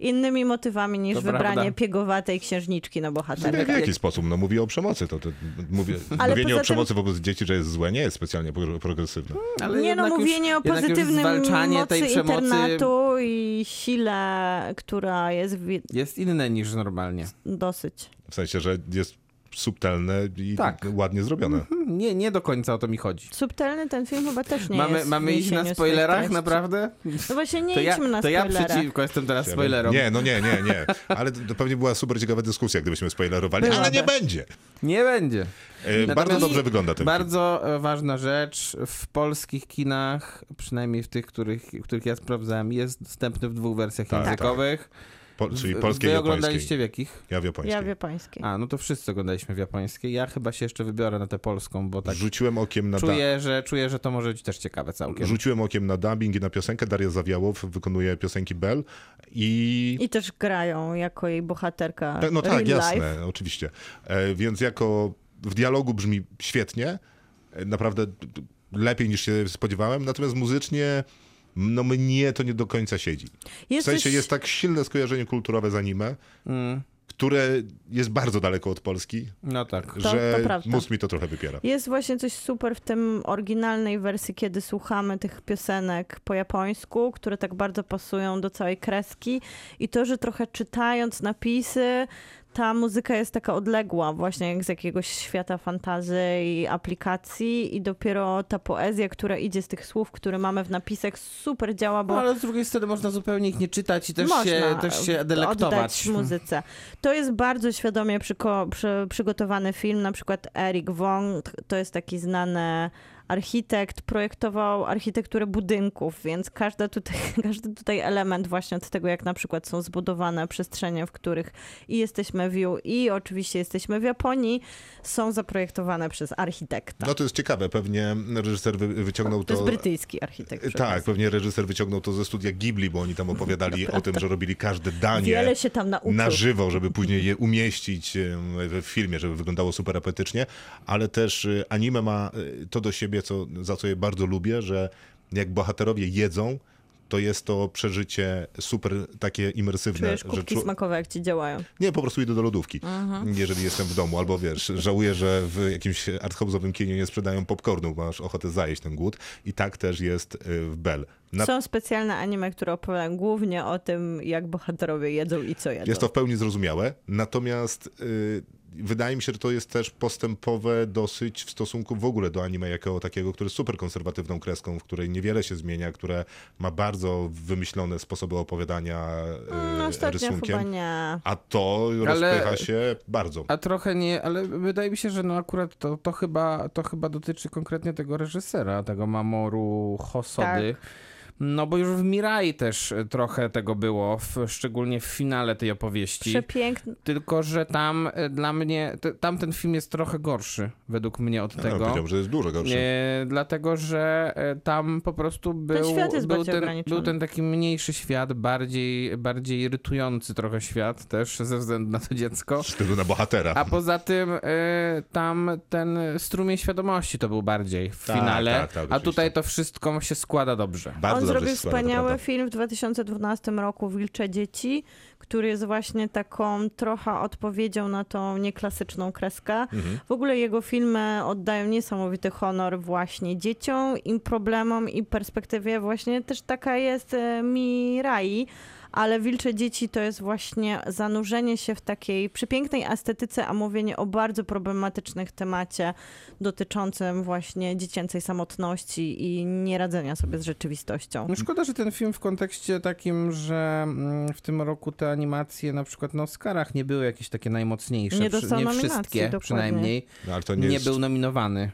Speaker 4: Innymi motywami niż
Speaker 5: To
Speaker 4: wybranie
Speaker 5: prawda.
Speaker 4: piegowatej księżniczki na bohaterkę.
Speaker 2: Nie, w jaki sposób? No mówi o przemocy. To, to, mówi,
Speaker 4: Ale
Speaker 2: mówienie
Speaker 4: poza
Speaker 2: o przemocy wobec dzieci, że jest złe, nie jest specjalnie pro- progresywne.
Speaker 5: Ale
Speaker 4: nie no,
Speaker 5: jednak już-
Speaker 4: mówienie o
Speaker 5: jednak już
Speaker 4: pozytywnym
Speaker 5: zwalczanie
Speaker 4: mocy
Speaker 5: tej przemocy
Speaker 4: internatu i sile, która jest wi-
Speaker 5: jest inne niż normalnie.
Speaker 4: dosyć.
Speaker 2: W sensie, że jest subtelne i
Speaker 5: Tak.
Speaker 2: ładnie zrobione.
Speaker 5: Nie, nie do końca o to mi chodzi.
Speaker 4: Subtelny ten film chyba też nie
Speaker 5: mamy
Speaker 4: jest. w
Speaker 5: mamy iść na
Speaker 4: więzieniu swoich
Speaker 5: spoilerach,
Speaker 4: treści.
Speaker 5: naprawdę?
Speaker 4: No właśnie nie
Speaker 5: To ja,
Speaker 4: idźmy na
Speaker 5: to ja
Speaker 4: spoilerach.
Speaker 5: przeciwko jestem teraz
Speaker 2: Ja
Speaker 5: spoilerom.
Speaker 2: bym- Nie, no nie, nie, nie. Ale to pewnie była super ciekawa dyskusja, gdybyśmy spoilerowali,
Speaker 4: Byłaby.
Speaker 2: ale nie będzie.
Speaker 5: Nie będzie.
Speaker 2: E, Bardzo
Speaker 5: Natomiast-
Speaker 2: dobrze wygląda ten film.
Speaker 5: Bardzo e, ważna rzecz. W polskich kinach, przynajmniej w tych, których, których ja sprawdzałem, jest dostępny w dwóch wersjach
Speaker 2: Tak,
Speaker 5: językowych.
Speaker 2: Po, czyli
Speaker 5: W-
Speaker 2: polskiej i
Speaker 5: Wy
Speaker 2: japońskiej.
Speaker 5: oglądaliście w jakich?
Speaker 2: Ja w japońskiej.
Speaker 4: Ja w japońskiej.
Speaker 5: A, no to wszyscy oglądaliśmy w japońskiej. Ja chyba się jeszcze wybiorę na tę polską, bo tak
Speaker 2: Rzuciłem okiem na da-
Speaker 5: czuję, że, czuję, że to może być też ciekawe całkiem.
Speaker 2: Rzuciłem okiem na dubbing i na piosenkę. Daria Zawiałow wykonuje piosenki Bell i...
Speaker 4: I też grają jako jej bohaterka
Speaker 2: Tak, no
Speaker 4: real
Speaker 2: tak,
Speaker 4: life.
Speaker 2: jasne, oczywiście. E, Więc jako w dialogu brzmi świetnie, e, naprawdę d- d- lepiej niż się spodziewałem, natomiast muzycznie no mnie to nie do końca siedzi. W
Speaker 4: Jest
Speaker 2: sensie
Speaker 4: coś-
Speaker 2: jest tak silne skojarzenie kulturowe z anime,
Speaker 4: Mm.
Speaker 2: które jest bardzo daleko od Polski,
Speaker 5: No tak.
Speaker 4: To-
Speaker 2: że
Speaker 4: to prawda.
Speaker 2: mózg mi to trochę wypiera.
Speaker 4: Jest właśnie coś super w tym oryginalnej wersji, kiedy słuchamy tych piosenek po japońsku, które tak bardzo pasują do całej kreski i to, że trochę czytając napisy, ta muzyka jest taka odległa właśnie jak z jakiegoś świata fantazji i aplikacji i dopiero ta poezja, która idzie z tych słów, które mamy w napisach super działa, bo
Speaker 5: No, ale z drugiej strony można zupełnie ich nie czytać i też,
Speaker 4: można
Speaker 5: się, też się delektować.
Speaker 4: oddać muzyce. To jest bardzo świadomie przyko- przy- przygotowany film. Na przykład Eric Wong, t- to jest taki znany architekt, projektował architekturę budynków, więc każda tutaj, każdy tutaj element właśnie od tego, jak na przykład są zbudowane przestrzenie, w których i jesteśmy w Ju, i oczywiście jesteśmy w Japonii, są zaprojektowane przez architekta.
Speaker 2: No to jest ciekawe, pewnie reżyser wy- wyciągnął
Speaker 4: to jest
Speaker 2: to...
Speaker 4: brytyjski architekt. przy
Speaker 2: Tak,
Speaker 4: okazji.
Speaker 2: pewnie reżyser wyciągnął to ze studia Ghibli, bo oni tam opowiadali o tym, że robili każde danie
Speaker 4: No tak. Wiele się tam nauczył.
Speaker 2: na żywo, żeby później je umieścić em, w filmie, żeby wyglądało super apetycznie, ale też y, anime ma y, to do siebie, co, za co je bardzo lubię, że jak bohaterowie jedzą, to jest to przeżycie super takie imersywne.
Speaker 4: Czujesz
Speaker 2: że
Speaker 4: kubki
Speaker 2: czu-
Speaker 4: smakowe, jak ci działają.
Speaker 2: nie, po prostu idę do lodówki,
Speaker 4: Mhm.
Speaker 2: jeżeli jestem w domu. Albo wiesz, żałuję, że w jakimś arthouse'owym kinie nie sprzedają popcornu, bo masz ochotę zajeść ten głód. I tak też jest y, w Bell. Na
Speaker 4: Są specjalne anime, które opowiadają głównie o tym, jak bohaterowie jedzą i co jedzą.
Speaker 2: Jest to w pełni zrozumiałe, natomiast y, wydaje mi się, że to jest też postępowe dosyć w stosunku w ogóle do anime jako takiego, który jest super konserwatywną kreską, w której niewiele się zmienia, które ma bardzo wymyślone sposoby opowiadania
Speaker 4: no,
Speaker 2: y,
Speaker 4: ostatnio chyba
Speaker 2: rysunkiem.
Speaker 4: nie.
Speaker 2: A to
Speaker 5: Ale-
Speaker 2: rozpycha się bardzo.
Speaker 5: A trochę nie, ale wydaje mi się, że no akurat to, to, chyba, to chyba dotyczy konkretnie tego reżysera, tego Mamoru Hosody.
Speaker 4: Tak.
Speaker 5: No bo już w Mirai też trochę tego było, w, szczególnie w finale tej opowieści.
Speaker 4: Przepiękny.
Speaker 5: Tylko, że tam e, dla mnie, te- tamten film jest trochę gorszy według mnie od
Speaker 2: Ja
Speaker 5: tego.
Speaker 2: powiedziałem, że jest dużo gorszy.
Speaker 5: E, dlatego, że e, tam po prostu był
Speaker 4: świat jest
Speaker 5: był,
Speaker 4: bardziej
Speaker 5: ten,
Speaker 4: ograniczony.
Speaker 5: był ten taki mniejszy świat, bardziej, bardziej irytujący trochę świat też ze względu na to dziecko.
Speaker 2: Z tyłu na bohatera.
Speaker 5: A poza tym e, tam ten strumień świadomości to był bardziej w
Speaker 2: Tak,
Speaker 5: finale,
Speaker 2: tak, tak,
Speaker 5: a
Speaker 2: oczywiście.
Speaker 5: tutaj to wszystko się składa dobrze.
Speaker 2: Bardzo
Speaker 4: On
Speaker 2: dobrze
Speaker 4: zrobił
Speaker 2: się składa, to
Speaker 4: wspaniały
Speaker 2: prawda.
Speaker 4: film w 2012 roku Wilcze Dzieci, który jest właśnie taką trochę odpowiedzią na tą nieklasyczną kreskę. W ogóle jego filmy oddają niesamowity honor właśnie dzieciom, im problemom i perspektywie. Właśnie też taka jest e, Mirai. Ale Wilcze Dzieci to jest właśnie zanurzenie się w takiej przepięknej estetyce, a mówienie o bardzo problematycznych temacie dotyczącym właśnie dziecięcej samotności i nieradzenia sobie z rzeczywistością.
Speaker 2: Tak.
Speaker 5: No szkoda, że ten film w kontekście takim, że mm, w tym roku te animacje na przykład na Oscarach nie były jakieś takie najmocniejsze,
Speaker 4: Nie
Speaker 5: przy-
Speaker 4: dostał
Speaker 5: nie
Speaker 4: nominacji,
Speaker 5: wszystkie
Speaker 4: dokładnie.
Speaker 5: przynajmniej,
Speaker 2: No, ale to nie,
Speaker 5: nie,
Speaker 2: jest...
Speaker 5: był nominowany.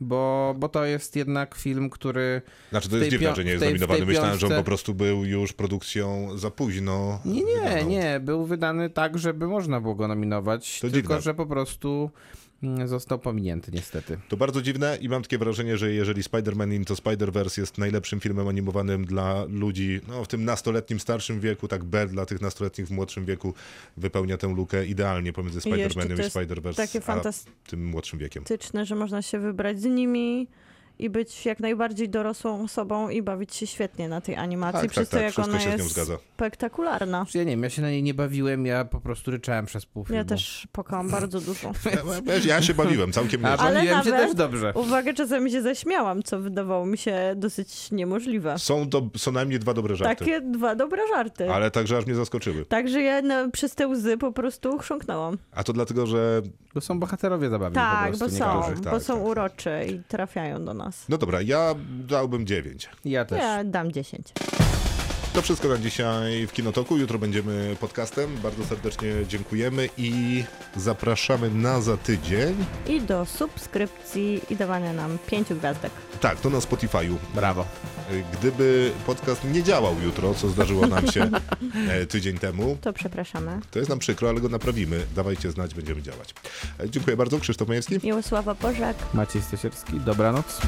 Speaker 5: Bo, bo to jest jednak film, który...
Speaker 2: Znaczy to
Speaker 5: w
Speaker 2: jest
Speaker 5: tej
Speaker 2: dziwne,
Speaker 5: pio-
Speaker 2: że nie
Speaker 5: w
Speaker 2: jest
Speaker 5: tej- w
Speaker 2: nominowany.
Speaker 5: tej
Speaker 2: Myślałem, że on
Speaker 5: piątce-
Speaker 2: po prostu był już produkcją za późno.
Speaker 5: Nie, nie,
Speaker 2: wydaną.
Speaker 5: nie. Był wydany tak, żeby można było go nominować,
Speaker 2: To
Speaker 5: tylko
Speaker 2: dziwne.
Speaker 5: że po prostu mm, został pominięty niestety.
Speaker 2: To bardzo dziwne i mam takie wrażenie, że jeżeli Spider-Man Into Spider-Verse jest najlepszym filmem animowanym dla ludzi no, w tym nastoletnim, starszym wieku, tak Bell dla tych nastoletnich w młodszym wieku wypełnia tę lukę idealnie pomiędzy
Speaker 4: I jeszcze
Speaker 2: Spider-Manem
Speaker 4: to
Speaker 2: i
Speaker 4: jest
Speaker 2: Spider-Verse
Speaker 4: Takie
Speaker 2: a
Speaker 4: fantastyczne,
Speaker 2: tym młodszym wiekiem.
Speaker 4: że można się wybrać z nimi i być jak najbardziej dorosłą osobą i bawić się świetnie na tej animacji,
Speaker 2: Tak,
Speaker 4: przez
Speaker 2: tak, tak,
Speaker 4: to jak
Speaker 2: wszystko
Speaker 4: ona
Speaker 2: się z nią
Speaker 4: jest
Speaker 2: zgadza.
Speaker 4: spektakularna.
Speaker 5: Ja nie wiem, ja się na niej nie bawiłem, ja po prostu ryczałem przez pół filmu.
Speaker 4: Ja też płakałam bardzo dużo.
Speaker 2: Ja, wiesz, ja się bawiłem całkiem
Speaker 5: A
Speaker 2: nieźle.
Speaker 5: bawiłem się
Speaker 4: nawet-
Speaker 5: też dobrze.
Speaker 4: Uwaga, czasami się zaśmiałam, co wydawało mi się dosyć niemożliwe.
Speaker 2: Są, do, są najmniej dwa dobre żarty.
Speaker 4: Takie dwa dobre żarty.
Speaker 2: Tak, Ale także aż mnie zaskoczyły.
Speaker 4: Także ja na, przez te łzy po prostu chrząknęłam.
Speaker 2: A to dlatego, że.
Speaker 5: Bo są bohaterowie zabawni
Speaker 4: Tak,
Speaker 5: po prostu.
Speaker 4: bo są,
Speaker 5: niektórzy.
Speaker 4: bo
Speaker 2: tak,
Speaker 4: są
Speaker 2: tak, tak.
Speaker 4: uroczy i trafiają do nas.
Speaker 2: No dobra, ja dałbym dziewięć.
Speaker 5: Ja też.
Speaker 4: Ja dam 10.
Speaker 2: To wszystko na dzisiaj w Kinotoku. Jutro będziemy podcastem. Bardzo serdecznie dziękujemy i zapraszamy na za tydzień.
Speaker 4: I do subskrypcji i dawania nam 5 gwiazdek.
Speaker 2: Tak, to na Spotify'u.
Speaker 5: Brawo.
Speaker 2: Gdyby podcast nie działał jutro, co zdarzyło nam się e, tydzień temu,
Speaker 4: To przepraszamy.
Speaker 2: to jest nam przykro, ale go naprawimy. Dawajcie znać, będziemy działać. E, Dziękuję bardzo. Krzysztof Majewski.
Speaker 4: Miłosława Bożek.
Speaker 5: Maciej Stosierski, dobranoc.